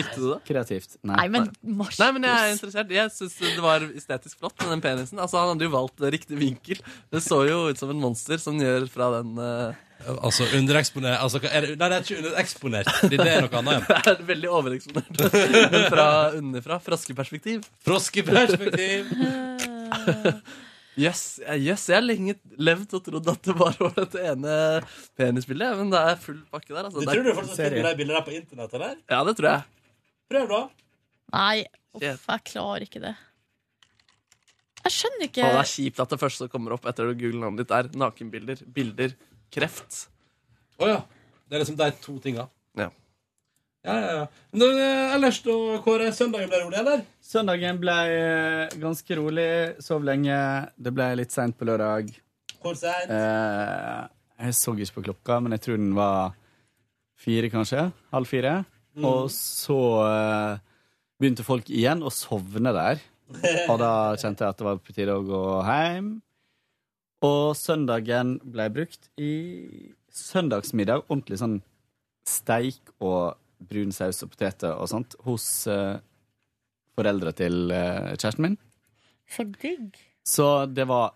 Speaker 8: Likte du det?
Speaker 9: Kreativt.
Speaker 2: Nei, men Mars
Speaker 8: Nei, men jeg er interessert. Jeg syns det var estetisk flott med den penisen. Altså, Han hadde jo valgt riktig vinkel. Det så jo ut som en monster som gjør fra den eh,
Speaker 10: Altså undereksponert altså, hva er det, Nei, det er ikke undereksponert. Det det er noe annet.
Speaker 8: Det er veldig overeksponert. fra underfra. Froskeperspektiv.
Speaker 10: Froskeperspektiv.
Speaker 8: Jøss, yes, eh, yes, jeg har lenge levd og trodd at det bare var dette ene penisbildet. ja, Men det er full pakke der. Altså.
Speaker 10: Du
Speaker 8: Det
Speaker 10: tror
Speaker 8: er,
Speaker 10: du fortsatt finner de bildene der på internett? eller?
Speaker 8: ja, det tror jeg.
Speaker 10: Prøv, da.
Speaker 2: Nei, uff,
Speaker 8: Shit.
Speaker 2: jeg klarer ikke det. Jeg skjønner ikke
Speaker 8: Og det er kjipt at det første som kommer opp etter å google navnet ditt, er nakenbilder. Bilder. Kreft.
Speaker 10: Å ja. Det er liksom de to tinga.
Speaker 8: Ja.
Speaker 10: Ja, ja, ja. Men, eh, ellers, da, Kåre, søndagen ble rolig, eller?
Speaker 9: Søndagen ble eh, ganske rolig. Sov lenge. Det ble litt seint på lørdag.
Speaker 10: Kåre Sein.
Speaker 9: Eh, jeg så ikke på klokka, men jeg tror den var fire, kanskje. Halv fire. Og så eh, begynte folk igjen å sovne der. Og da kjente jeg at det var på tide å gå hjem. Og søndagen ble brukt i søndagsmiddag. Ordentlig sånn steik og brun saus og poteter og sånt hos eh, foreldra til eh, kjæresten min.
Speaker 2: Så digg.
Speaker 9: Så det var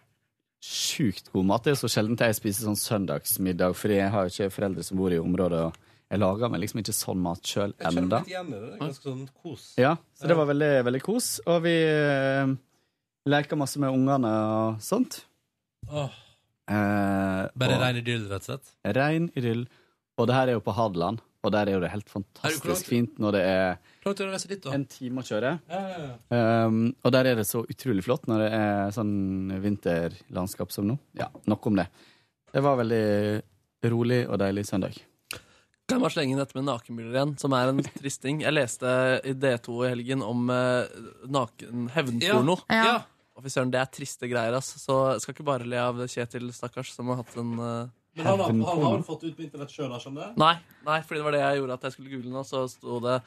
Speaker 9: sjukt god mat. Det er jo så sjelden jeg spiser sånn søndagsmiddag, fordi jeg har jo ikke foreldre som bor i området, og jeg lager meg liksom ikke sånn mat sjøl enda.
Speaker 10: igjen i det. Det er Ganske sånn kos.
Speaker 9: Ja, så det var veldig, veldig kos. Og vi eh, leker masse med ungene og sånt.
Speaker 10: Åh,
Speaker 9: Eh,
Speaker 10: bare
Speaker 9: og
Speaker 10: rein idyll, rett og slett.
Speaker 9: Rein idyll. Og det her er jo på Hadeland, og der er jo det helt
Speaker 10: Er du klar?
Speaker 9: fantastisk fint når det er
Speaker 1: Klart å reise dit, da.
Speaker 9: En time å kjøre.
Speaker 1: Ja, ja, ja.
Speaker 9: Um, og der er det så utrolig flott når det er sånn vinterlandskap som nå. Ja, nok om det. Det var veldig rolig og deilig søndag.
Speaker 8: Kan jeg bare slenge inn dette med nakenbilder igjen, som er en trist ting. Jeg leste i D2 i helgen om eh, naken hevnporno.
Speaker 2: Ja. Ja.
Speaker 8: Og fy søren, det er triste greier, ass. Så jeg skal ikke bare le av Kjetil, stakkars, som har hatt en eh,
Speaker 10: Men han, har- han har vel fått det ut på internett sjøl, har han det?
Speaker 8: Nei, nei, fordi det var det jeg gjorde at jeg skulle google nå, så sto det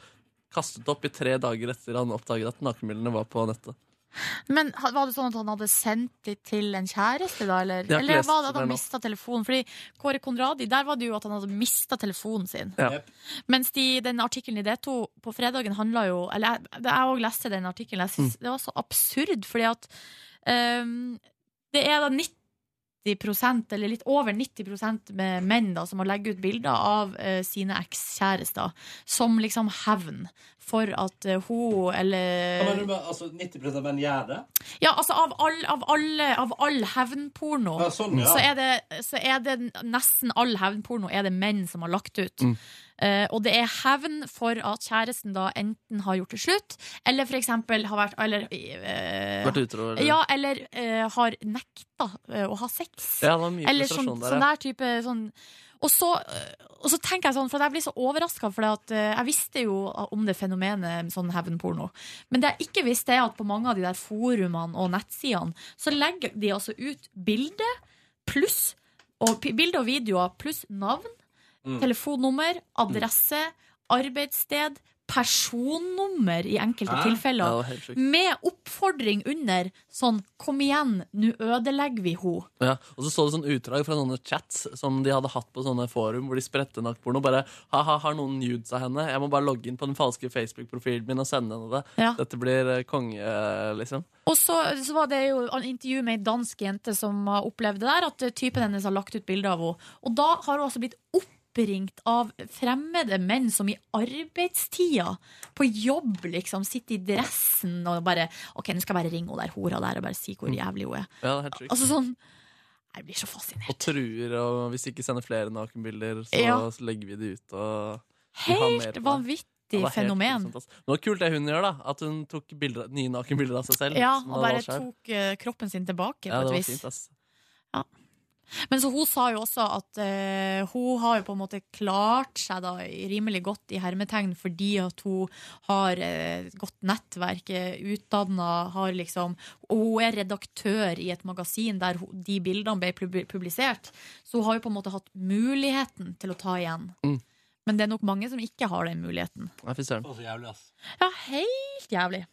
Speaker 8: kastet opp i tre dager etter han oppdaget at nakenbildene var på nettet.
Speaker 2: Men ha- var det sånn at han hadde sendt det til en kjæreste, da? Eller,
Speaker 8: Jeg har ikke
Speaker 2: eller
Speaker 8: lest
Speaker 2: var det at
Speaker 8: det
Speaker 2: han
Speaker 8: nå.
Speaker 2: mista telefonen? Fordi Kåre Konradi, der var det jo at han hadde mista telefonen sin.
Speaker 8: Ja. Jep.
Speaker 2: Mens de, den artikkelen i D2 på fredagen handla jo Eller jeg- jeg òg leste den artikkelen. Jeg
Speaker 8: Mm.
Speaker 2: synes Det var så absurd, fordi at ehm, det er da 90 eller litt over 90 med menn da, som må legge ut bilder av eh, sine ekskjærester som liksom hevn for at eh, hun eller
Speaker 10: Hva mener du med, altså, 90 av menn gjør det?
Speaker 2: ja, altså av all, av alle, av all hevnporno
Speaker 10: Ja, sånn, ja.
Speaker 2: så, er det, så er det nesten all hevnporno er det menn som har lagt ut.
Speaker 11: Mm.
Speaker 2: Eh, og det er hevn for at kjæresten da enten har gjort det slutt, eller for eksempel har vært Eller eh,
Speaker 8: Vært utro, eller-
Speaker 2: Ja, eller eh, har nekta eh, å ha sex.
Speaker 8: Ja, det var mye
Speaker 2: Eller sånn,
Speaker 8: frustrasjon der,
Speaker 2: sånn
Speaker 8: ja.
Speaker 2: der type sånn, og, så, og så tenker jeg sånn, for jeg blir så overraska, for eh, jeg visste jo om det fenomenet sånn hevnporno. Men det jeg ikke visste, er at på mange av de der forumene og nettsidene, så legger de altså ut bilde pluss og, p- bilder og videoer pluss navn,
Speaker 11: Mm.
Speaker 2: telefonnummer, adresse, arbeidssted, personnummer i
Speaker 11: Hæ?
Speaker 2: enkelte
Speaker 11: Ja, det var
Speaker 2: tilfeller,
Speaker 8: helt sjukt.
Speaker 2: med oppfordring under sånn 'Kom igjen, nå ødelegger vi henne'.
Speaker 8: Ja, og så så du sånn utdrag fra noen chats som de hadde hatt på sånne forum, hvor de spredte nakkporno. Bare ha-ha, har noen nudes av henne? Jeg må bare logge inn på den falske Facebook-profilen min og sende henne det.
Speaker 2: Ja.
Speaker 8: Dette blir eh, konge, liksom.
Speaker 2: Og så, så var det jo en intervju med ei dansk jente som har opplevd det der, at eh, typen hennes har lagt ut bilde av henne. Og da har hun altså blitt oppringt av fremmede menn som i arbeidstida, på jobb, liksom, sitter i dressen og bare OK, nå skal jeg bare ringe hun der hora der og bare si hvor jævlig hun er.
Speaker 8: Ja, det er helt sjukt.
Speaker 2: Altså sånn Jeg blir så fascinert.
Speaker 8: Mm. Og truer, og hvis de ikke sender flere nakenbilder, så
Speaker 2: Ja.
Speaker 8: legger vi det ut. Og vi har mer på
Speaker 2: Helt
Speaker 8: det. Ja,
Speaker 2: vanvittig
Speaker 8: det er helt sånn-
Speaker 2: fenomen.
Speaker 8: grusomt, ass. Men det var kult det hun gjør, da. At hun tok bilder, nye nakenbilder av seg selv.
Speaker 2: Ja,
Speaker 8: som hun
Speaker 2: og
Speaker 8: hadde
Speaker 2: bare
Speaker 8: valgt selv.
Speaker 2: tok eh, kroppen sin tilbake,
Speaker 8: Ja,
Speaker 2: på
Speaker 8: det
Speaker 2: et
Speaker 8: var
Speaker 2: vis.
Speaker 8: fint, ass.
Speaker 2: Men så hun sa jo også at eh, hun har jo på en måte klart seg da rimelig godt i hermetegn fordi at hun har eh, et godt nettverk, eh, utdanna, har liksom Og hun er redaktør i et magasin der hun, de bildene ble pub- publisert. Så hun har jo på en måte hatt muligheten til å ta igjen.
Speaker 8: Mm.
Speaker 2: Men det er nok mange som ikke har den muligheten.
Speaker 8: Nei, fy søren.
Speaker 10: Faen, så jævlig, ass. Mm.
Speaker 2: Ja, helt jævlig.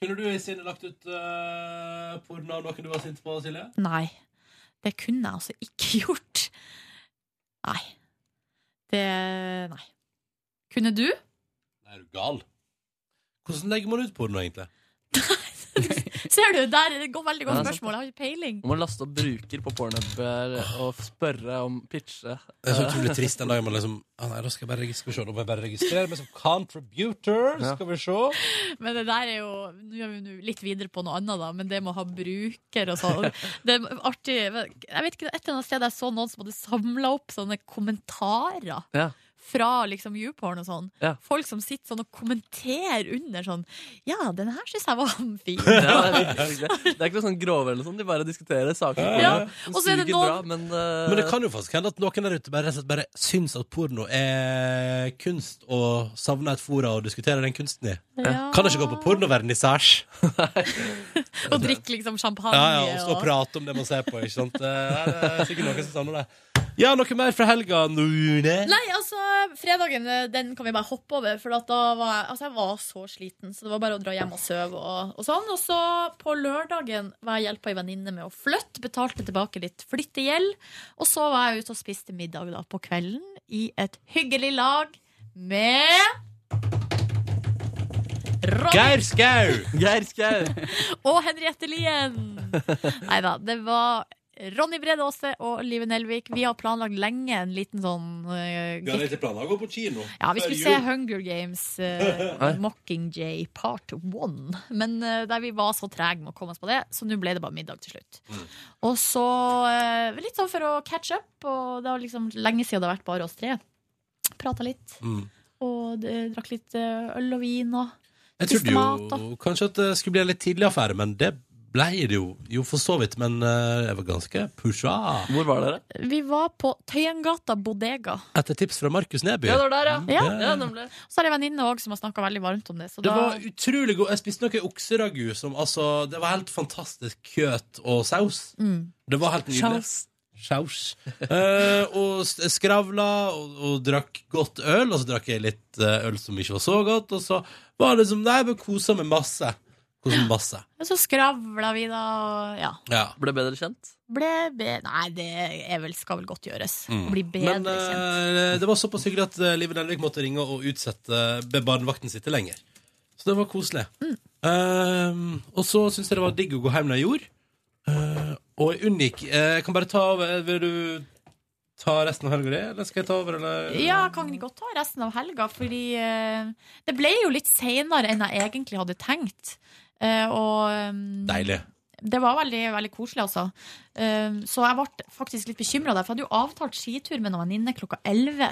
Speaker 10: Kunne du i sinne lagt ut uh, porno av noen du var sint på, Silje?
Speaker 2: Nei. Det kunne jeg altså ikke gjort. Nei. Det Nei. Kunne du?
Speaker 10: Er du gal? Hvordan legger man ut porno, egentlig?
Speaker 2: Ser du, der det går veldig godt
Speaker 8: Ja, det er sant,
Speaker 2: spørsmål. Jeg har ikke peiling.
Speaker 8: Du må laste opp bruker på pornhub eh, og spørre om pitche.
Speaker 10: Det er så utrolig trist den dagen man liksom ah, nei, da skal jeg bare registrere, skal vi se, da må jeg bare registrere meg som contributor.
Speaker 8: Ja.
Speaker 10: Skal vi se.
Speaker 2: Men det der er jo Nå er vi nå litt videre på noe annet, da, men det med å ha bruker og sånn Det er artig Jeg vet ikke, Et eller annet sted jeg så noen som hadde samla opp sånne kommentarer
Speaker 8: Ja.
Speaker 2: fra liksom YouPorn og sånn.
Speaker 8: Ja.
Speaker 2: Folk som sitter sånn og kommenterer under sånn Ja, den her syns jeg var fin.
Speaker 8: Ja, det, er virkelig det. det er ikke noe sånn grove eller noe sånt, de bare diskuterer saker.
Speaker 10: Ja,
Speaker 8: Den
Speaker 2: og så er det
Speaker 8: suger
Speaker 2: noen-
Speaker 8: bra, men, eh,
Speaker 10: Men det kan jo faktisk hende at noen der ute bare, rett og slett bare syns at porno er kunst, og savner et fora å diskutere den kunsten i.
Speaker 2: Ja.
Speaker 10: Kan ikke gå på pornovernissasje.
Speaker 2: Ah. Og drikker liksom champagne.
Speaker 10: Ja, ja, og stå og prate om det man ser på. Ikke sant? Det er eh, sikkert noen som savner det. Ja, noe mer fra helga, Nune?
Speaker 2: Nei, altså, fredagen eh, den kan vi bare hoppe over, for at da var jeg, altså, jeg var så sliten. Så det var bare å dra hjem og sove og, og sånn. Og så på lørdagen var jeg hjelpa ei venninne med å flytte, betalte tilbake litt flyttegjeld. Og så var jeg ute og spiste middag da på kvelden i et hyggelig lag med
Speaker 10: Geir Skau!
Speaker 8: Geir Skau!
Speaker 2: og Henriette Lien. Nei da, det var Ronny Brede Aase og Live Nelvik. Vi har planlagt lenge en liten sånn eh,
Speaker 10: Vi hadde ikke planer å gå på kino.
Speaker 2: ja, vi
Speaker 10: før
Speaker 2: skulle
Speaker 10: jul.
Speaker 2: se Hunger Games eh,
Speaker 10: Nei.
Speaker 2: Mockingjay part one. Men eh, der vi var så trege med å komme oss på det, så nå ble det bare middag til slutt.
Speaker 1: Mm.
Speaker 2: Og så eh, litt sånn for å catch up, og det var liksom lenge siden det har vært bare oss tre. prata litt.
Speaker 1: Mm.
Speaker 2: Og eh, drakk litt eh, øl og vin og
Speaker 1: Jeg
Speaker 2: spiste
Speaker 1: trodde
Speaker 2: mat. Og.
Speaker 1: jo kanskje at det skulle bli en litt tidlig affære, men det ble det jo. Jo, for så vidt, men eh, jeg var ganske pusha.
Speaker 8: Hvor var dere?
Speaker 2: Vi var på Tøyengata bodega.
Speaker 1: Etter tips fra Markus Neby.
Speaker 2: Ja, det var der,
Speaker 10: Mm.
Speaker 2: ja. Ja.
Speaker 1: Ja,
Speaker 8: nemlig.
Speaker 2: Så har jeg en venninne òg som har snakka veldig varmt om det. Så
Speaker 1: Det
Speaker 2: da,
Speaker 1: var utrolig god Jeg spiste noe okseragu som altså Det var helt fantastisk kjøtt og saus.
Speaker 2: Mm.
Speaker 1: Det var helt nydelig.
Speaker 2: Saus.
Speaker 1: Saus. Eh, og s- skravla og, og drakk godt øl, og så drakk jeg litt eh, øl som ikke var så godt, og så var det som Nei, men kosa meg masse. Kosa meg masse.
Speaker 2: så skravla vi, da. Og, ja.
Speaker 1: Ja.
Speaker 8: Ble bedre kjent?
Speaker 2: Ble, be, nei, det er vel, skal vel godt gjøres.
Speaker 1: Mm.
Speaker 2: Bli bedre
Speaker 1: Men eh,
Speaker 2: kjent.
Speaker 1: det var såpass hyggelig at eh, Live Nelvik måtte ringe og utsette be- barnevakten sitt til lenger. Så det var koselig.
Speaker 2: Mm.
Speaker 1: Eh, og så syns jeg det var digg å gå hjem når jeg gjorde. Eh, og jeg unngikk eh, Jeg kan bare ta over Vil du ta resten av helga di, eller skal jeg ta over, eller?
Speaker 2: Ja, kan vi godt ta resten av helga, fordi eh, det ble jo litt seinere enn jeg egentlig hadde tenkt. Eh, og eh,
Speaker 1: Deilig.
Speaker 2: det var veldig, veldig koselig, altså. Eh, så jeg ble faktisk litt bekymra der, for jeg hadde jo avtalt skitur med noen venninne klokka 11.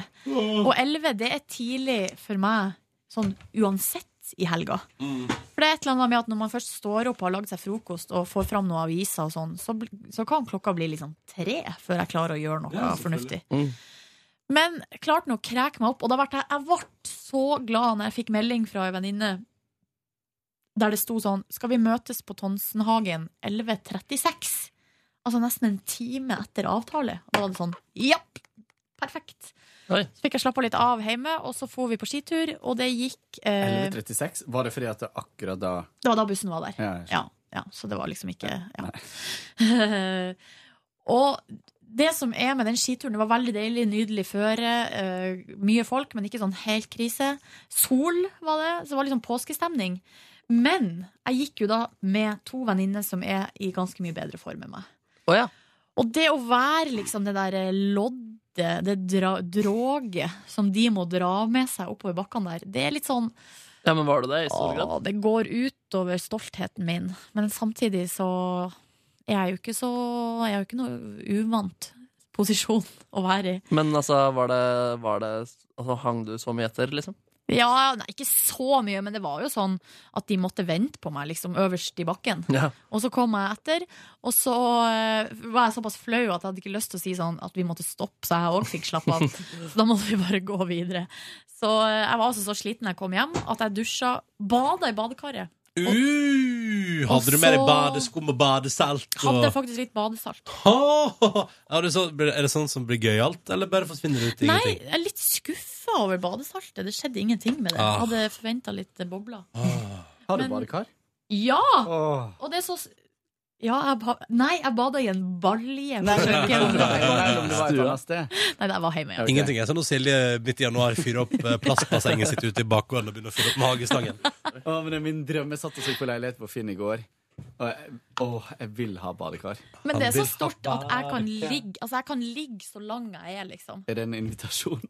Speaker 2: Og 11 det er tidlig for meg sånn uansett i helga. For det er et eller annet med at når man først står opp og har lagd seg frokost og får fram noen aviser og sånn, så, bl- så kan klokka bli liksom tre før jeg klarer å gjøre noe
Speaker 11: Ja,
Speaker 2: fornuftig.
Speaker 11: selvfølgelig.
Speaker 2: Men klarte nå å kreke meg opp, og da ble jeg, jeg ble så glad når jeg fikk melding fra ei venninne der det sto sånn Skal vi møtes på Tonsenhagen 11.36? Altså nesten en time etter avtale. Og da var det sånn Japp! Perfekt.
Speaker 8: Oi.
Speaker 2: Så fikk jeg slappa litt av hjemme, og så for vi på skitur, og det gikk eh,
Speaker 9: Ehm. 11.36? Var det fordi at det akkurat da
Speaker 2: Det var da bussen var der.
Speaker 9: Ja, jeg skjønner.
Speaker 2: ja, ja, så det var liksom ikke ja. Og det som er med den skituren, det var veldig deilig, nydelig føre. eh, mye folk, men ikke sånn helt krise. Sol var det, så det var liksom påskestemning. Men jeg gikk jo da med to venninner som er i ganske mye bedre form enn meg. Og det å være liksom det der loddet, det dra, droget som de må dra med seg oppover bakkene der, det er litt sånn
Speaker 8: Ja, men var du det i stor grad?
Speaker 2: Åh, det går ut over stoltheten min, men samtidig så er jeg jo ikke så Jeg er jo ikke noe uvant posisjon å være i.
Speaker 8: Men altså, var det, var det altså, Hang du så mye etter, liksom?
Speaker 2: Ja, nei, ikke så mye, men det var jo sånn at de måtte vente på meg liksom øverst i bakken.
Speaker 8: Ja.
Speaker 2: Og så kom jeg etter, og så eh, var jeg såpass flau at jeg hadde ikke lyst til å si sånn at vi måtte stoppe, så jeg òg fikk slappe av. så da måtte vi bare gå videre. Så eh, jeg var altså så sliten da jeg kom hjem, at jeg dusja, bada i badekaret.
Speaker 1: Uh, hadde du med deg
Speaker 2: Og så-
Speaker 1: badeskum og badesalt? Og...
Speaker 2: Hadde faktisk litt badesalt.
Speaker 1: Åh, er, det så, er det sånn som blir gøyalt, eller bare forsvinner det ut i
Speaker 2: Nei,
Speaker 1: ingenting?
Speaker 2: jeg er litt skuffa over badesaltet. Det skjedde ingenting med det.
Speaker 1: Ah.
Speaker 2: Jeg hadde forventa litt eh, bobler.
Speaker 9: Har du
Speaker 2: Men-
Speaker 9: badekar?
Speaker 2: Ja!
Speaker 1: Ah.
Speaker 2: Og det er så s- ja, jeg ba... Nei, jeg bada i en balje på
Speaker 9: Eller om det var et
Speaker 2: kjøkkenet.
Speaker 9: annet sted.
Speaker 2: Nei, det var hjemme. Ja.
Speaker 1: Ingenting er sånn når Silje midt i januar fyrer opp eh, plastbassenget sitt ute i bakgården og begynner å fylle opp med hagestangen.
Speaker 9: Å, men det er min drøm. Jeg satt og så på leilighet på Finn i går. Og jeg, å, jeg vil ha badekar.
Speaker 2: Men det er så stort at jeg kan ligge Altså, jeg kan ligge så lang jeg er, liksom.
Speaker 9: Er det en invitasjon?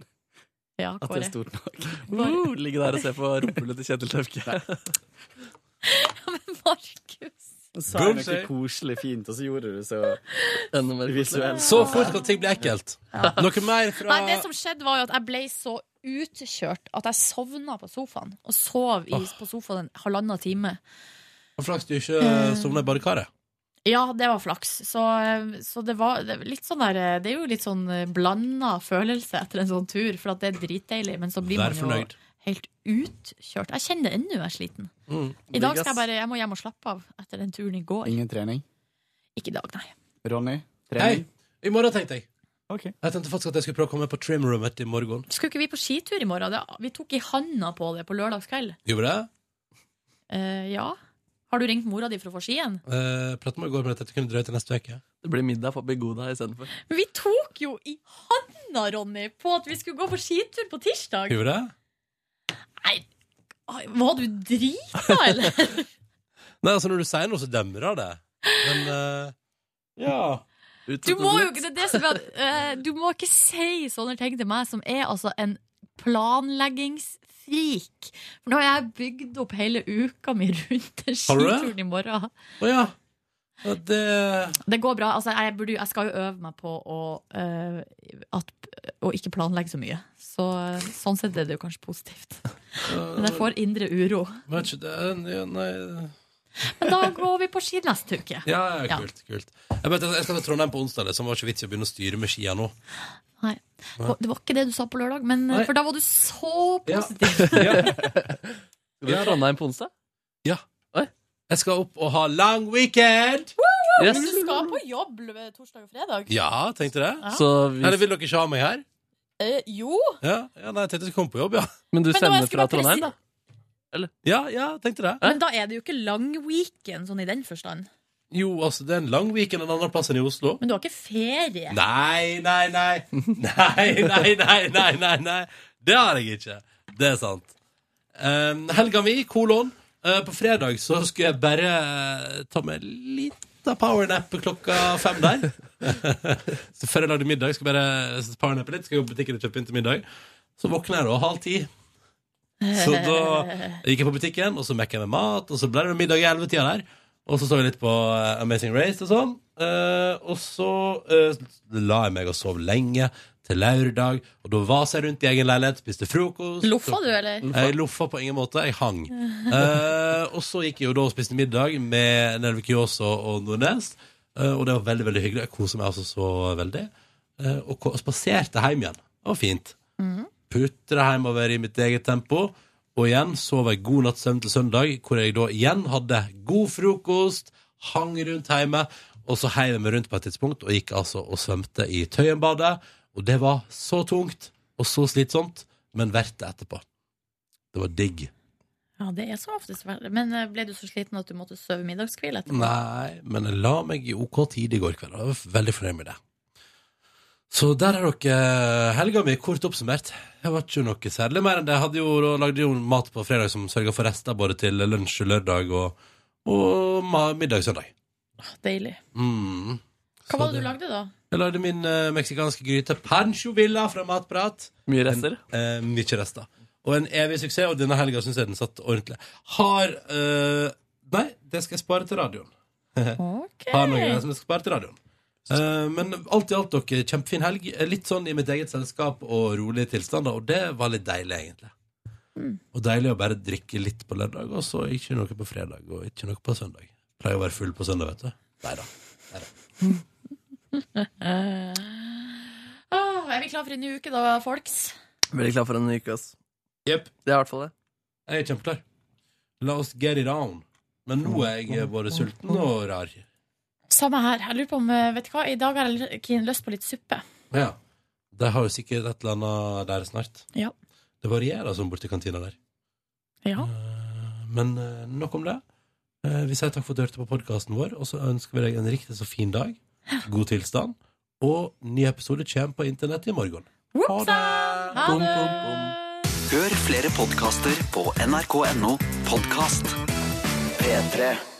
Speaker 2: Ja,
Speaker 9: At det
Speaker 2: Kåre.
Speaker 9: er stort nok?
Speaker 8: Uh, ligge der og se på rumpehullet til Kjetil Tøfke.
Speaker 9: Og så er det
Speaker 8: Bullseye.
Speaker 9: noe koselig fint, og så gjorde du det så
Speaker 8: Enda mer
Speaker 9: visuelt.
Speaker 1: Så fort kan ting bli ekkelt. Noe mer fra
Speaker 2: Nei, det som skjedde, var jo at jeg ble så utkjørt at jeg sovna på sofaen. Og sov i,
Speaker 1: Åh.
Speaker 2: på sofaen en halvannen time.
Speaker 1: Flaks du ikke eh, sovna i
Speaker 2: Mm.
Speaker 1: badekaret.
Speaker 2: Ja, det var flaks. Så, eh, så det var det er litt sånn der eh, Det er jo litt sånn blanda følelse etter en sånn tur, for at det er dritdeilig, men så blir
Speaker 1: Vær
Speaker 2: man jo
Speaker 1: fornøyd.
Speaker 2: helt utkjørt. Jeg kjenner det ennå, jeg er sliten.
Speaker 1: Mm.
Speaker 2: I dag skal jeg bare Jeg må hjem og slappe av etter den turen i går.
Speaker 9: Ingen trening?
Speaker 2: Ikke i dag, nei.
Speaker 9: Ronny?
Speaker 1: Nei,
Speaker 9: Trening?
Speaker 1: i morgen tenkte jeg.
Speaker 9: Ok.
Speaker 1: Jeg tenkte faktisk at jeg skulle prøve å komme på trimrommet i morgen.
Speaker 2: Skulle ikke vi på skitur i morgen? Det- Vi tok i handa på det på lørdagskveld.
Speaker 1: Gjorde jeg det?
Speaker 2: Eh, ja. Har du ringt mora di for å få ski igjen?
Speaker 1: Uh, Pratet med i går, men at dette kunne drøye til neste uke.
Speaker 8: Det blir middag på Begoda istedenfor.
Speaker 2: Men vi tok jo i handa, Ronny, på at vi skulle gå på skitur på tirsdag!
Speaker 1: Gjorde jeg det?
Speaker 2: Ai, Var du drita, eller?
Speaker 1: Nei, altså når du sier noe, så demrer det. Men eh, ja.
Speaker 2: Du må jo ikke, det er det som er, at, eh, du må ikke si sånne ting til meg, som er altså en planleggingsfrik. For nå har jeg bygd opp hele uka mi rundt den
Speaker 1: Har du det?
Speaker 2: skituren i morgen.
Speaker 1: Å ja. Ja, det
Speaker 2: Det går bra. Altså, jeg, burde, jo- jeg skal jo øve meg på å, eh, at, å ikke planlegge så mye. Så eh, sånn sett er det jo kanskje positivt. Men jeg får indre uro.
Speaker 1: Vet ikke, det er- ja, Nei
Speaker 2: Men da går vi på ski neste uke.
Speaker 1: Ja, ja, kult. kult Jeg, vet, jeg skal til Trondheim på onsdag, liksom. Det var ikke vits i å begynne å styre med skia nå.
Speaker 2: Nei.
Speaker 1: Nei.
Speaker 2: Det var ikke det du sa på lørdag, men, eh,
Speaker 1: Nei.
Speaker 2: for da var du så
Speaker 1: Ja.
Speaker 2: positiv.
Speaker 8: Skal du til Trondheim på onsdag?
Speaker 1: Ja. Jeg skal opp og ha lang weekend!
Speaker 8: Yes.
Speaker 11: Du skal på jobb lø- torsdag og fredag?
Speaker 1: Ja, tenkte det.
Speaker 11: Ja.
Speaker 8: Så vi-
Speaker 1: Eller vil dere ikke ha meg her?
Speaker 11: Eh, jo.
Speaker 1: Ja, ja nei, jeg tenkte jeg skulle komme på jobb, ja.
Speaker 8: Men du
Speaker 11: Men da må jeg sender fra skulle bare Trondheim,
Speaker 2: presi-
Speaker 1: Ja, ja, tenkte det.
Speaker 2: Men da er det jo ikke lang weekend, sånn i den forstand.
Speaker 1: Jo, altså, det er en lang weekend en annen plass enn i Oslo.
Speaker 2: Men du har ikke ferie.
Speaker 1: Nei, nei, nei. Nei, nei, nei, nei, nei, nei. Det har jeg ikke. Det er sant. Em, helga mi, kolon. eh, på fredag så skulle jeg bare eh, ta meg en liten powernap klokka fem der. så før jeg lagde middag, skal jeg bare powernappe litt. Skal jeg gå på butikken og kjøpe inn til middag. Så våkner jeg da halv ti. Så da gikk jeg på butikken, og så mekka jeg med mat, og så ble det middag i ellevetida der. Og så så vi litt på eh, Amazing Race og sånn. Eh, og så eh, la jeg meg og sov lenge til lørdag, og da vasa jeg rundt i egen leilighet, spiste frokost.
Speaker 2: Loffa du, eller?
Speaker 1: Jeg loffa på ingen måte. Jeg hang. Eh, og så gikk jeg jo da og spiste middag med Nelvik Kjåså og Nordnes. eh, og det var veldig veldig hyggelig. Jeg kosa meg altså så veldig. Eh, og ko- spaserte hjem igjen. Det var fint. Putra hjemover i mitt eget tempo. Og igjen sov jeg god natts søvn til søndag, hvor jeg da igjen hadde god frokost, hang rundt hjemme, og så heiv jeg meg rundt på et tidspunkt og gikk altså og svømte i Tøyenbadet. Og det var så tungt og så slitsomt, men verdt det etterpå. Det var digg.
Speaker 2: Ja, det er som oftest verre. Men eh, ble du så sliten at du måtte sove middagskvile etterpå?
Speaker 1: Nei, men jeg la meg i OK tid i går kveld. og Jeg var veldig fornøyd med det. Så der er dere eh, helga mi kort oppsummert. Det var ikke noe særlig mer enn det. Jeg hadde jo, og lagde jo mat på fredag som sørga for rester både til lunsj lørdag og, og ma- middag søndag.
Speaker 2: Deilig.
Speaker 1: Mm.
Speaker 2: Hva var det du lagde, da?
Speaker 1: Jeg lagde min eh, meksikanske gryte pancho villa fra Matprat.
Speaker 8: Mye rester?
Speaker 1: Eh, mye rester. Og en evig suksess, og denne helga syns jeg den satt ordentlig. Har eh, Nei, det skal jeg spare til radioen. Har noe greier som jeg skal spare til radioen. Eh, men alt i alt, dere, kjempefin helg. Eh, Litt sånn i mitt eget selskap og rolige tilstander, og det var litt deilig, egentlig. Og deilig å bare drikke litt på lørdag, og så ikke noe på fredag, og ikke noe på søndag. Pleier å være full på søndag, vet du. Nei da.
Speaker 2: Eh, Åh, er vi klar for en ny uke, da, folks?
Speaker 8: Veldig klar for en ny uke, ass.
Speaker 1: Jepp.
Speaker 8: Det er i hvert fall det.
Speaker 1: Jeg er kjempeklar. La oss get it on. Men nå er jeg eh, både sulten og rar.
Speaker 2: Samme her. Jeg lurer på om, eh, vet du hva, I dag har jeg l- lyst på litt suppe.
Speaker 1: Ja. De har jo sikkert et eller annet der snart.
Speaker 2: Ja.
Speaker 1: Det varierer sånn borti kantina der.
Speaker 2: Ja.
Speaker 1: Men eh, nok om det. Eh, Vi sier takk for at du hørte på podkasten vår, og så ønsker vi deg en riktig så fin dag. God tilstand. Og ny episode kommer på internett i morgen.
Speaker 2: Ha det!
Speaker 4: Hør flere podkaster på nrk.no podkast. P3.